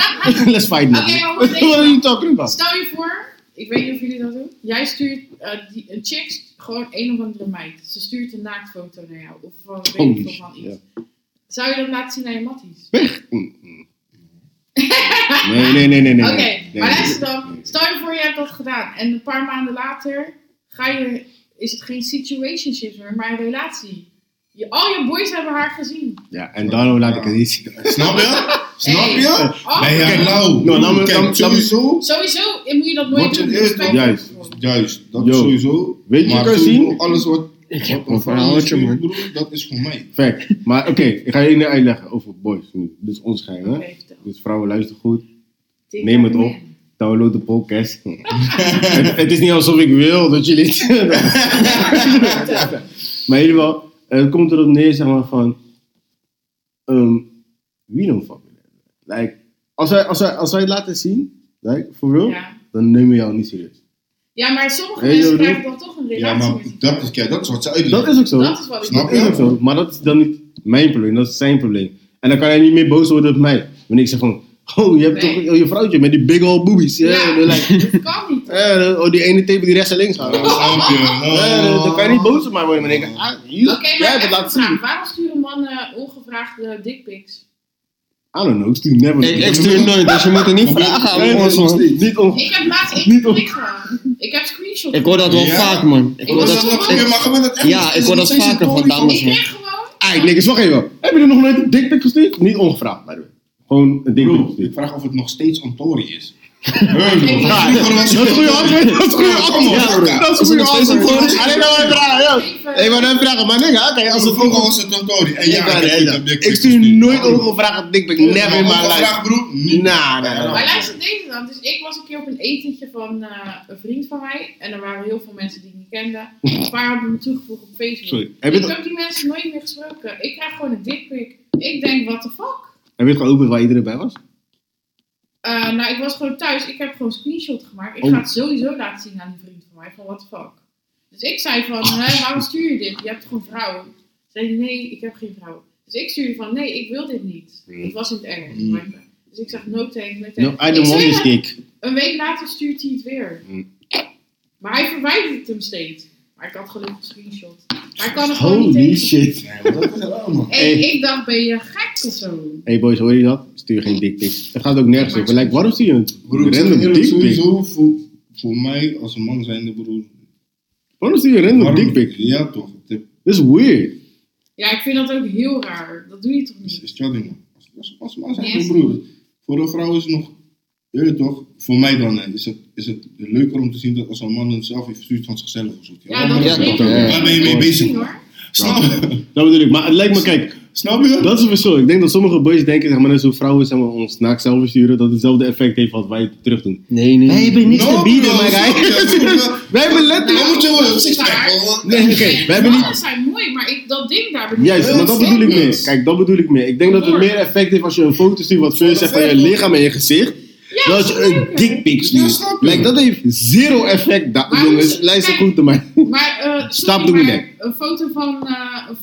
Let's fight
Oké,
now.
maar
What
wat denk je
are
dan?
you talking about?
Stel je voor, ik weet niet of jullie dat doen. Jij stuurt eh, die, een chick, st- gewoon een of andere meid. Ze stuurt een naaktfoto naar jou. Of van, weet
Holy
ik veel van iets. Zou je dat laten zien aan je matties?
Nee, nee, nee, nee, nee.
Oké,
nee, nee.
maar luister dan. Stel je voor, je hebt dat gedaan. En een paar maanden later ga je, is het geen situationship meer, maar een relatie. Je, al je boys hebben haar gezien.
Ja, en daarom laat ik het niet zien.
Snap je? Snap je?
Oh,
Ben jij lauw?
Nou, dan- dan- dan-
Kijk, sowieso...
Sowieso eh, moet je dat nooit
Wat je
doen.
eerst
respect
doet. Juist.
daarvoor.
Juist, dat
Yo.
sowieso.
Weet je, je
Maar
kan
sowieso
zien-
Alles wat... Ik
heb een verhaaltje, man.
Broer, dat is voor mij.
Fact. Maar oké, ik ga je één ding uitleggen over boys nu. Dit is ons geheim, hè?
Oké, vertel.
Dus vrouwen, luister goed.
Tik
Neem het
hem
op.
in.
Download de podcast. het, het is niet alsof ik wil dat jullie het... maar in ieder geval, eh, het komt erop neer, zeg maar, van... ehm wie dan fuck with that? like, als, wij, als, wij, als wij het laten zien, like, for real,
Ja.
dan nemen we jou niet serieus.
ja, maar sommige
Weet je
mensen
wat ik
krijgen dan toch een
Ja,
relatie
maar
met die
dat is, kijk, dat is wat ze
Dat
uitleggen.
is ook zo.
Dat is wat ik
Snap
Dat
bedoel.
is ook zo. Maar dat is dan niet mijn probleem, dat is zijn probleem. En dan kan hij niet meer boos worden op mij. Wanneer ik zeg van, oh, je hebt
Nee.
toch je vrouwtje met die big old boobies. Ja.
Ja.
en dan like,
Dat kan niet.
eh, oh, die ene tepel die rechts en links gaat.
Ja, snap je?
Eh,
Oh.
dan kan je niet boos op mij worden, maar ik denk, ah, you-
Oké,
jij
maar
hebt het
echt een
laten zien.
vraag. waarom sturen mannen ongevraagde dickpics?
I don't know, ik stuur never.
Ik, ik stuur nooit, dus je moet het niet
Maar
vragen
Nee,
aan
nee,
ons,
nog
man.
steeds. Niet om.
Ik heb laatst één
Niet om-
klik gedaan. Ik heb screenshots.
Ik hoor dat wel
Ja.
vaak, man. Ik
Ik
hoor
hoor
Maar
dat...
dat-
snap je, maar gebeurt dat echt?
Ja,
Is
ik
het
hoor
nog
dat
steeds
vaker
een
van
story
Ik
dames, man.
kreeg gewoon...
Ai, niks, wacht even. Heb je er nog nooit een dikpik gestuurd? Niet ongevraagd, by the way. Gewoon een dikpik
Bro,
gestuurd.
ik vraag of het nog steeds een tory is. Ja,
Dat is een goede antwoord, dat is een goede antwoord.
Ja,
Dat is een goede
is nog steeds een
antwoord.
goal?
Alleen maar even vragen, ja. Ik wou net vragen, maar nigga, oké, als het
Vroeger
ook
was het een tory. En
Ik,
ja,
ben-
ik heb
ja.
een dick
ik
pic
stuur
gestuurd.
nooit ongevraagd een dikpik, never in Nou, my life.
Vraag, broer.
Nah,
Niet.
nah, nah.
Maar luister deze dan. Dus ik was een keer op een etentje van eh, een vriend van mij. En er waren heel veel mensen die ik niet kende. Een paar hebben me toegevoegd op Facebook.
Sorry. Heb je
Ik
het-
heb die mensen nooit meer gesproken. Ik krijg gewoon een dickpic. Ik denk, what the fuck?
Heb je het geopend waar iedereen bij was?
Eh, nou, ik was gewoon thuis. Ik heb gewoon een screenshot gemaakt. Ik
Oh.
ga het sowieso laten zien aan die vriend van mij. Van, what the fuck? Dus ik zei van, hè, waarom stuur je dit? Je hebt gewoon vrouwen. Ze zei, nee, ik heb geen vrouw. Dus ik stuurde van, nee, ik wil dit niet. Het was in het erg.
Mm.
maar- Dus ik zeg, no thanks, no thanks.
No, I
Ik
don't want
zweer
this
het,
dick.
Een week later stuurt hij het weer.
Mm.
Maar hij verwijdert het hem steeds. Maar ik had gelukkig een screenshot. Maar ik kan het gewoon niet
Holy
tegen.
shit.
Nee, maar dat is raar, man.
Hey,
Hey.
ik dacht, ben je gek of zo?
Hé hey boys, hoor je dat? Stuur geen dikpics. Het gaat ook nergens over. Like, waarom zie je een
Broer, ik zeg
random
eerlijk,
dikpik?
sowieso voor, voor mij als een man zijnde broer.
Waarom stuur je een random
waarom-
dikpik?
Ja, toch. Het
Dat is weird.
Ja, ik vind dat ook heel raar. Dat doe je toch niet?
is is chilling, man. als, als man zijn
Yes.
mijn broer. Voor een vrouw is het nog, je weet toch, voor mij dan hè, is het, is het leuker om te zien dat als een man het zelf heeft verstuurd van zichzelf of zo.
Ja, dat
Ja,
is
dat
zeker.
ook, ja.
Waar ben je mee bezig?
Misschien, hoor.
Snap je?
Dat bedoel ik. Nou, Maar het lijkt me, kijk,
Snap je?
dat is het verschil. Ik denk dat sommige boys denken, zeg maar, net zo vrouwen zeg maar, ons naakt zelf versturen, dat hetzelfde effect heeft wat wij terug doen.
Nee, nee.
Wij hebben niks
No,
te bieden,
bro,
my
snap
guy.
je? Snap je?
Wij hebben letterlijk...
Dan moet je wel een sixpack,
Maar-
hoor.
Nee, oké,
En
we hebben niet...
vrouwen zijn mooi, maar ik, dat ding daar beneden.
Juist, maar dat bedoel ik meer.
Yes.
Kijk, dat bedoel ik meer. Ik denk dat het meer effect heeft als je een foto stuurt wat veel zegt van je lichaam en je gezicht.
Ja,
dan als je een
zeker.
dickpic
Ja,
stuurt.
snap je.
Like, dat heeft zero effect, da-
Maar
jongens.
hoe-
Luister
kijk.
goed naar mij.
Maar, eh, sorry,
Stop doing
maar een foto van eh, een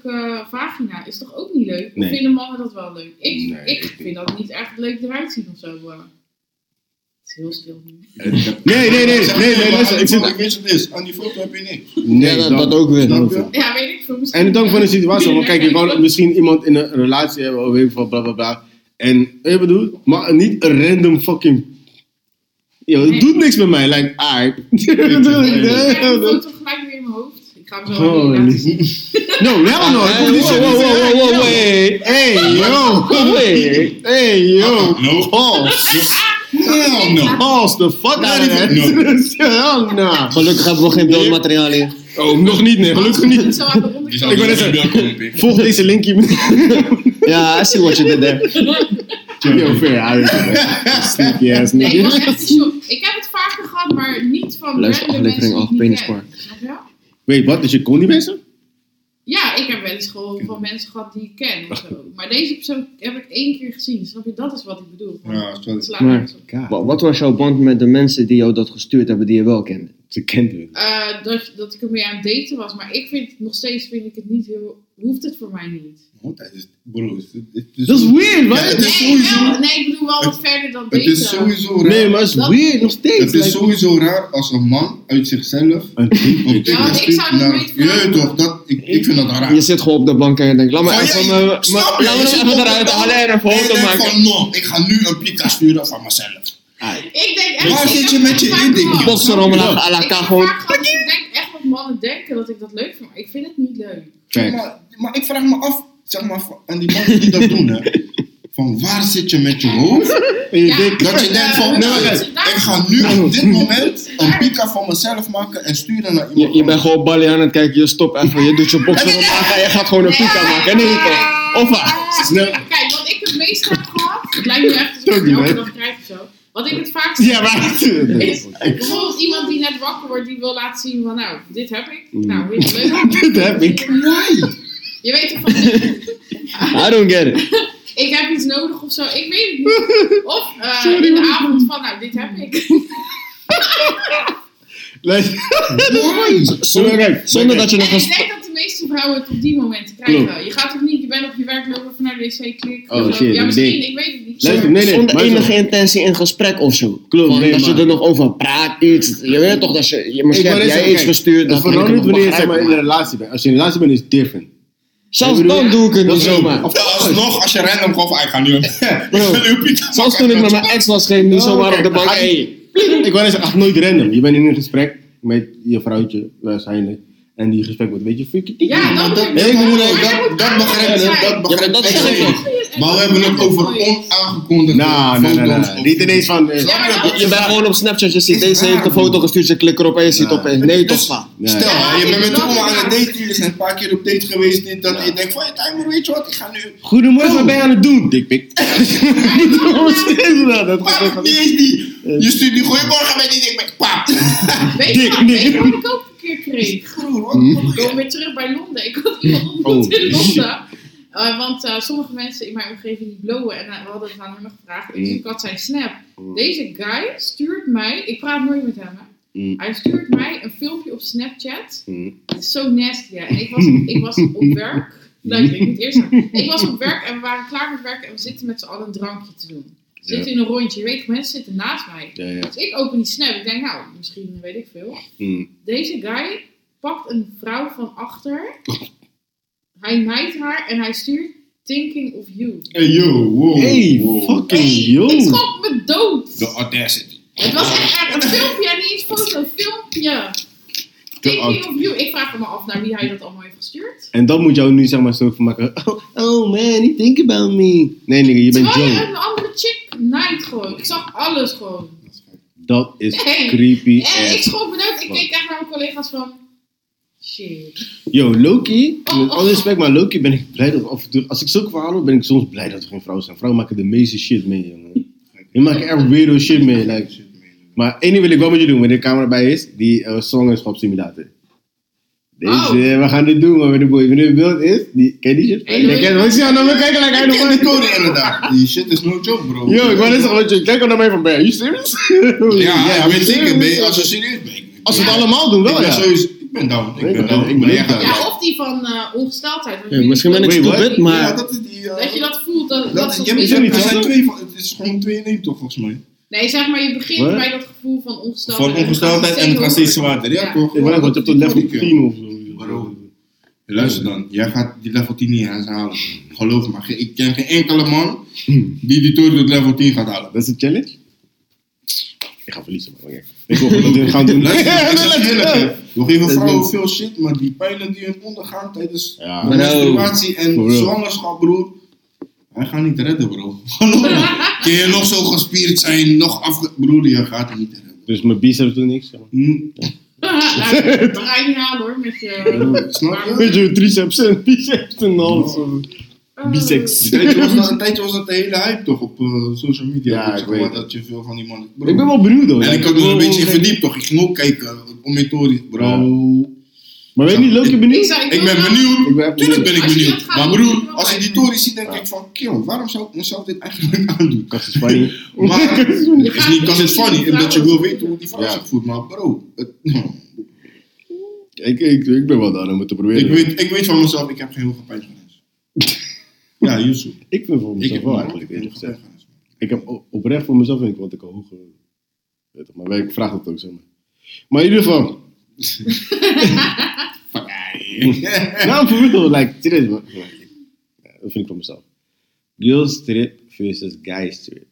vrouwelijke vagina is toch ook niet leuk? Of
Nee.
vinden mannen dat wel leuk? Ik,
Nee,
ik
ik
vind dat niet echt leuk eruit zien of zo. eh. Het is heel stil nu.
Nee, nee, nee,
Zeg,
nee, nee,
maar
luister,
aan
ik zit-
die foto, Ik weet wat het is. Aan die foto heb je niks.
Nee,
ja, dat, dat ook weer.
Snap je?
Ja, weet ik veel. misschien-
En het hangt van de situatie, want kijk, je kan
Ja.
misschien iemand in een relatie hebben of weet ik veel, bla bla bla. En, ik bedoel, maar niet een random fucking. Yo, het
Nee.
doet niks met mij, like, aight.
Ik heb een foto gelijk weer in mijn hoofd. Ik ga hem zo aan
Holy.
jullie laten zien.
No, hell no.
Hey,
Hey,
whoa, whoa, whoa, whoa, whoa,
hey, hey, yo, hey, hey, yo.
Nou, No.
Pause,
Hell no.
pause the fuck out of that. Hell no.
Gelukkig hebben we geen beeldmateriaal in.
Oh, nog niet, nee, gelukkig niet.
Zo aan de onderkant.
Ik
wil net zeggen-
welkom, pik.
Volg deze linkje.
Ja, I see what you did there.
Yo, fair, I don't know. Sneaky ass
Nee, ik was
nigga.
echt in shock. Ik heb het vaker gehad, maar niet van
Luister
random
aflevering
mensen die
acht,
ik niet
Penispark.
ken. Snap je wel?
Wait, wat? Dus je kon die mensen?
Ja, ik heb wel eens gewoon van mensen gehad die ik ken. of zo. Maar deze persoon heb ik één keer gezien. Snap je? Dat is wat ik bedoel. Van,
Ja, sorry.
het slaat nergens op.
Wa- Wat was jouw band met de mensen die jou dat gestuurd hebben, die je wel kende?
Ze kent het.
Eh, dat, dat ik ermee aan het daten was. Maar ik vind het nog steeds vind ik het niet heel. Hoeft het voor mij niet.
Wat is Bro, het is- het
Dat is weird,
Ja,
man.
het is
Nee,
sowieso-
wel- nee ik bedoel wel wat verder dan
Het
daten.
is sowieso raar.
Nee, maar het is
Dat-
weird nog steeds.
Het is
like-
sowieso raar als een man uit zichzelf
Een
op
dick.
TikTok
want ik zou
stuurt
niet
naar...
weten
Je weet
waarom.
toch, dat, ik, ik vind dat raar.
Je zit gewoon op de bank en je denkt, laat me
Van,
even,
ja,
me- me-
snap je?
laat me
Je
hem
zit
even
op de
eruit
bank
halen en een
en je
foto
denkt
maken.
van, no, ik ga nu een pika sturen van mezelf.
Ik denk echt.
Waar
ik
zit
heb
je
het
met je
vaak
inding?
gehad.
Boksen om à la
Ik heb
carte gewoon.
vaak gehad dat Ik denk echt wat mannen denken dat ik dat leuk vind. Maar ik vind het niet leuk.
Facts.
Maar, maar ik vraag me af, zeg maar, van- aan die mannen die dat doen, hè. Van waar zit je met je hoofd?
En je
Ja.
denkt,
Dat je denkt van,
Nee, maar
nee,
kijk.
ik ga nu op dit moment een pika van mezelf maken en sturen naar iemand
Je, je bent gewoon balie aan het kijken, je stopt even, je doet je boksen om en je gaat gewoon een pika maken. Nee toch? Of wat?
Ah,
Snel.
Kijk, wat ik het meest heb gehad, het lijkt me echt alsof ik
Sorry,
het elke
hè?
dag krijg of zo. Wat ik het vaakst
Ja, maar...
is bijvoorbeeld iemand die net wakker wordt, die wil laten zien van nou, dit heb ik. Nou, vind je het leuk?
Dit heb ik.
Je weet toch van,
I don't get it.
ik heb iets nodig of zo, ik weet het niet. Of eh, in de avond van nou, dit heb ik.
Luister.
Why?
Maar kijk, maar
Zonder
kijk.
dat je nog
En
eens...
ik denk dat de meeste vrouwen het op die momenten krijgen. Je gaat toch niet, je bent op je werk lopen van naar de wc, klik.
Oh,
of zo.
shit,
ja,
dat
misschien,
ding.
ik weet het niet.
Luister, nee, nee.
Zonder
maar zo.
enige intentie in gesprek of zo.
Klopt,
Gewoon
nee,
dat je
maar-
er nog over praat, iets. Je weet toch dat je... je
Ik
misschien
wou
heb
net
jij
zeggen,
iets
kijk,
verstuurd,
Het
dat kan ik
verandert
nog
niet wanneer je zeg
begrijpen,
maar, in
maar-
een relatie bent. Als je in een relatie bent, is het different.
Zelfs
Ik bedoel-
dan doe ik het
Dat
niet
is ook-
zomaar.
Of alsnog, als je random gewoon van, ik ga nu een ik ga
Bro,
nu een pika
Zelfs
maken.
toen ik met mijn ex was, ging ik niet
Oh,
zomaar op
kijk,
de bank.
dan ga je-
Hey,
Ik wou net zeggen, echt nooit random. Je bent in een gesprek met je vrouwtje, waarschijnlijk. En die gesprek wordt een beetje freaky.
Ja, dat,
dat,
moet-
ik bedoel,
maar
dat-
moet
dat
aandacht
begrijp
zijn.
ik, dat begrijp
Ja, maar dat
ik.
zeg ik
Hey,
ook.
Maar we hebben het over onaangekondigde
Nou, nee,
foto's.
nee, nee.
of-
Niet ineens van... eh,
Ja, maar dat-
Je bent gewoon op Snapchat, je ziet
Is
deze
raar,
heeft een
man.
foto gestuurd, je klikt erop en je ziet
Ja.
opeens, nee toch
Dus-
va.
nee.
Stel,
Ja,
je bent met
dat
de oma
is
aan het
waar.
daten, jullie zijn een paar keer op date geweest, dit, dat, je denkt van, ja, timer, weet je wat, ik ga nu...
Goedemorgen,
Oh.
wat ben je aan het doen? Dikpik. Wat is dat? Dat gaat
Pap,
echt-
niet eens die. Je stuurt die goeiemorgen met die ding met pap.
Weet
Dik,
je wat- weet je
dik.
wat ik ook een keer kreeg?
Broer, wat moet
Ik kom
je?
weer terug bij Londen. Ik had iemand ontmoet
Oh,
in
shit.
Londen. Eh, want eh, sommige mensen in mijn omgeving die blowen en eh, we hadden het aan hem gevraagd. Dus
Mm.
ik had zijn snap.
Mm.
Deze guy stuurt mij, ik praat nooit met hem. Hè.
Mm.
Hij stuurt mij een filmpje op Snapchat.
Mm.
Het is zo nasty. Hè. En ik was, ik was op werk. Luister, ik moet eerst zeggen. Ik was op werk en we waren klaar met werken en we zitten met z'n allen een drankje te doen. We
Ja.
zitten in een rondje. Je weet, mensen zitten naast mij.
Ja, ja.
Dus ik open die snap. Ik denk, nou, misschien weet ik veel.
Mm.
Deze guy pakt een vrouw van achter. Hij naait haar en hij stuurt Thinking of You.
Hey, yo, wow.
Hey,
wow.
fucking
ik
yo.
schrok me dood.
De audacity.
Het was echt, echt een filmpje en niet eens foto, een filmpje. Thinking of You. Ik vraag me af naar wie hij dat allemaal heeft gestuurd.
En dat moet jou nu zeg maar zo van maken. Oh, oh, oh man, you think about me. Nee, nigga, je bent
Terwijl je
Joe.
een andere chick night gewoon. Ik zag alles gewoon.
Dat is
Hey.
creepy
En ik
ass.
schrok benauwd. Ik keek echt naar mijn collega's van... Shit.
Yo, Loki,
Oh,
met alle respect, maar Loki ben ik blij dat af en toe, als ik zulke verhalen hoor, ben ik soms blij dat er geen vrouwen zijn. Vrouwen maken de meeste shit mee, jongen. Die maken echt weirdo shit mee. Like. Maar één ding wil ik wel met je doen, wanneer de camera bij is, die eh zwangerschapssimulator. Deze,
Oh.
eh, we gaan dit doen, maar met de boy. Wanneer het beeld is, die, ken je die shit?
Hey, doe
Ik ken het, ja, nou, we kijken naar
Ik
kijken
ken
nog
die code inderdaad. Die shit is no joke, bro.
Yo, ik wou net zeggen, want je kijkt wel naar mij van, ben je serious?
Ja, ik weet zeker, ben je- als
Als,
je serieus bent.
we het allemaal doen,
Ik
wel
ben
ja.
sowieso- Ik ben down. Ik ben down.
Ik
Ik
ben
ben echt
down.
Ja,
down.
of die van eh, ongesteldheid. want
Ja, misschien ben ik
Wait, what?
stupid,
Ja,
maar
dat is die... eh,
Dat je dat voelt, dat, dat,
Dat,
soort
je hebt,
dingen.
dat niet
er
zo.
zijn twee van, het is gewoon twee in één toch volgens mij.
Nee, zeg maar, je begint
Wat?
bij dat gevoel van ongesteldheid.
Van ongesteldheid en het gaat steeds zwaarder, ja, toch?
Ik ben net, want je hebt tot level
Die kan.
10 of zo.
Bro. Luister dan, jij gaat die level 10 niet eens halen. Geloof me, ge- ik ken geen enkele man die die toren tot level 10 gaat halen.
Dat is een challenge? Ik ga verliezen, maar oké. Ik wil gewoon dit gaan doen.
Luister, ik zeg eerlijk, hè. we geven
Dat
vrouwen
is-
veel shit, maar die pijlen die hun ondergaan tijdens
Ja.
de menstruatie en
For real.
zwangerschap, bro. Wij gaan niet redden, bro. Geloof me. Kun je nog zo gespierd zijn, nog afge... Broer, je gaat het niet redden.
Dus mijn biceps doet niks. zeg maar.
Hm,
Dat ga je niet halen hoor, met je...
Snap je?
Weet je, triceps en biceps en alles. Biceps.
Een tijdje was dat- Een tijdje was dat de hele hype toch op eh, social media.
Ja,
Zeg
ik
maar
weet
dat je veel van die mannen. Bro.
Ik ben wel benieuwd hoor.
en ik
heb
had me een beetje in verdiept toch. Ik ging ook kijken om je tories, bro.
Maar weet je niet, leuk je benieuwd?
zou-
Ik ben
wil-
benieuwd.
Ik ben echt
Tuurlijk
benieuwd.
ben ik
Als je dat
benieuwd.
gaat
Maar
doen,
broer,
dan
als ik die
wel.
tories zie, denk ik van, kill, waarom zou ik mezelf dit eigenlijk aandoen?
Kast is funny.
Maar
Je
het is
gaat
niet because it's funny, omdat je wil weten hoe die vrouw
Ja.
zich voelt. Maar bro, het-
Ik, ik, ik ben wel daar om het te proberen.
ik, weet, ik weet van mezelf, ik heb geen hoge pijn van mensen. Ja, Yusuf.
ik vind voor
Ik
mezelf
heb
wel
wel
eigenlijk eerlijk gezegd.
van mensen.
Ik heb o- oprecht voor mezelf vind ik want ik al hoog. eh, weet het, Maar ik vraag dat ook zo. Maar in ieder geval.
Fuck, ey.
Nou, voor real. Like, serieus. man. Ja, Dat vind ik voor mezelf. Girls trip versus guys trip.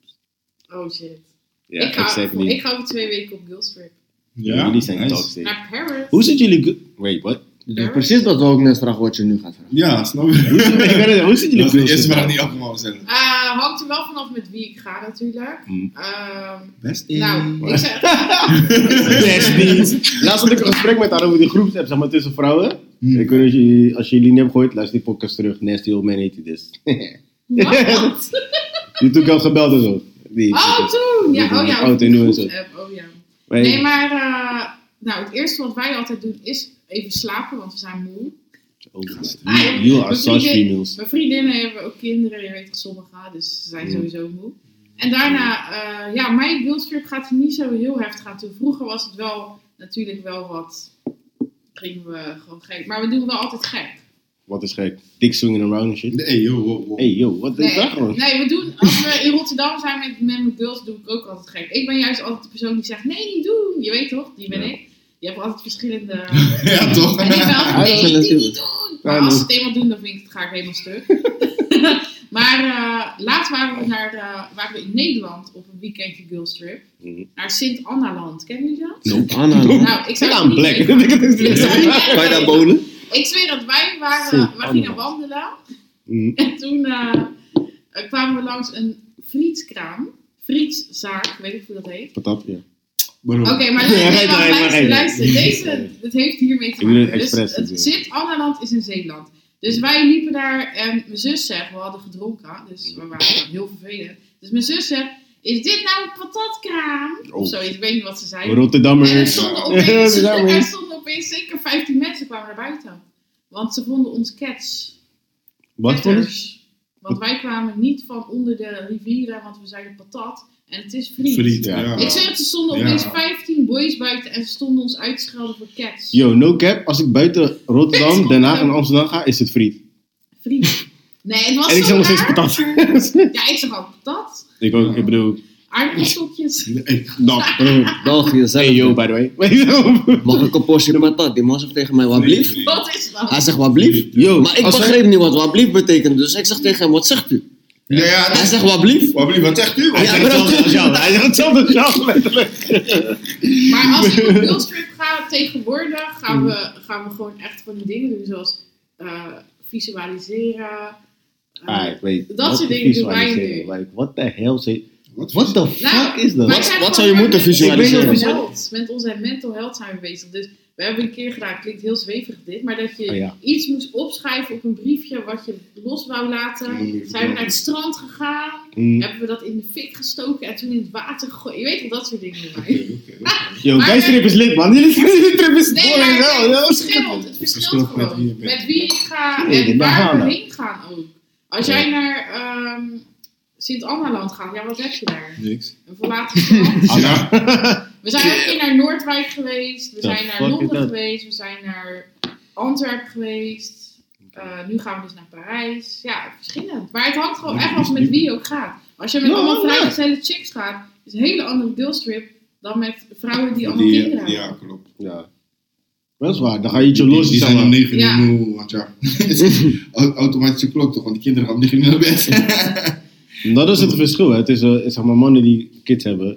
Oh shit.
Ja,
ik, ga,
exactly.
ik Nou, ga over twee weken op Girlstrip.
Ja, jullie zijn
nice.
toxic.
Naar Paris.
Hoe zit jullie... gu- Wait, what?
dus precies dat wou ik net vragen wat je nu gaat vragen.
Ja, snap je?
Ik weet het niet, Hoe zit jullie
Dat is de
girls
eerste vraag
trip?
die afgemaakt zijn.
Eh, hangt er wel vanaf met wie ik ga natuurlijk.
Hmm.
Mm.
Ehm,
Best Hmm.
nou, ik zeg...
Besties. Laatst had ik een gesprek met haar over die groepsapp, zeg maar, tussen vrouwen. Ik weet niet, als jullie- als jullie niet hebben gehoord, luister die podcast terug. Nasty old man heet hij dus.
Wat?
Die toen ik al gebeld en zo. Die
Oh,
podcast.
toen! Ja, oh ja.
Oud en nieuw en zo.
groepsapp, Oh ja.
Maar-
Nee, maar eh, nou, het eerste wat wij altijd doen is even slapen, want we zijn moe.
Oh,
Ah,
you, you are
Mijn
such
vriendin-
females.
Mijn vriendinnen hebben ook kinderen, je weet toch, sommigen, dus ze zijn
Ja.
sowieso moe. En daarna, eh, ja, mijn guildstrip gaat er niet zo heel heftig aan toe. Vroeger was het wel natuurlijk wel wat, gingen we gewoon gek. Maar we doen wel altijd gek.
Wat is gek? Dick swinging around en shit.
Nee, joh, wow, wow.
Hey yo, wat is dat gewoon?
nee, we doen, als we in Rotterdam zijn met, met mijn girls, doe ik ook altijd gek. Ik ben juist altijd de persoon die zegt, nee, niet doen. Je weet toch, die ben
Ja.
ik. Je hebt altijd verschillende...
Ja, toch?
En ik ben altijd,
Ja, dat
nee,
is
dit
natuurlijk.
niet doen. Maar als ze het eenmaal doen, dan vind ik het, ga ik helemaal stuk. maar eh, laatst waren we, naar de, waren we in Nederland op een weekendje girls trip.
Mhm.
Naar Sint-Anna-land. Kennen jullie dat?
Anna,
Nou, ik
Ik
zou
ga een
het
black.
niet weten.
nou.
Ik zou het niet weten.
kan je daar bolen?
Ik zweer dat wij waren,
Hm,
Sint-Anna-land.
we gingen wandelen. En toen eh, eh, kwamen we langs een frietskraam. Frietszaak, weet ik hoe dat heet.
Patat, ja.
Waarom?
Oké, maar
Ja, rijd
luister,
maar, rijd maar, rijd
luister,
maar.
luister. Deze, dit heeft hiermee
Ik
te
doe het
maken. Dus
expres
het
natuurlijk.
Sint-Annaland is in Zeeland. Dus wij liepen daar en mijn zus zegt, we hadden gedronken, dus we waren
Hm.
dan heel vervelend. Dus mijn zus zegt, is dit nou een patatkraam?
Oh.
Of zoiets, ik weet niet wat ze zei. En er
Rotterdammers.
stonden
Ja,
opeens,
Rotterdam
er
is-
stonden opeens zeker 15 mensen kwamen naar buiten. Want ze vonden ons cats.
Wat voor een...
Ketters. Want wij kwamen niet van onder de rivieren, want we zeiden patat. En het is friet.
Friet,
Ja.
ja.
Ik zeg, het, er stonden
Ja.
opeens 15 boys buiten en ze stonden ons uit te schelden voor cats.
Yo, no cap. Als ik buiten Rotterdam, Den Haag en Amsterdam ga, is het friet.
Vrienden. Nee, het was
En ik
zo
zeg nog steeds
raar.
patat.
Ja, ik zeg al patat.
ik ook, ik bedoel...
Aardappelstokjes.
Nee,
Dat.
België zelf.
Hey yo, by the way. Weet je wel?
Mag ik een portie patat? Die man zegt tegen mij, wat blieft?
nee.
Wat is dat?
Hij zegt, wat blieft?
Yo,
Maar ik
als
begreep niet wat wat blieft betekent, dus ik zeg tegen hem, wat zegt u?
Ja, ja,
Hij
dat-
zegt, wat blieft?
Wat bedoel je, wat zegt u?
Hij hij zegt hetzelfde
Ja,
als
bro.
jou. Hij zegt hetzelfde als jou, letterlijk.
Maar als ik op Girlstrip ga tegenwoordig, gaan we, gaan we gewoon echt van die dingen doen. Zoals eh, visualiseren,
Ah,
Alright, wait.
Dat
Wat
soort
is
dingen
iets
doen
waar je
wij
zegt?
nu.
Like, what the hell? Zit...
Wat?
What the
Nou,
fuck is dat?
Wij
Wat?
zijn
wat
gewoon
zou je
met
moeten
mental
visualiseren?
health. Met onze mental health zijn we bezig. Dus we hebben een keer gedaan, klinkt heel zwevig dit, maar dat je
Oh ja.
iets moest opschrijven op een briefje wat je los wou laten.
Ja, ja.
Zijn we naar het strand gegaan?
Mm.
Hebben we dat in de fik gestoken en toen in het water gegooid? Je weet wel, dat soort dingen. doen wij.
Oké, oké, oké.
Yo,
Maar-
die trip is lit, man. Jullie jullie trip is
Nee,
mooi
maar
wel.
het,
yo.
verschilt, het verschilt
verschilt met wie
gewoon.
je bent.
Met wie ik ga
Nee,
en
daar gaan
waar
we.
we heen gaan ook. Als jij naar ehm, Sint-Anna-land gaat, ja, wat heb je daar?
Niks.
Een verlaten strand?
Ja,
We zijn ook weer naar Noordwijk geweest. We
The
zijn naar
fuck is
Londen
dat?
geweest. We zijn naar Antwerpen geweest. Eh, nu gaan we dus naar Parijs. Ja, verschillend. Maar het hangt gewoon
Ja,
echt
dat is
af met
nieuw.
wie je ook gaat. Als je met
Ja,
allemaal
ja.
vrijgezelle chicks gaat, is een hele andere deelstrip dan met vrouwen die allemaal kinderen
die, eh,
hebben.
ja, klopt.
Ja. Dat is waar. Dan ga je ietsje los.
Die
zeg
zijn om
maar.
9 uur
Ja.
moe, want ja, het is een au- automatische klok toch, want die kinderen gaan om 9 uur naar bed.
Dat is het verschil. Hè. Het is, eh, zeg maar, mannen die kids hebben.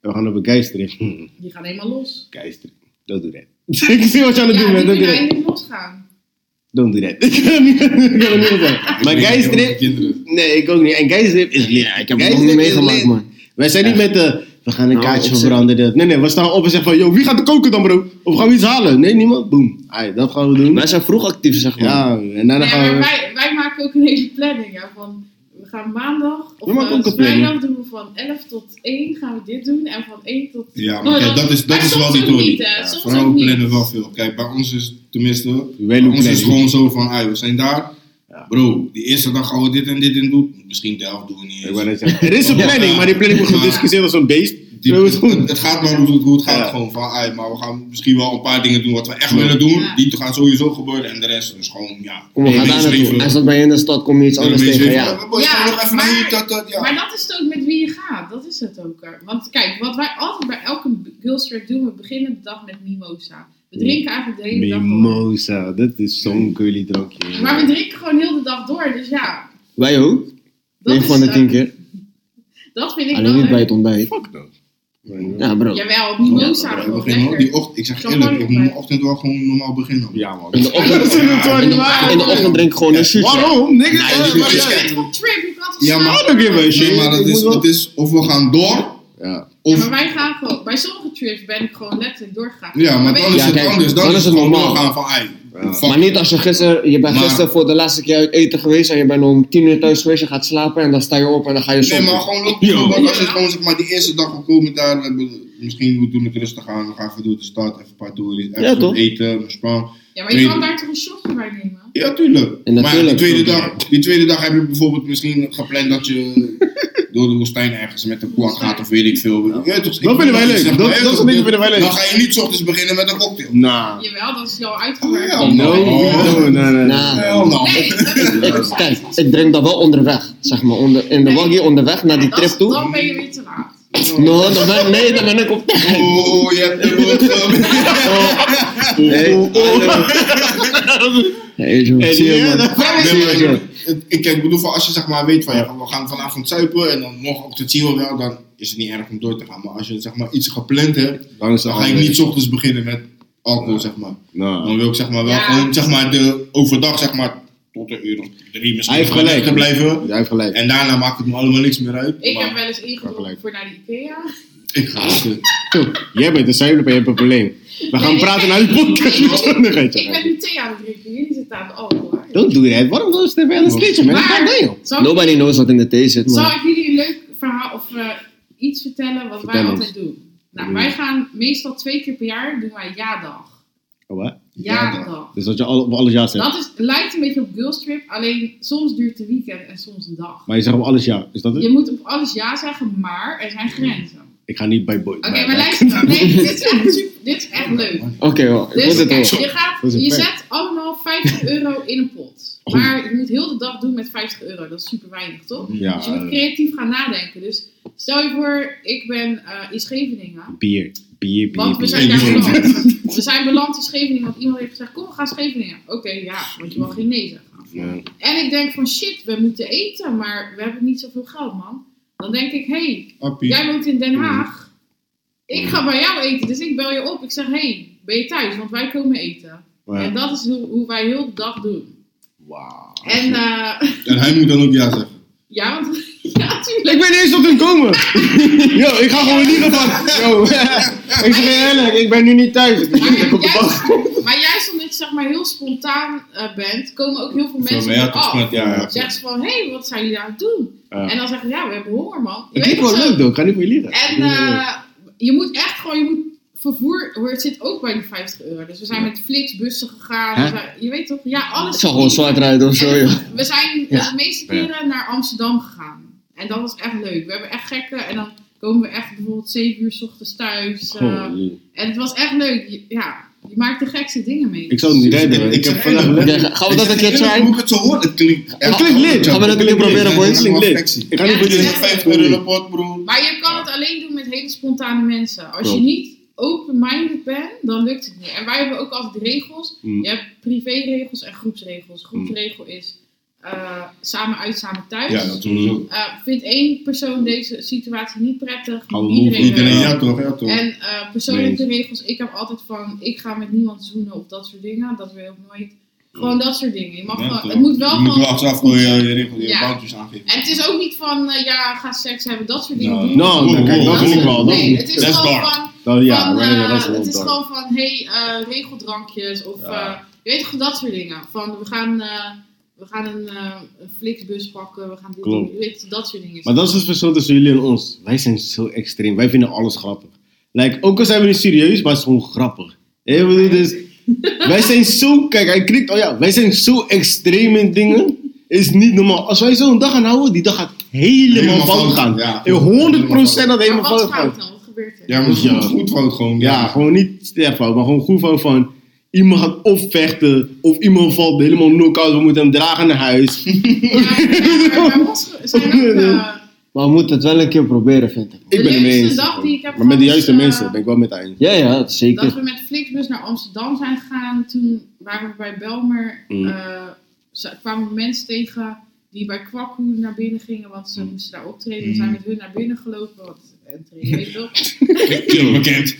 en We gaan op een geistrip. Hm,
Die gaan helemaal los.
Geistrip. Don't do that. Ik zie wat je aan
Ja,
het doen
die
bent.
kunnen
Don't do that.
eindelijk losgaan.
Don't do that. Ik kan het niet- ik kan het niet meer zeggen. Maar
Kinderen,
geistrip...
Kinderen.
Nee, ik ook niet. En geistrip is lit.
Ik heb het nog niet meegemaakt, man.
Wij zijn niet met de... We gaan een
Nou,
kaartje
op zich-
veranderen. Nee, nee. We staan op en zeggen van... Yo, wie gaat er koken dan, bro? Of gaan we iets halen? Nee, niemand? Boom. Allee, dat gaan we doen.
Wij zijn vroeg actief, zeg maar.
Ja, en daarna
Nee,
gaan
maar
we...
wij, wij maken ook een hele planning. Ja, van, we gaan maandag
We
of
maken
eh,
ook een
vrijdag doen we van 11 tot 1 gaan we dit doen. En van 1 tot...
Ja, maar kijk, dat is, dat
Oh, Maar
is
soms
wel die
ook
tory.
niet, hè, soms
vrouwen
ook niet.
oh, plannen wel veel. Kijk, bij ons is tenminste, bij
Wel
ons is
planning.
gewoon zo van, ah, we zijn daar. Bro, die eerste dag gaan we dit en dit en doen. Misschien de helft doen we niet
Ik wou
eens.
net zeggen, Er is een planning, maar die planning wordt gediscussieerd als een beest.
Die-
Dat is goed.
het, het gaat maar om hoe het- hoe het gaat.
Ja.
Gewoon van, ah, maar we gaan misschien wel een paar dingen doen wat we echt willen doen.
Ja.
Die gaan sowieso gebeuren en de rest is gewoon, ja.
Kom, we gaan daar naartoe. Als dat bij je in de stad kom je iets anders tegen. Ja.
Ja, nog even
maar-
hier, dat, dat, ja.
Maar dat is het ook met wie je gaat. Dat is het ook. er. Want kijk, wat wij altijd bij elke girlstrip doen, we beginnen de dag met mimosa. We drinken eigenlijk de hele dag door.
Mimosa, dat is zo'n curly drankje.
Maar we drinken gewoon heel de dag door. Dus ja,
Wij ook.
dat,
Nee,
is,
gewoon de
eh,
tien keer.
dat vind ik
Alleen
wel
niet bij
leuk.
het ontbijt. Ja, bro.
Jawel, mimosa.
Ja,
gewoon
we beginnen,
lekker.
die ochtend, ik zeg
Zo'n
eerlijk,
mooie
ik moet mijn
ontbijt.
ochtend wel gewoon normaal beginnen.
Ja, man.
In de ochtend,
Dat is een
Ja,
twaalf
in de,
jaar.
in de ochtend drink ik gewoon een shootje.
Waarom? Niks.
Nee,
Ja,
dit
maar
Je
is-
ja.
bent op trip, je kan toch
Ja, maar-
slapen?
I don't give a shit.
Nee, maar dat is, dat is of we gaan door,
Ja.
Ja,
of...
maar wij gaan gewoon, bij sommige trips ben ik gewoon letterlijk doorgegaan.
Ja, maar
weet
dan
je-
is
Ja,
het
kijk,
anders. Dan,
dan
is
is
het
het
gewoon
normaal.
doorgaan van, ei,
Ja.
fuck.
Maar niet als je gisteren, je bent
Maar-
gisteren voor de laatste keer uit eten geweest en je bent om tien uur thuis geweest, je gaat slapen en dan sta je op en dan ga je
Nee,
soms.
maar gewoon lopen.
Ja.
Want als je gewoon zeg maar die eerste dag we komen daar, we hebben- misschien we doen het rustig aan, we gaan even door de stad, even een paar toeries, even
Ja, toch?
eten, ontspannen.
Ja, maar je
Nee.
kan daar toch een shotje bij nemen?
Ja, tuurlijk.
Ja,
maar die
natuurlijk.
tweede, dag, die tweede dag heb je bijvoorbeeld misschien gepland dat je door de woestijn ergens met een kwak gaat of weet ik veel. Ja. toch, ik
Dat vinden wij
zeg
leuk.
maar,
Dat-
ja,
dat
toch,
soort dingen vinden wij leuk.
Dan ga je niet 's ochtends beginnen met een cocktail.
Nou.
Jawel, dat is jou
Oh,
uitgewerkt.
ja,
No, no, no, no, no.
Nou.
Hell no.
Nee, dat
Ik, kijk, ik drink dat wel onderweg, zeg maar, onder, in de
Nee.
waggie onderweg naar die
dat
trip
is-
toe.
Dan ben je weer te laat.
No, dan ben, nee, dan ben ik op tijd.
Oh, je hebt de woord
Nee.
Oh, oh.
Hey, joh,
En
zie je,
die-
man.
dat vraag ik
Nee, maar
me zo.
ik- het- ik, ik bedoel, van als je zeg maar weet van ja, we gaan vanavond zuipen en dan morgenochtend zien we wel, dan is het niet erg om door te gaan. Maar als je zeg maar iets gepland hebt,
Dan is het
dan ga je
anders.
niet 's ochtends beginnen met alcohol, zeg maar.
Nou.
Dan wil ik zeg maar wel
Ja.
gewoon zeg maar de overdag zeg maar tot een uur of drie misschien
Hij heeft
gewoon
gelijk.
lekker blijven.
Jij hebt gelijk.
En daarna maakt het me allemaal niks meer uit.
Ik
maar
heb wel eens
gelijk.
ingedronken voor naar de Ikea.
ik ga het.
Zo, Jij bent een zuilen en je hebt een probleem. We gaan
Nee,
praten
ik-
naar die podcast met
Ik ben
zondigheid.
nu thee aan het drinken, jullie zitten aan de alcohol.
Don't do that. Waarom wil je aan een slitje, man?
Maar-
God damn.
Zal,
Nobody knows wat in de thee zit,
zal
man.
ik jullie een leuk verhaal of eh, iets vertellen wat
Vertel
wij
ons.
altijd doen? Nou,
Mm.
wij gaan meestal twee keer per jaar doen wij ja-dag.
Oh, wat?
Ja-dag.
Dus dat je al, op alles ja zegt.
Dat is, lijkt een beetje op girlstrip, alleen soms duurt de weekend en soms een dag.
Maar je zegt op alles ja. Is dat het?
Je moet op alles ja zeggen, maar er zijn grenzen.
Ik ga niet bij boy.
Oké, maar luister dan. Nee, dit is echt, super- dit is echt leuk.
Oké, hoor, ik
Dus
moet het
kijk,
horen.
je, gaat,
Dat is een
je
prank.
zet allemaal 50 euro in een pot. Maar je moet heel de dag doen met 50 euro. Dat is super weinig, toch?
Ja,
Dus je moet creatief gaan nadenken. Dus stel je voor, ik ben eh, in Scheveningen.
bier. Bier, bier,
Want we
bier.
zijn daar beland. We zijn beland in Scheveningen, want iemand heeft gezegd, kom we gaan Scheveningen. Oké, ja, want je mag geen nee zeggen.
Ja.
En ik denk van shit, we moeten eten, maar we hebben niet zoveel geld, man. Dan denk ik, hé, hey,
Appie.
jij woont in Den
Mm.
Haag. Ik ga bij jou eten, dus ik bel je op. Ik zeg, hé, hey, ben je thuis? Want wij komen eten.
Maar-
En dat is hoe, hoe wij heel de dag doen.
Wauw.
En eh,
En hij moet dan ook ja zeggen.
ja, want ja, tuurlijk.
Ik ben eerst op hun komen. Yo, ik ga gewoon liegen van. Yo. ik zeg je eerlijk, ik ben nu niet thuis. Ik ben
Maar
op de bank.
juist, maar juist omdat je zeg maar, heel spontaan eh, bent, komen ook heel veel
Zo,
mensen op
maar ja,
je
toch
af.
spannend, ja, ja.
Zeggen ze van, hé, hey, wat zijn jullie aan het doen?
Ja.
En dan zeggen ze, ja, we hebben honger, man. Je
Ik
weet
vind het
toch
wel
zo?
leuk, doe. Ik ga niet voor je liegen.
En eh, je moet echt gewoon, je moet vervoer, hoor, het zit ook bij die 50 euro. Dus we zijn met Flixbussen gegaan.
Hè?
we zijn- je weet toch, ja, alles.
Ik zal gewoon zwart rijden of zo, joh.
We zijn dus
Ja.
de meeste keren naar Amsterdam gegaan. En dat was echt leuk. We hebben echt gekke. En dan komen we echt bijvoorbeeld 7 uur 's ochtends thuis. eh,
Goh, jee.
en het was echt leuk. Je- Ja, je maakt de gekste dingen mee.
ik zou het niet redden. hoor. Ik heb vandaag
Oké,
gelegd.
Oké, gaan we dat een keer
Eerlijk,
try?
Hoe ik het zo hoor, het klinkt...
Het klinkt lit.
Gaan we dat een keer proberen,
Het
boys?
klinkt
Ja,
lit.
flexie.
Ik ga niet voor je
Ja,
liegen.
50 euro in de pot, bro.
Maar je kan het alleen doen met hele spontane mensen. Als je
Klopt.
niet open-minded bent, dan lukt het niet. En wij hebben ook altijd regels.
Mm.
Je hebt privéregels en
Mm.
groepsregels. Groepsregel is eh, samen uit, samen thuis.
Ja, dat sowieso.
Eh, vindt één persoon deze situatie niet prettig?
Gaan we
moet
move,
Iedereen,
wel.
ja toch, ja toch.
En eh, persoonlijke regels, ik heb altijd van, ik ga met niemand zoenen of dat soort dingen. Dat wil ik nooit. Gewoon dat soort dingen. Je mag
Ja,
gewoon,
toch.
het moet wel
Je moet
gewoon...
wel achteraf gewoon je, je regel, je
Ja.
boundaries aangeven.
En het is ook niet van, eh, ja, ga seks hebben, dat soort dingen.
Nou,
doen.
Nou,
Wow,
nou, kijk,
wow,
dat vind ik wel. Dat
nee,
vind
het
ik-
is
That's
gewoon
dark.
van,
dat- Ja,
van,
maar
eh,
dat is wel
het is
dark.
gewoon van, hé, hey, eh, regeldrankjes of
Ja.
eh, je weet toch dat soort dingen. Van, we gaan, eh, we gaan een, eh, een flixbus pakken, we gaan dit
Klopt.
doen, je weet dat soort dingen.
Maar dat is het verschil tussen jullie en ons. Wij zijn zo extreem. Wij vinden alles grappig. Like, ook al zijn we niet serieus, maar het is gewoon grappig. Hé, ik bedoel, dus, wij zijn zo... Kijk, hij knikt. Oh ja, wij zijn zo extreem in dingen. Is niet normaal. Als wij zo'n dag gaan houden, die dag gaat helemaal,
Helemaal
fout
fout,
gaan.
ja.
In 100% dat het helemaal
maar wat
fout
fout
gaat.
dan? Wat gebeurt er?
Ja, maar het is
Ja.
goed, goed fout gewoon.
Ja, gewoon niet sterk fout, maar gewoon goed fout van... Iemand gaat of vechten, of iemand valt helemaal knock-out. We moeten hem dragen naar huis.
Ja, maar bij ons zijn ook... eh,
Maar we moeten het wel een keer proberen, vind ik.
Ik ben het mee
leukste
eens.
dag die ik heb
Maar met de
gehad is,
juiste
eh,
mensen ben ik wel met haar eens.
Ja, ja, dat
Dat
zeker.
we met Flixbus naar Amsterdam zijn gegaan. Toen waren we bij Belmer.
Mm.
eh, ze- kwamen we mensen tegen die bij Kwakkoe naar binnen gingen. Want
Mm.
ze moesten daar optreden. We zijn met hun naar binnen gelopen. Want en trainen, weet je toch?
Chill, bekend.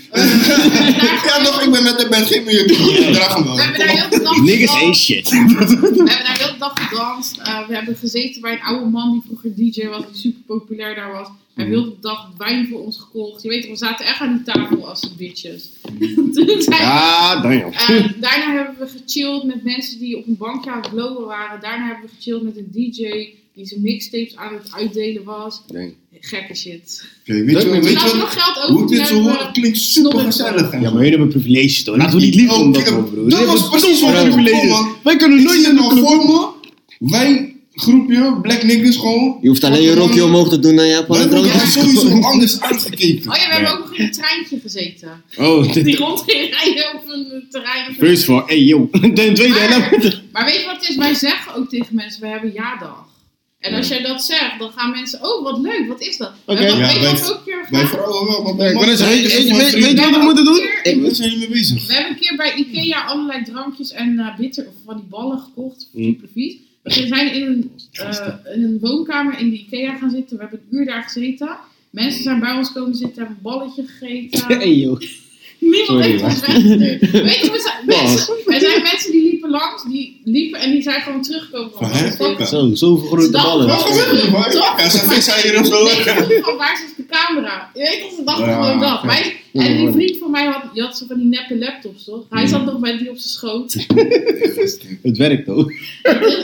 Ja toch, ik ben met de band, geef me je Ik draag hem wel.
We hebben daar heel de dag
Niggas ain't
gedanst.
shit.
We hebben daar heel de dag gedanst. Eh, we hebben gezeten bij een oude man die vroeger DJ was. Die super populair daar was. Hij heeft heel de dag wijn voor ons gekocht. Je weet toch, we zaten echt aan die tafel als de bitches. Toen zijn
Ja, Daniel.
Eh, daarna hebben we gechilled met mensen die op een bankje aan het blowen waren. Daarna hebben we gechilled met een DJ die zijn mixtapes aan het uitdelen was.
Nee.
Gekke shit. Dus
Oké, weet je wat,
We
weet
hadden
je
nog geld
wat?
over.
Hoe ik
toen
dit zo
hebben
hoor,
we-
het klinkt super gezellig. Oh,
Ja, maar jullie hebben privileges toch? Laten we niet liegen om dat
Oké,
gewoon, broer.
dat
Jullie
was
hebben
precies
toch
wat ik
privileges.
bedoel, man.
Wij kunnen
Ik
nooit
zie het
in de
nog
club.
voor me. Wij, groepje, black niggas gewoon.
Je hoeft alleen je rokje omhoog te doen en je hebt al
Wij
een
worden
drankje.
sowieso anders aangekeken.
Oh ja, we hebben ook nog in een treintje gezeten.
Oh, dit-
Die rond ging rijden op een terrein.
first of all, hey yo. Ten tweede,
Maar-
en
Maar weet je wat het is? Wij zeggen ook tegen mensen, we hebben ja-dag. En als jij dat zegt, dan gaan mensen, oh wat leuk, wat is dat?
Oké.
En dat
Ja,
weet je
wij-
wat we ook een keer
Wij
gedaan?
vrouwen wel, want
ik wou net zeggen, weet- weet- weet- weet-
We
je wat we
hebben
moeten
ook
doen?
een keer-
Waar zijn jullie mee bezig?
We hebben een keer bij Ikea allerlei drankjes en eh, bitter of van die ballen gekocht.
Mm.
Super vies. We zijn in een, eh, in een woonkamer in de Ikea gaan zitten. We hebben een uur daar gezeten. Mensen zijn bij ons komen zitten, hebben een balletje gegeten.
Hey, joh.
Niemand
Sorry,
heeft ons weggestuurd. Weet je, we zijn,
Oh.
mensen, er zijn mensen die liepen langs, die liepen en die zijn gewoon teruggekomen.
Van,
Van
hè,
waar is dit?
fuck.
Zo, zoveel grote
Ze dachten,
ballen.
wat gebeurt hier?
Waar-
Toch?
Ja, ze
Maar-
vissen hier of zo.
Nee, ze dachten van, waar is de camera? Je weet toch, ze dachten
Ja.
gewoon dat. Wij- en die
Ja.
vriend van mij had, die had zo van die neppe laptops, toch? Hij zat nog bij die op zijn schoot.
Het werkt ook.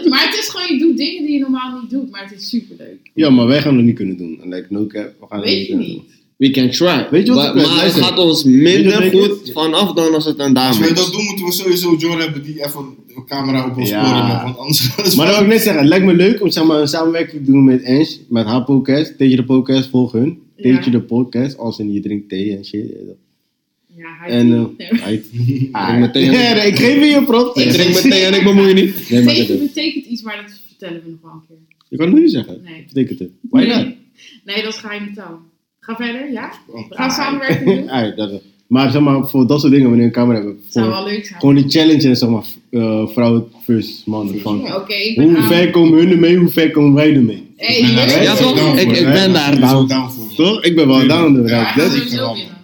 maar het is gewoon, je doet dingen die je normaal niet doet, maar het is superleuk.
Ja, maar wij gaan het niet kunnen doen. En Like, no cap, we gaan het
Weet je
kunnen
niet.
We can try.
Weet je wat ik
maar,
ben?
maar het
Luister.
gaat ons
Weet je
minder
wat ik
goed vanaf dan als het een
Als
dame
wij
is.
dat doen, moeten we sowieso John hebben die even de camera op ons
Ja.
sporen nog, want anders gaat het
doen. Maar dat wil ik net zeggen, het lijkt me leuk om zeg maar, een samenwerking te doen met Ange, met haar podcast. Teetje de podcast, volg hun.
Ja.
Teetje de podcast, als in je drinkt thee en shit.
Ja, hij
En, eh,
Nee,
hij-
drink mijn thee en-
Ja, nee, ik geef je een prop.
Ik drink meteen en ik bemoei niet.
Nee, maar dat
Tegen
is-
betekent iets, maar dat vertellen we nog wel een keer.
Je kan het nu zeggen.
Nee.
Dat betekent het. Why not?
Nee, nee dat is geheime taal. Ga verder, ja?
Oh,
We gaan samenwerken doen.
Ai, dat is- maar zeg maar, voor dat soort dingen, wanneer we een camera hebben.
Mhm. zou
voor-
wel leuk zijn.
gewoon die challenge en zeg maar, eh, vrouwen versus mannen. Van,
Oké, ik ben
hoe
aan.
ver komen hun ermee, hoe ver komen wij ermee?
Hey,
Ik ben
leuk.
daar
Ja,
wel
toch?
down
Ik-
voor,
ik
hè?
ben daar
Ik zo
down.
down voor.
Toch? Ik ben wel down
Ja,
inderdaad.
hij gaat
Dat
er
is...
zo
wel.
binnen.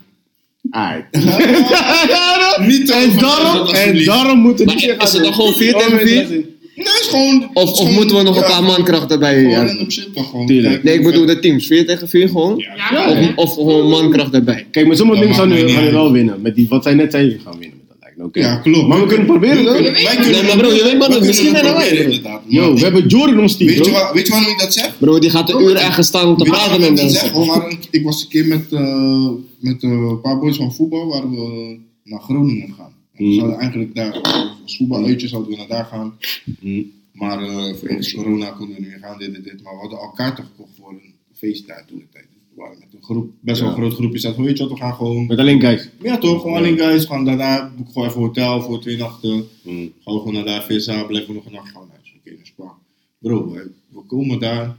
Ai.
Niet
En
te overtuigen,
daarom, en
alsjeblieft.
daarom moeten Oh,
Maar is het dan gewoon 4 tegen 4?
Nee, is gewoon.
Of, of moeten we nog een paar mankrachten bij je?
Ja,
Ja.
random shit dan gewoon.
Tuurlijk.
Kijk,
Nee, ik
hoe
bedoel de teams. 4 tegen 4 gewoon.
ver-
Ja,
Ja,
hè?
Of, of gewoon mankracht erbij.
Kijk, met sommige
Dat
dingen zou
maakt
nu
mij
gaan
niet
we
uit.
wel winnen. Met die, wat zij net zei, we gaan winnen. met dat lijkt me, oké.
Ja, klopt.
Maar we kunnen het proberen,
We
hoor.
kunnen- wij kunnen-
Nee, maar bro, je weet maar
we
niet. Misschien
kunnen het
zijn er
proberen,
wij.
inderdaad. Maar
Yo, we hebben Jordan ons team,
Weet je,
bro.
waar, weet je waarom ik dat zeg?
Bro, die gaat een uur ergens staan om te
Weet je
praten
waarom
met
ik dat
mensen.
zeg? We waren- Ik was een keer met, eh, met eh, een paar boys van voetbal waar we naar Groningen gaan. En we
Mm.
zouden eigenlijk daar, als voetbaluitje zouden we naar daar gaan.
Mm.
Maar eh vanwege corona konden we niet meer gaan, dit en dit. Maar we hadden al kaarten gekocht voor een feest daar toen de tijd. Dus we waren met een groep, best wel een groot groepje. Zat, weet je wat, we gaan gewoon
Met alleen guys.
Ja toch, gewoon
Ja.
alleen guys. Gewoon daarna boek gewoon even hotel voor twee nachten.
Mm.
Gaan we gewoon naar daar vissen, blijven we nog een nacht gaan. Nou, is Oké, dat is prima. Bro, we, we komen daar.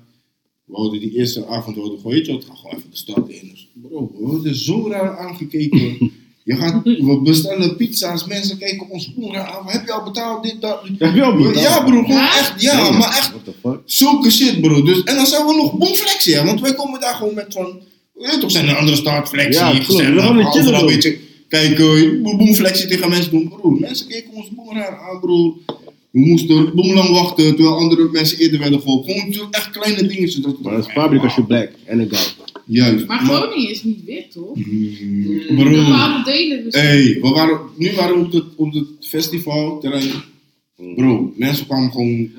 We hadden die eerste avond, we hadden gewoon, weet je wat, gaan gewoon even de stad in. Dus, bro, we worden zo raar aangekeken. Je gaat, we bestellen pizza's, mensen kijken ons gewoon raar aan. Heb je al betaald dit, dat?
Ja, wel, bro.
Ja bro, gewoon
Ja?
echt, ja, maar echt
What the fuck?
Zulke shit, bro. Dus, en dan zijn we nog bomflexie, hè? Want wij komen daar gewoon met van. Je weet toch, zijn er andere startflexie.
Ja, klopt.
gezellig,
We gaan het chillen,
overal
bro.
een beetje. Kijk, eh, bo- bomflexie tegen mensen doen, bro. Mensen keken ons boem raar aan, bro. We moesten boem lang wachten, terwijl andere mensen eerder werden geholpen. Gewoon zo echt kleine dingetjes. Dat
Maar dat is public als je black en een guy.
Juist.
Maar Groningen is niet wit, toch?
Mm, Eh,
De
Bro.
bepaalde delen dus- misschien.
Hey, we waren, nu waren we op het, op het festivalterrein. Bro, mensen kwamen gewoon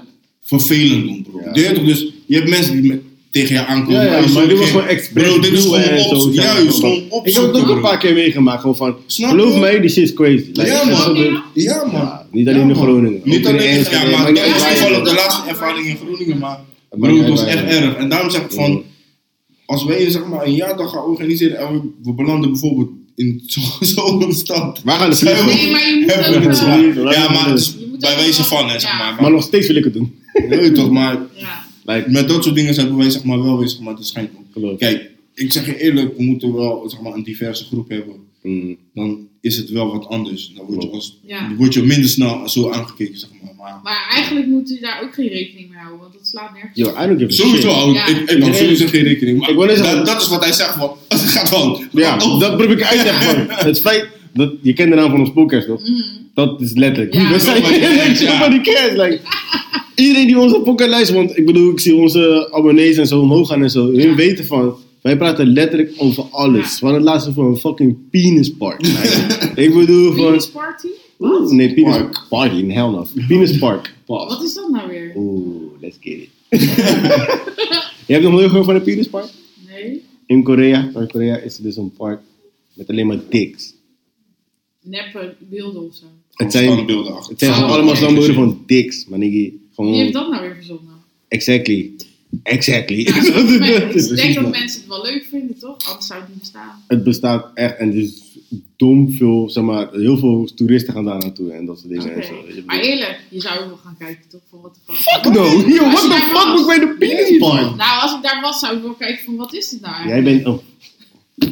vervelend doen, bro.
Ja.
Je weet toch, dus je hebt mensen die met, tegen je aankomen.
Ja, ja,
Hey,
maar
zo,
dit was
geen-
gewoon expres.
Bro, dit is
doen en
gewoon
zo,
op,
zeg maar.
juist, gewoon op.
Ik heb het ook een paar keer meegemaakt. Gewoon van,
Snap
geloof
je?
mij, die shit is crazy. Like,
Ja,
dat
man.
gebeurt-
Ja, man.
Ja, niet alleen in
Ja, man.
Groningen.
Niet
ook in
alleen in
Enschede,
Groningen,
maakt
maar
niet
dat was
uit waar je
toevallig
bent.
de laatste ervaring in Groningen, maar
Het maakt
bro,
niet
het
uit
was
waar je
echt
bent.
erg. En daarom zeg ik van, als wij zeg maar een jaardag gaan organiseren en we, we belanden bijvoorbeeld in zo- zo'n stad.
Wij gaan de
Zijn
vliegen.
Nee,
we-
maar je moet
Hebben we
ook,
het
eh,
zwaar.
je moet
Ja,
ook
maar het is
wel-
bij wijze van, hè, zeg
Ja.
maar.
Maar nog steeds wil ik het doen.
Maar- Weet je toch, maar
Ja.
Like,
met dat soort dingen zijn wij zeg maar wel weer zeg maar, de schijn op.
geloof.
Kijk, ik zeg je eerlijk, we moeten wel zeg maar, een diverse groep hebben.
Mm.
Dan is het wel wat anders. Dan word je, als,
Ja.
word je minder snel zo aangekeken, zeg maar. maar
Maar eigenlijk moet je daar ook geen rekening mee houden, want dat slaat nergens
Yo, I
op.
don't give a
sowieso,
shit.
hou ik-
Ja.
ik, ik hou sowieso geen rekening. Maar
Ik wou net zeggen-
dat, dat is wat hij zegt, want het gaat fout.
Ja,
Oh,
dat probeer ik uit te leggen. man. Het feit dat je kent de naam van ons podcast toch?
Mm.
Dat is letterlijk.
Ja.
We zijn
Nobody cares, ja.
nobody cares. Like, iedereen die onze podcast luistert, want ik bedoel, ik zie onze abonnees en zo omhoog gaan en zo. Hun
Ja.
weten van, wij praten letterlijk over alles. Van het laatste voor een fucking penispark. Like, ik bedoel van,
Venus Party?
nee, penis party, hell no. Penis park.
Wat is dat nou weer?
Oeh, let's get it. je hebt nog nooit gehoord van een penispark?
Nee.
In Korea, Noord-Korea, is er dus een park met alleen maar dicks.
Neppe beelden of zo.
Het
Gewoon
zijn,
beelden achter.
het zijn
Oh,
allemaal
oké.
standbeelden van dicks, maar
Wie heeft
Gewoon,
dat nou weer verzonnen?
exactly. Exactly.
Ja,
Dat is- dat is
ik denk
precies
dat
dat.
mensen het wel leuk vinden, toch? Anders zou het niet bestaan.
Het bestaat echt en dus dom veel, zeg maar, heel veel toeristen gaan daar naartoe en dat soort dingen en
Oké.
zo. Je
Maar
bedoelt-
eerlijk, je zou ook wel gaan kijken, toch? Van wat de fuck.
Fuck no, yo,
Als
what
je
the
daar
fuck
was-
moet bij de penis park?
Nou, als ik daar was, zou ik wel kijken van wat is het nou
Jij
eigenlijk?
bent, oh,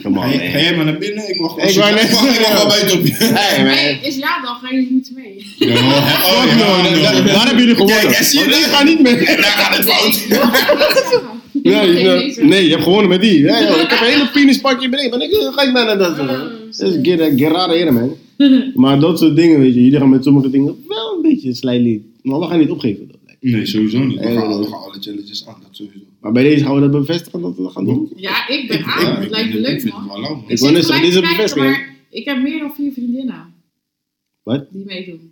come
Ga
on
jij- ga
man.
jij maar naar binnen? Ik mag
Ik wou net
ik mag wel buiten op je.
Hey man.
Nee, is ja dan, ga je moeten mee.
Ja, oh,
Fuck
ja,
no,
ja,
daar- daar-
ja.
daar hebben jullie gewonnen.
Kijk, en zie je
Want ik
dat?
ga niet mee.
Daar gaat het fout.
Ik wil het niet zeggen. Ik wil
Nee,
geen
nee,
lezer.
nee, je hebt gewonnen met die. Ja, joh, ik heb een hele penispakje beneden. Maar ik eh, ga ik naar dat.
Oh,
Dus get, eh, get out of here, man. maar dat soort dingen, weet je. Jullie gaan met sommige dingen wel een beetje slijtly. Maar we gaan niet opgeven. Dat lijkt me.
Nee, sowieso niet. We
Nee,
gaan,
nee.
we gaan alle challenges aan, dat sowieso.
maar bij deze gaan we dat bevestigen dat we dat gaan doen.
Ja, ik ben
Ja,
aan. Het lijkt me
ik
leuk,
vind
man.
het wel lauw, man.
Ik wou net zeggen, dit is een
Gelijk kijken,
bevestiging.
maar Ik heb meer dan vier vriendinnen.
Wat?
Die meedoen.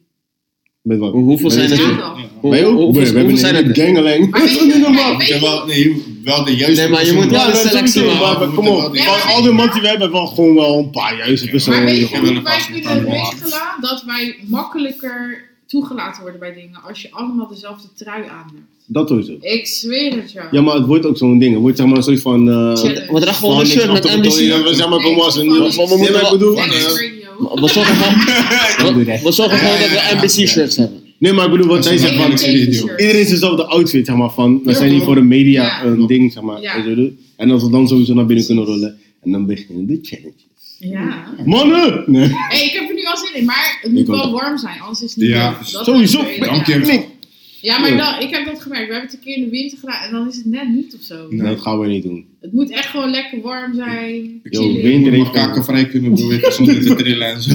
Met wat?
Hoe- hoeveel
Met-
zijn
Ja,
er?
Wij
dan.
Ja.
ook?
Hoe-
Wij ook?
hoe-
We hebben
hoeveel
een
zijn
hele
er?
gangelang.
Maar
Dat
weet
is
je-
niet normaal.
kijk,
Je hebt
weet
wel, nee, wel de juiste
Nee, maar je
persoon.
moet wel-
Ja, dat
een
is
selectie
sowieso,
maken.
maar kom op.
Ja,
maar-
Van al die mensen, we hebben wel gewoon wel een paar juiste
Maar
personen.
weet
Ik
je
wil
hoe
een
wij
pas met
kunnen
een hand.
regelen dat wij makkelijker toegelaten worden bij dingen als je allemaal dezelfde trui aan hebt?
Dat sowieso.
Ik zweer het jou.
Ja, maar het wordt ook zo'n ding. Het wordt zeg maar een soort van... eh,
Challenge.
We dragen gewoon een shirt met
Ja,
NBC.
we zeg maar,
Nee,
kom als een...
gewoon
Wat we moeten
Nee,
bedoelen.
Net als
eh,
radio.
We zorgen gewoon,
doe dat.
we, we zorgen gewoon dat we NBC shirts hebben.
Nee, maar ik bedoel, wat zij
is
zegt
Ik
van...
heb
ik zie dit,
een
joh.
Iedereen is dezelfde outfit, zeg maar, van... We
Ja,
zijn hier
toch?
voor de media
Ja.
een ding, zeg maar.
Ja.
en zo doen. En als we dan sowieso naar binnen kunnen
Precies.
rollen... En dan beginnen de challenges.
Ja.
Mannen! Nee.
Hey, ik heb er nu al zin in, maar het moet
Ik ook.
wel warm zijn, anders is het niet
Ja,
leuk. Dat
Sowieso.
is het
Dank
tweede,
je.
ja. Ja, maar
Ja.
dan, ik heb dat gemerkt. We hebben het een keer in de winter gedaan en dan is het net niet of zo.
Nee.
Dat gaan we niet doen.
Het moet echt gewoon lekker warm zijn.
Yo,
chillen.
winter
Je moet
heeft...
kaken vrij kunnen bewegen zonder te trillen en zo.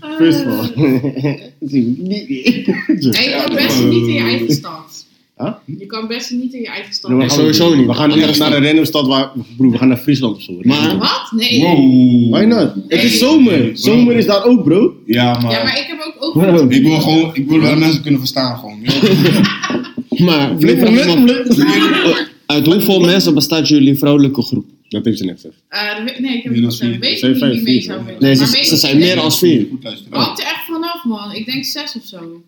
Ah.
First of all.
En je kan
Ja,
best
eh,
niet in je eigen stad.
Huh?
Je kan best niet in je eigen stad.
Nee,
maar- sowieso niet.
We gaan ergens naar een random stad waar... Broer, we gaan naar Friesland of zo.
Maar-
Wat? Nee.
Wow.
Why not? Het is zomer. Zomer is daar ook, bro.
Ja, maar...
Ja, maar ik heb ook... Eh, ook
Bro.
Ik wil gewoon, ik wil wel mensen kunnen verstaan gewoon. joh.
Maar
Flip,
vraag me
flip,
af,
flip.
uit hoeveel mensen bestaat jullie vrouwelijke groep?
Dat heeft ze net gezegd.
Eh, de- nee, ik heb
Meer dan
niet
vier.
gezegd. Weet
Zijn
ik niet
vijf,
wie mee
vier,
zou
hè?
willen.
Nee, ze,
Maar weet
ze
ik-
zijn meer dan vier.
Goed luisteren.
Hangt er echt vanaf, man. Ik denk zes of zo.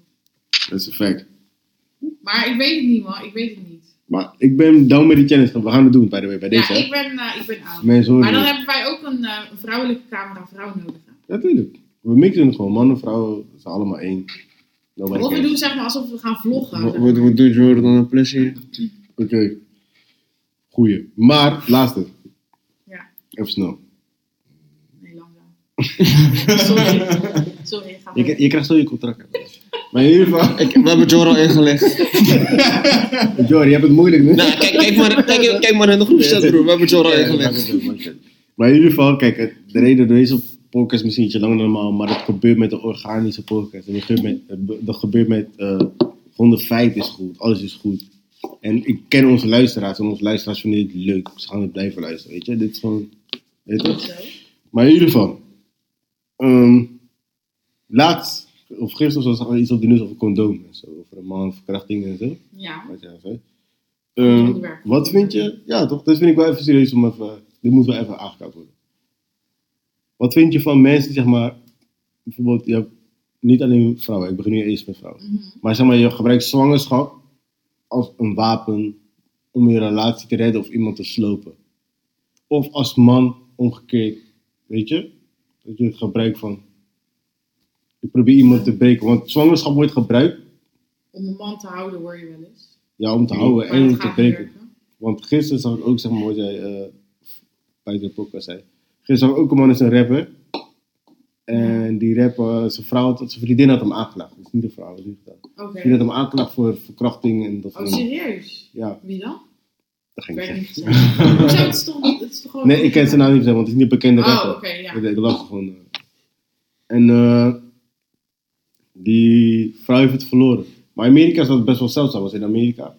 Dat is een fact.
Maar ik weet het niet, man. Ik weet het niet.
Maar ik ben down met die challenge. We gaan het doen, by the way, bij deze.
ja,
hè.
ik ben, eh, ik ben oud.
Mensen horen
Maar dan
het.
hebben wij ook een eh, een vrouwelijke camera-vrouw nodig. hè.
Natuurlijk. We mixen het gewoon. Mannen, vrouwen, ze zijn allemaal één. Nou, Nobody
Of we
cares.
doen zeg maar alsof we gaan vloggen.
Wat, wat, wat doet Jordan een plezier?
Oké. Goeie. Maar, laatste.
Ja.
Even snel.
Nee, langzaam. Sorry. Sorry, ik ga
Je,
verder.
je krijgt zo je contract. maar in ieder geval...
Ik, we hebben Jordan ingelegd.
Jory, je hebt het moeilijk nu.
Nou, kijk, kijk, maar, kijk, kijk maar in de groepchat, broer. We hebben Jordan
Ja, dat
ingelegd.
maakt het wel, maakt het wel. Maar in ieder geval, kijk, het- de reden door deze podcast misschien ietsje langer dan normaal, maar dat gebeurt met de organische podcast. En dat gebeurt met, het be- dat gebeurt met eh, gewoon de vibe is goed, alles is goed. En ik ken onze luisteraars en onze luisteraars vinden dit leuk. Ze gaan het blijven luisteren, weet je. Dit is gewoon, weet je toch?
Zo.
Maar in ieder geval, ehm, laatst, of gisteren was er iets op de nieuws over condoom en zo, over een man, verkrachting en zo.
Ja.
Wat jij zei. Eh,
Onderwerp.
wat vind je? Ja, toch? Dat vind ik wel even serieus om even. Dit moet wel even aangekaart worden. Wat vind je van mensen die zeg maar. Bijvoorbeeld, je hebt niet alleen vrouwen, ik begin nu eerst met vrouwen.
Mhm.
Maar zeg maar, je gebruikt zwangerschap als een wapen om je relatie te redden of iemand te slopen. Of als man omgekeerd, weet je? Dat je het gebruik van. Ik probeer iemand te breken, want zwangerschap wordt gebruikt
Om een man te houden hoor je wel eens.
ja, om te houden
Maar
en
dat
om te
gaat niet
breken.
werken.
Want gisteren zag ik ook, zeg maar, wat jij eh, bij de podcast zei. Gisteren zag ik ook een man, is een rapper. En die rapper, zijn vrouw, had- zijn vriendin had hem aangeklaagd. Dus niet de vrouw, dat is niet gedaan.
Oké.
Die had hem aangeklaagd voor verkrachting en dat
Oh,
soort dingen.
serieus?
Ja,
Wie dan?
dat
Ik
ging ik
weet
zeggen.
niet gezegd. Hoezo? Het is toch, het is toch gewoon...
Nee, ik ken nou- zijn naam niet, zeggen, want het is niet een bekende
Oh,
rapper.
oké, ja.
Ik, ik las gewoon. eh. En eh, die vrouw heeft het verloren. Maar in Amerika is dat best wel zeldzaam, was in Amerika.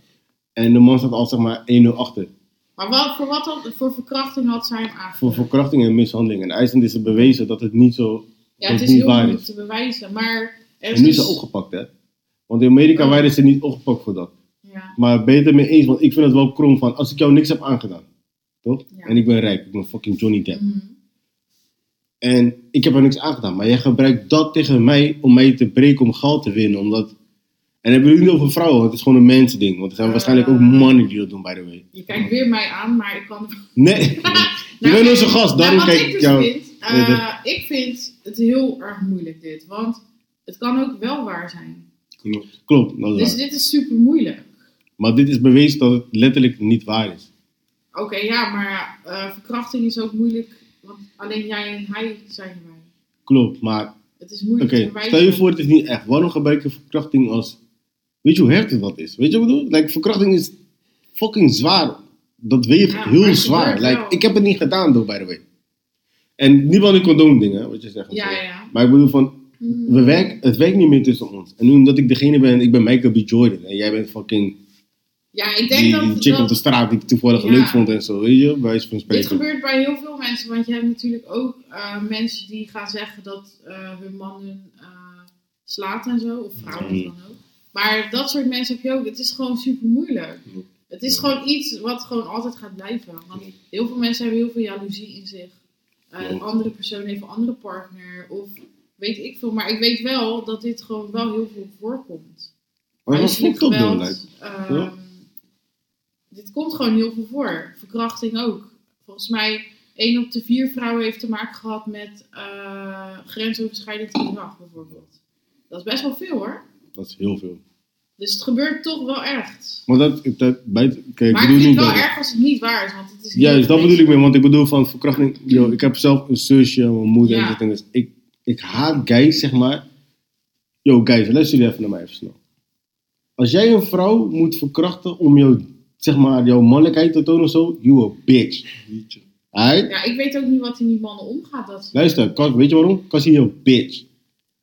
En de man staat al zeg maar 1-0 achter.
Maar wat, voor wat had, voor verkrachting had zij hem aangeklaagd?
voor verkrachting en mishandeling. En IJsland is er bewezen dat het niet zo,
Ja,
dat
het
het
is
niet
heel
waar
moeilijk
is.
te bewijzen, maar... Er
En nu is ze opgepakt, hè? Want in Amerika
Ja.
waren ze niet opgepakt voor dat.
Ja,
Maar beter mee eens, want ik vind het wel krom van als ik jou niks heb aangedaan, toch?
Ja.
En ik ben rijk, ik ben fucking Johnny Depp.
mhm.
En ik heb er niks aangedaan, maar jij gebruikt dat tegen mij om mij te breken om geld te winnen. Omdat... En dan hebben we het niet over vrouwen, want het is gewoon een mensending. Want er zijn waarschijnlijk ook
Ah.
mannen die dat doen, by the way.
Je kijkt weer mij aan, maar ik kan...
Nee, je bent onze gast, daarom
nou, wat
kijk
ik
ik
dus
jou.
vind, eh,
Nee,
ik vind het heel erg moeilijk dit, want het kan ook wel waar zijn.
Klopt, dat is
Dus
waar.
dit is super moeilijk.
Maar dit is bewezen dat het letterlijk niet waar is.
Oké, ja, maar eh, verkrachting is ook moeilijk, want alleen jij en hij zijn erbij.
Klopt, maar
Het is moeilijk
Oké,
te bewijzen.
stel je voor, het is niet echt. Waarom gebruik je verkrachting als. Weet je hoe heftig dat is? Weet je wat ik bedoel? Like, verkrachting is fucking zwaar. Dat weegt
Ja, maar
heel
het
zwaar.
gebeurt
Like,
wel.
ik heb het niet gedaan, though, by the way. En niet van die condoomdingen, wat je zegt. en
Ja,
zo.
ja.
Maar ik bedoel van,
Hmm.
we werk, het werkt niet meer tussen ons. En nu omdat ik degene ben, ik ben Michael B. Jordan. En jij bent fucking
Ja, ik denk
die,
dat,
die chick
dat
op de straat die ik toevallig
Ja.
leuk vond en zo. Weet je, bij wijze van
dit
spreken.
gebeurt bij heel veel mensen, want je hebt natuurlijk ook eh, mensen die gaan zeggen dat eh, hun man hun eh, slaat en zo, of vrouwen
Mhm.
dan ook. Maar dat soort mensen heb je ook. Het is gewoon super moeilijk.
Ja.
Het is gewoon iets wat gewoon altijd gaat blijven. Want heel veel mensen hebben heel veel jaloezie in zich. Eh, Een
Ja.
andere persoon heeft een andere partner, of weet ik veel. Maar ik weet wel dat dit gewoon wel heel veel voorkomt.
Maar dat is
Huiselijk
fucked up, though,
geweld,
like.
ehm,
Ja.
Dit komt gewoon heel veel voor. Verkrachting ook. Volgens mij, één op de vier vrouwen heeft te maken gehad met eh, grensoverschrijdend gedrag, bijvoorbeeld. Dat is best wel veel hoor.
Dat is heel veel.
Dus het gebeurt toch wel echt.
Maar dat, dat bij, kijk,
maar
ik bedoel
ik vind
niet
het wel
dat.
erg als het niet waar is, want het is
Juist,
heel
dus dat
vreselijk.
bedoel ik mee, want ik bedoel van verkrachting. Yo, ik heb zelf een zusje, mijn moeder
Ja.
en dat en dat. Ik, ik haat guys, zeg maar. Yo, guys, luister jullie even naar mij even snel. Als jij een vrouw moet verkrachten om jou, zeg maar, jouw mannelijkheid te tonen of zo, you a bitch.
Liedje.
Alright?
Ja, ik weet ook niet wat in die mannen omgaat. Dat ze...
Luister, Kas, weet je waarom? Kas is een bitch.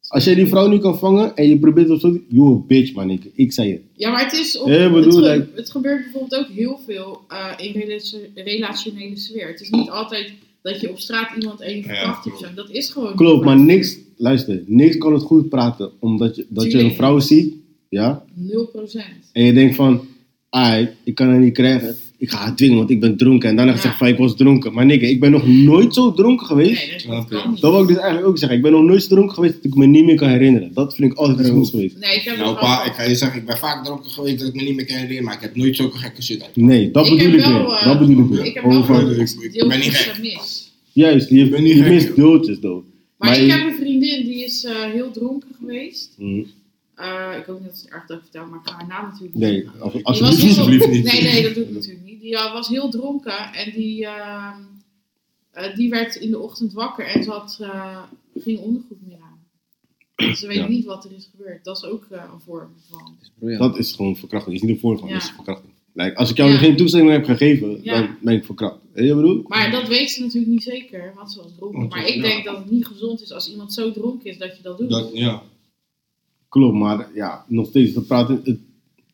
Als jij die vrouw niet kan vangen en je probeert het zo... You a bitch, man. Ik, ik zei het.
Ja, maar het is. Op,
Ja, ik
het,
bedoel,
ge-
like-
het gebeurt bijvoorbeeld ook heel veel eh, in relatie- relationele sfeer. Het is niet altijd dat je op straat iemand en je verkracht of
klopt.
zo. Dat is gewoon.
Klopt, maar niks... Luister, niks kan het goed praten. Omdat je, dat je een
Tuurlijk.
vrouw ziet, ja?
0%.
En je denkt van... Ai, ik kan haar niet krijgen. Ik ga haar dwingen, want ik ben dronken. En daarna
Ja.
gezegd van, ik was dronken. Maar nikke, ik ben nog nooit zo dronken geweest.
Nee, dat, dat
Oké.
kan niet.
Dat wil ik dus eigenlijk ook zeggen. Ik ben nog nooit zo dronken geweest dat ik me niet meer kan herinneren. Dat vind ik altijd
Ja.
goed geweest.
Nee, ik heb
Nou,
nog wel-
pa, ik ga je zeggen, ik ben vaak dronken geweest dat ik me niet meer kan herinneren, maar ik heb nooit zulke gekke shit uit.
Nee, dat
Ik
bedoel
heb
ik
wel,
weer.
eh,
dat bedoel ik weer.
Ik heb wel
Over-
gewoon
Ik- ik ben niet
deeltjes
gek.
gemist.
Juist, je,
Ik ben niet
je
gek,
mist
joh.
deeltjes, dood.
Maar,
Maar
ik
je-
heb een vriendin die is eh, heel dronken geweest.
Mm.
Eh, ik hoop niet dat ze het erg dat ik vertel, maar ik ga haar naam natuurlijk niet
Nee,
zeggen.
als-
Die
alsjeblieft.
was heel-
alsjeblieft niet.
Nee, nee, dat doe ik natuurlijk niet. Die eh, was heel dronken en die, ehm, eh, die werd in de ochtend wakker en ze had eh, geen ondergoed meer aan. Dus ze weet
Ja.
niet wat er is gebeurd. Dat is ook eh, een vorm van.
Briljant.
Dat is gewoon verkrachting. Dat is niet een voorval,
Ja.
dat is verkrachting. Like, als ik jou
Ja.
geen toestemming heb gegeven,
Ja.
dan ben ik verkracht. Weet je wat ik bedoel?
Maar dat weet ze natuurlijk niet zeker, want ze was dronken. Maar ik denk dat het niet gezond is als iemand zo dronken is dat je dat doet.
Dat, ja.
Klopt, maar ja, nog steeds te praten. Het,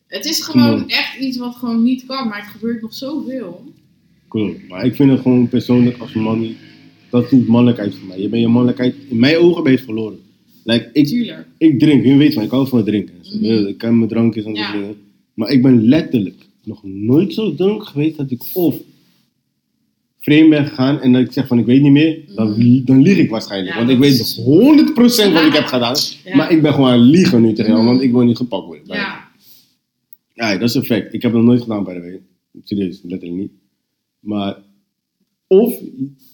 Het is gewoon
Klopt.
echt iets wat gewoon niet kan, maar het gebeurt nog zoveel.
klopt. Maar ik vind het gewoon persoonlijk als man niet. Dat is niet mannelijkheid voor mij. Je bent je mannelijkheid, in mijn ogen ben je het verloren. Like, ik,
Tuurlijk.
ik drink, wie weet van, ik hou van het drinken. Zo,
Mhm.
Ik ken mijn drankjes en dat
Ja.
soort dingen. Maar ik ben letterlijk nog nooit zo dronken geweest dat ik of vreemd ben gegaan en dat ik zeg van ik weet niet meer, dan, li- dan lieg ik waarschijnlijk.
Mhm. Ja,
want ik
dat
weet
is-
100% wat ik heb gedaan,
Ja.
maar ik ben gewoon aan het liegen nu tegen jou,
Mhm.
want ik wil niet gepakt worden.
Ja,
Ja, dat is een fact. Ik heb dat nooit gedaan, by the way. Serieus, letterlijk niet. Maar, of,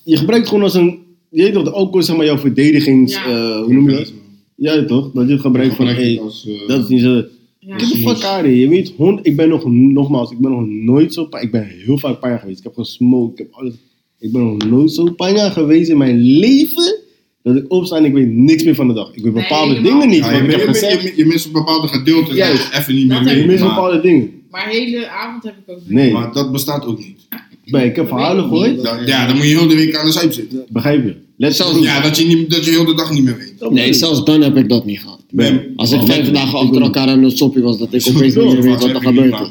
je gebruikt het gewoon als een, je weet toch, de alcohol is zeg maar jouw verdedigings,
Ja.
eh, hoe noem je dat? Ja, toch? Dat je het gebruikt van, hey,
als, eh,
dat is niet zo.
ja.
Get the fuck out of here. Je weet, hond, ik ben nog, nogmaals, ik ben nog nooit zo pijn. Ik ben heel vaak pijn geweest. Ik heb gesmoked, ik heb alles. Ik ben nog nooit zo pijn geweest in mijn leven. Dat ik opsta en ik weet niks meer van de dag. Ik weet
Nee,
bepaalde
helemaal
dingen niet. wat
ja, Nou, je,
ik heb
je,
gezegd.
je, je, mist een bepaalde gedeelte dat
Juist.
je even niet meer
Dat heb
Je
weet.
mist
maar-
bepaalde dingen.
Maar de hele avond heb ik ook niet.
Nee,
Maar dat bestaat ook niet.
maar ik heb verhalen gehoord.
Dat- ja, dan moet je heel de week aan de zuip zitten.
Begrijp je? Let's
Zelfs-
go.
Ja, dat je, niet, dat je heel de dag niet meer weet.
Dat bedoel
Nee,
ik.
zelfs dan heb ik dat niet gehad.
Nee.
Als ik
Oh,
vijf
nee.
dagen achter elkaar aan het soppie was, dat ik opeens niet meer weet wat er gebeurd is.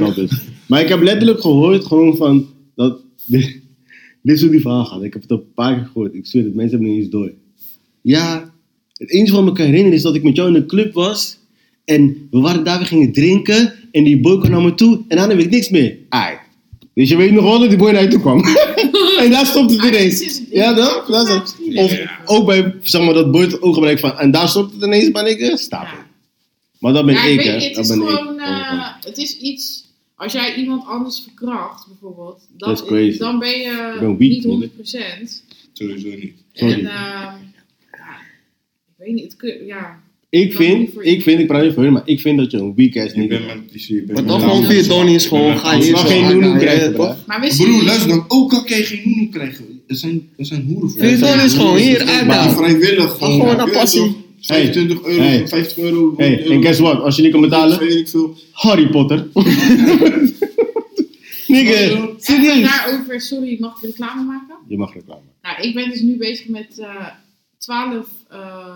Dat is. Maar ik heb letterlijk gehoord gewoon van dat dit, dit is hoe die verhaal gaat. Ik heb het een paar keer gehoord. Ik zweer het, mensen hebben het niet eens door. Ja, het enige wat ik me kan herinneren is dat ik met jou in een club was. En we waren daar, we gingen drinken. En die boy kwam naar me toe. En daarna weet ik niks meer. Ai. Dus je weet nog wel dat die boy naar je toe kwam. en daar stopt het
Ah,
ineens.
dit is het.
ja, toch? Dat is het.
Misschien.
Of ook bij, zeg maar, dat boy het ooggebruik van. En daar stopt het ineens, ben ik. eh, Stapel.
Ja.
Maar dat ben
Ja,
ik,
ik
hè.
weet, het
dat
is
ben ik. Oh,
gewoon, eh, het is iets, als jij iemand anders verkracht bijvoorbeeld, dan,
Dat is crazy.
dan ben je
Ik ben weak,
niet
nigga.
100
Sowieso niet.
Sorry.
En ehm, ja, ik weet niet, het kun, ja.
Ik
Kan niet
vind,
voor
ik
je.
vind, ik praat niet voor hun, maar ik vind dat je een weak ass
Ik
nigga
ben
bent.
met die ik ben
Maar
met-
toch
Ja,
gewoon
man.
vier Tony is gewoon, ga
Als
hier
je
zo
maar geen
hard
noenoe
aan,
krijgt,
ja,
bro.
toch?
Maar wist
Broer,
je,
luister dan. Ook al krijg je noenoe krijgen. Er zijn, er zijn hoeren voor.
Vier Tony is gewoon hier uit
Maar
daar.
vrijwillig.
Gewoon naar
weet je
passie.
toch, 25 euro,
Hey.
50 euro.
Hey,
100
en
euro,
guess what? Als je niet kan betalen,
Weet ik veel.
Harry Potter. Nigga,
even
serieus.
daarover, sorry, mag ik reclame maken?
Je mag reclame.
Nou, ik ben dus nu bezig met eh 12 eh,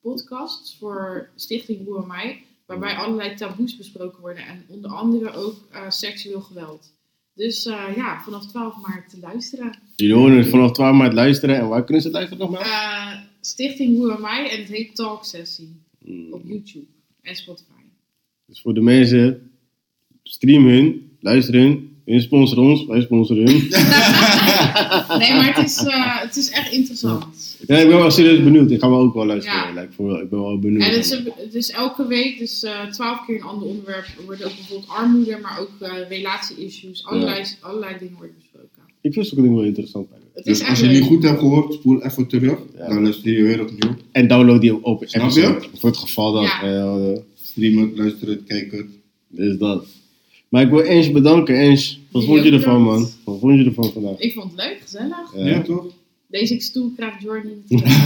podcasts voor Stichting Hoe en Mij, waarbij allerlei taboes besproken worden en onder andere ook eh, seksueel geweld. Dus eh, ja, vanaf 12 maart te luisteren.
Jullie horen het vanaf 12 maart luisteren. En waar kunnen ze het luisteren nogmaals?
Eh, Stichting Hoe en Mij en het heet Talk Sessie
Mm.
Hmm,
op YouTube en Spotify.
Dus voor de mensen, stream hun, luister hun. Hun sponsoren ons, wij sponsoren hun.
Nee, maar het is, eh, het is echt interessant.
Ja, ik ben wel serieus benieuwd. Ik ga wel ook wel luisteren.
Ja.
Like, voor, wel- ik ben wel benieuwd.
En het is, het is elke week, dus twaalf keer een ander onderwerp. Er wordt ook bijvoorbeeld armoede, maar ook eh relatie-issues. Allerlei, allerlei dingen worden besproken.
Ik vind zulke dingen wel interessant. by the way.
Het is
Dus
echt
als je
leuk.
niet goed hebt gehoord, spoel even terug.
Ja.
Dan luister je weer opnieuw.
En download die op- op.
Snap
episode. Voor het geval dat...
Ja.
eh,
Stream het, luister het, kijk het.
Dus dat. Maar ik wil Ens bedanken. Ens, wat vond je
Ja,
ervan, man?
bedankt.
Wat vond je ervan vandaag?
Ik vond het leuk, gezellig.
Ja.
Ja, toch?
Deze stoel krijgt Jordan niet terug.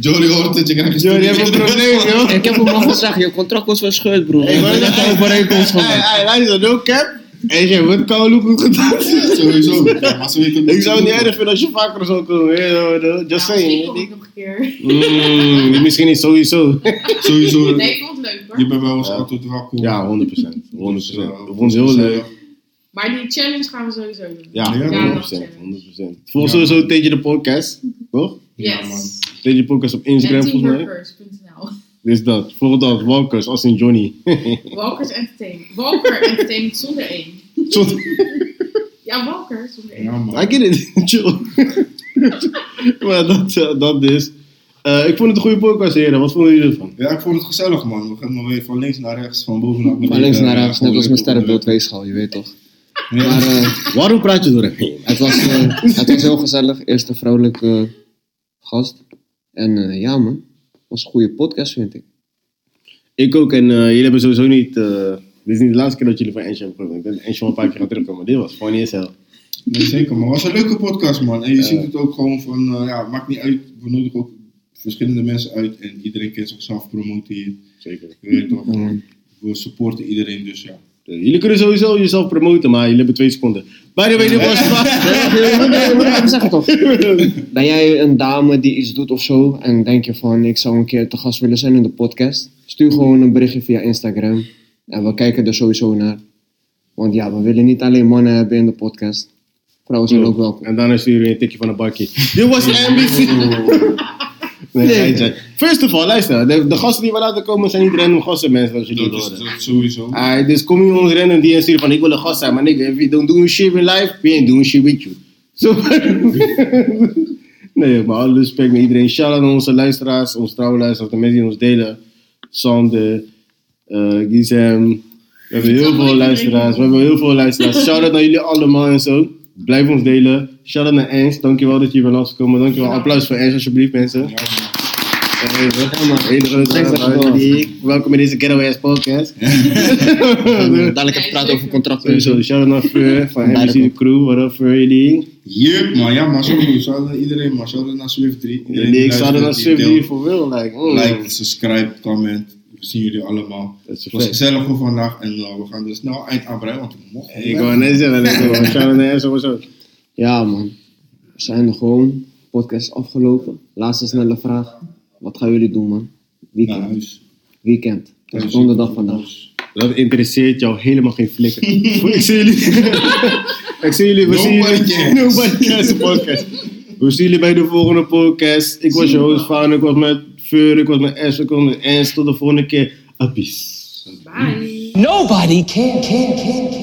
Jory hoort het, je krijgt een
Yo, je
studie.
hebt een probleem, joh.
Ik heb hem al gezegd, je contract was verscheurd, broer.
Ik wil net overeenkomst van. Hey, hey, luister, no cap. En jij wordt koude goed gedaan.
Sowieso. Ja, maar ze weten
Ik zou het niet erg vinden als je vaker zo komt. eh, eh, Just
Nou, misschien
saying.
kom ik nog een keer.
Mm, misschien niet sowieso.
Sowieso.
Nee, ik vond het leuk hoor.
Je bent wel eens
Ja.
altijd welkom.
Ja, 100%. 100%.
Dus, eh,
Ik vond het heel leuk.
Maar die challenge gaan we sowieso doen.
Ja,
Ja,
100%. 100%. Volgens mij zo Teetje de podcast. Toch?
Ja, man.
yes.
Teetje de podcast op Instagram volgens mij.
Teamworkers.nl.
Dus dat. Volg dat. Walkers als in Johnny.
Walkers Entertainment. Walker Entertainment zonder één.
Sorry.
Ja, Walker zonder één.
Ja, man.
I get it. Chill. maar dat, eh, dat dus. Eh, ik vond het een goede podcast, heren. Wat vonden jullie ervan?
Ja, ik vond het gezellig, man. We gaan nog weer van links naar rechts, van boven naar beneden.
Van links naar
Ja,
rechts, net
gewoon
als mijn
leuk
sterrenbeeld
onderwerp.
weegschaal, je weet toch.
Ja.
Maar eh,
Waarom praat je doorheen?
het, was, eh, het was heel gezellig. Eerst een vrouwelijke eh, gast. En eh, ja man, het was een goede podcast vind ik.
Ik ook. En eh, jullie hebben sowieso niet... eh, dit is niet de laatste keer dat jullie van Ensje hebben gehoord. Ik denk dat Ensje wel een paar keer gaat terugkomen. Dit was funny as hell.
Nee, zeker, maar het was een leuke podcast, man. En je ziet het ook gewoon van, eh, ja, maakt niet uit. We nodigen ook verschillende mensen uit en iedereen kent zichzelf, promoteert.
Zeker.
Je weet toch, we supporten iedereen, dus ja.
Eh, jullie kunnen sowieso jezelf promoten, maar jullie hebben twee seconden. By the way, dit was...
Ik moet ik even zeggen toch? Ben jij een dame die iets doet of zo en denk je van ik zou een keer te gast willen zijn in de podcast? Stuur gewoon een berichtje via Instagram en we kijken er sowieso naar. Want ja, we willen niet alleen mannen hebben in de podcast. Vrouwen zijn ook welkom.
en daarna sturen jullie een tikje van een bakje. Dit was NBC. Nee,
Nee.
geintje. First of all, luister. De, de gasten die we laten komen zijn niet random gasten, mensen, als jullie
Dat
horen.
is dat sowieso.
Alright, dus kom je ons rennen die en sturen van ik wil een gast zijn, maar nigga, if you don't do shit in life, we ain't doing shit with you. Zo. nee, maar alle respect met iedereen. Shout out aan onze luisteraars, onze trouwe luisteraars, de mensen die ons delen. Sander, eh Gizem. We hebben heel veel luisteraars. We hebben heel veel luisteraars. Shout out naar jullie allemaal en zo. Blijf ons delen. Shout out naar Ens. Dankjewel dat je hier bent afgekomen. Dankjewel. Applaus voor Ens, alsjeblieft, mensen. Eh,
Ja, man.
Hele grote
Thanks,
applaus.
dankjewel.
Welkom in deze Ghetto Ass Podcast.
En, eh, dadelijk even praten over
Eh,
contracten. en zo.
Sowieso, shout-out naar Fleur van
Beide
MC de
kant.
Crew. What up, Fleur, jullie?
Yep, man. Ja, maar sowieso. Shout-out iedereen, man. Shout-out naar Swift 3. Iedereen
Jullie, ik zou er
luistert,
naar
die
Swift
deelt.
die voor wil. Like, mm.
Like, subscribe, comment. We zien jullie allemaal.
Dat is
Het was
vet.
gezellig voor vandaag en eh, we gaan dus snel eind aanbreiden, want we mogen.
Ik wou net zeggen, like, oh, shout-out naar Enzo, what's up?
Ja man, we zijn er gewoon. Podcast is afgelopen. Laatste snelle vraag. Wat gaan jullie doen man?
naar
Weekend.
huis.
Weekend. Het is donderdag vandaag.
Dat interesseert jou helemaal geen flikker. ik zie jullie. ik zie jullie. We zien jullie.
Nobody cares.
Nobody cares de podcast. We zien jullie bij de volgende podcast. Ik was je host, Faan. Ik was met Fleur. Ik was met Ash. Ik was met Ens. Tot de volgende keer. Peace.
Bye.
Nobody can, can, can, can.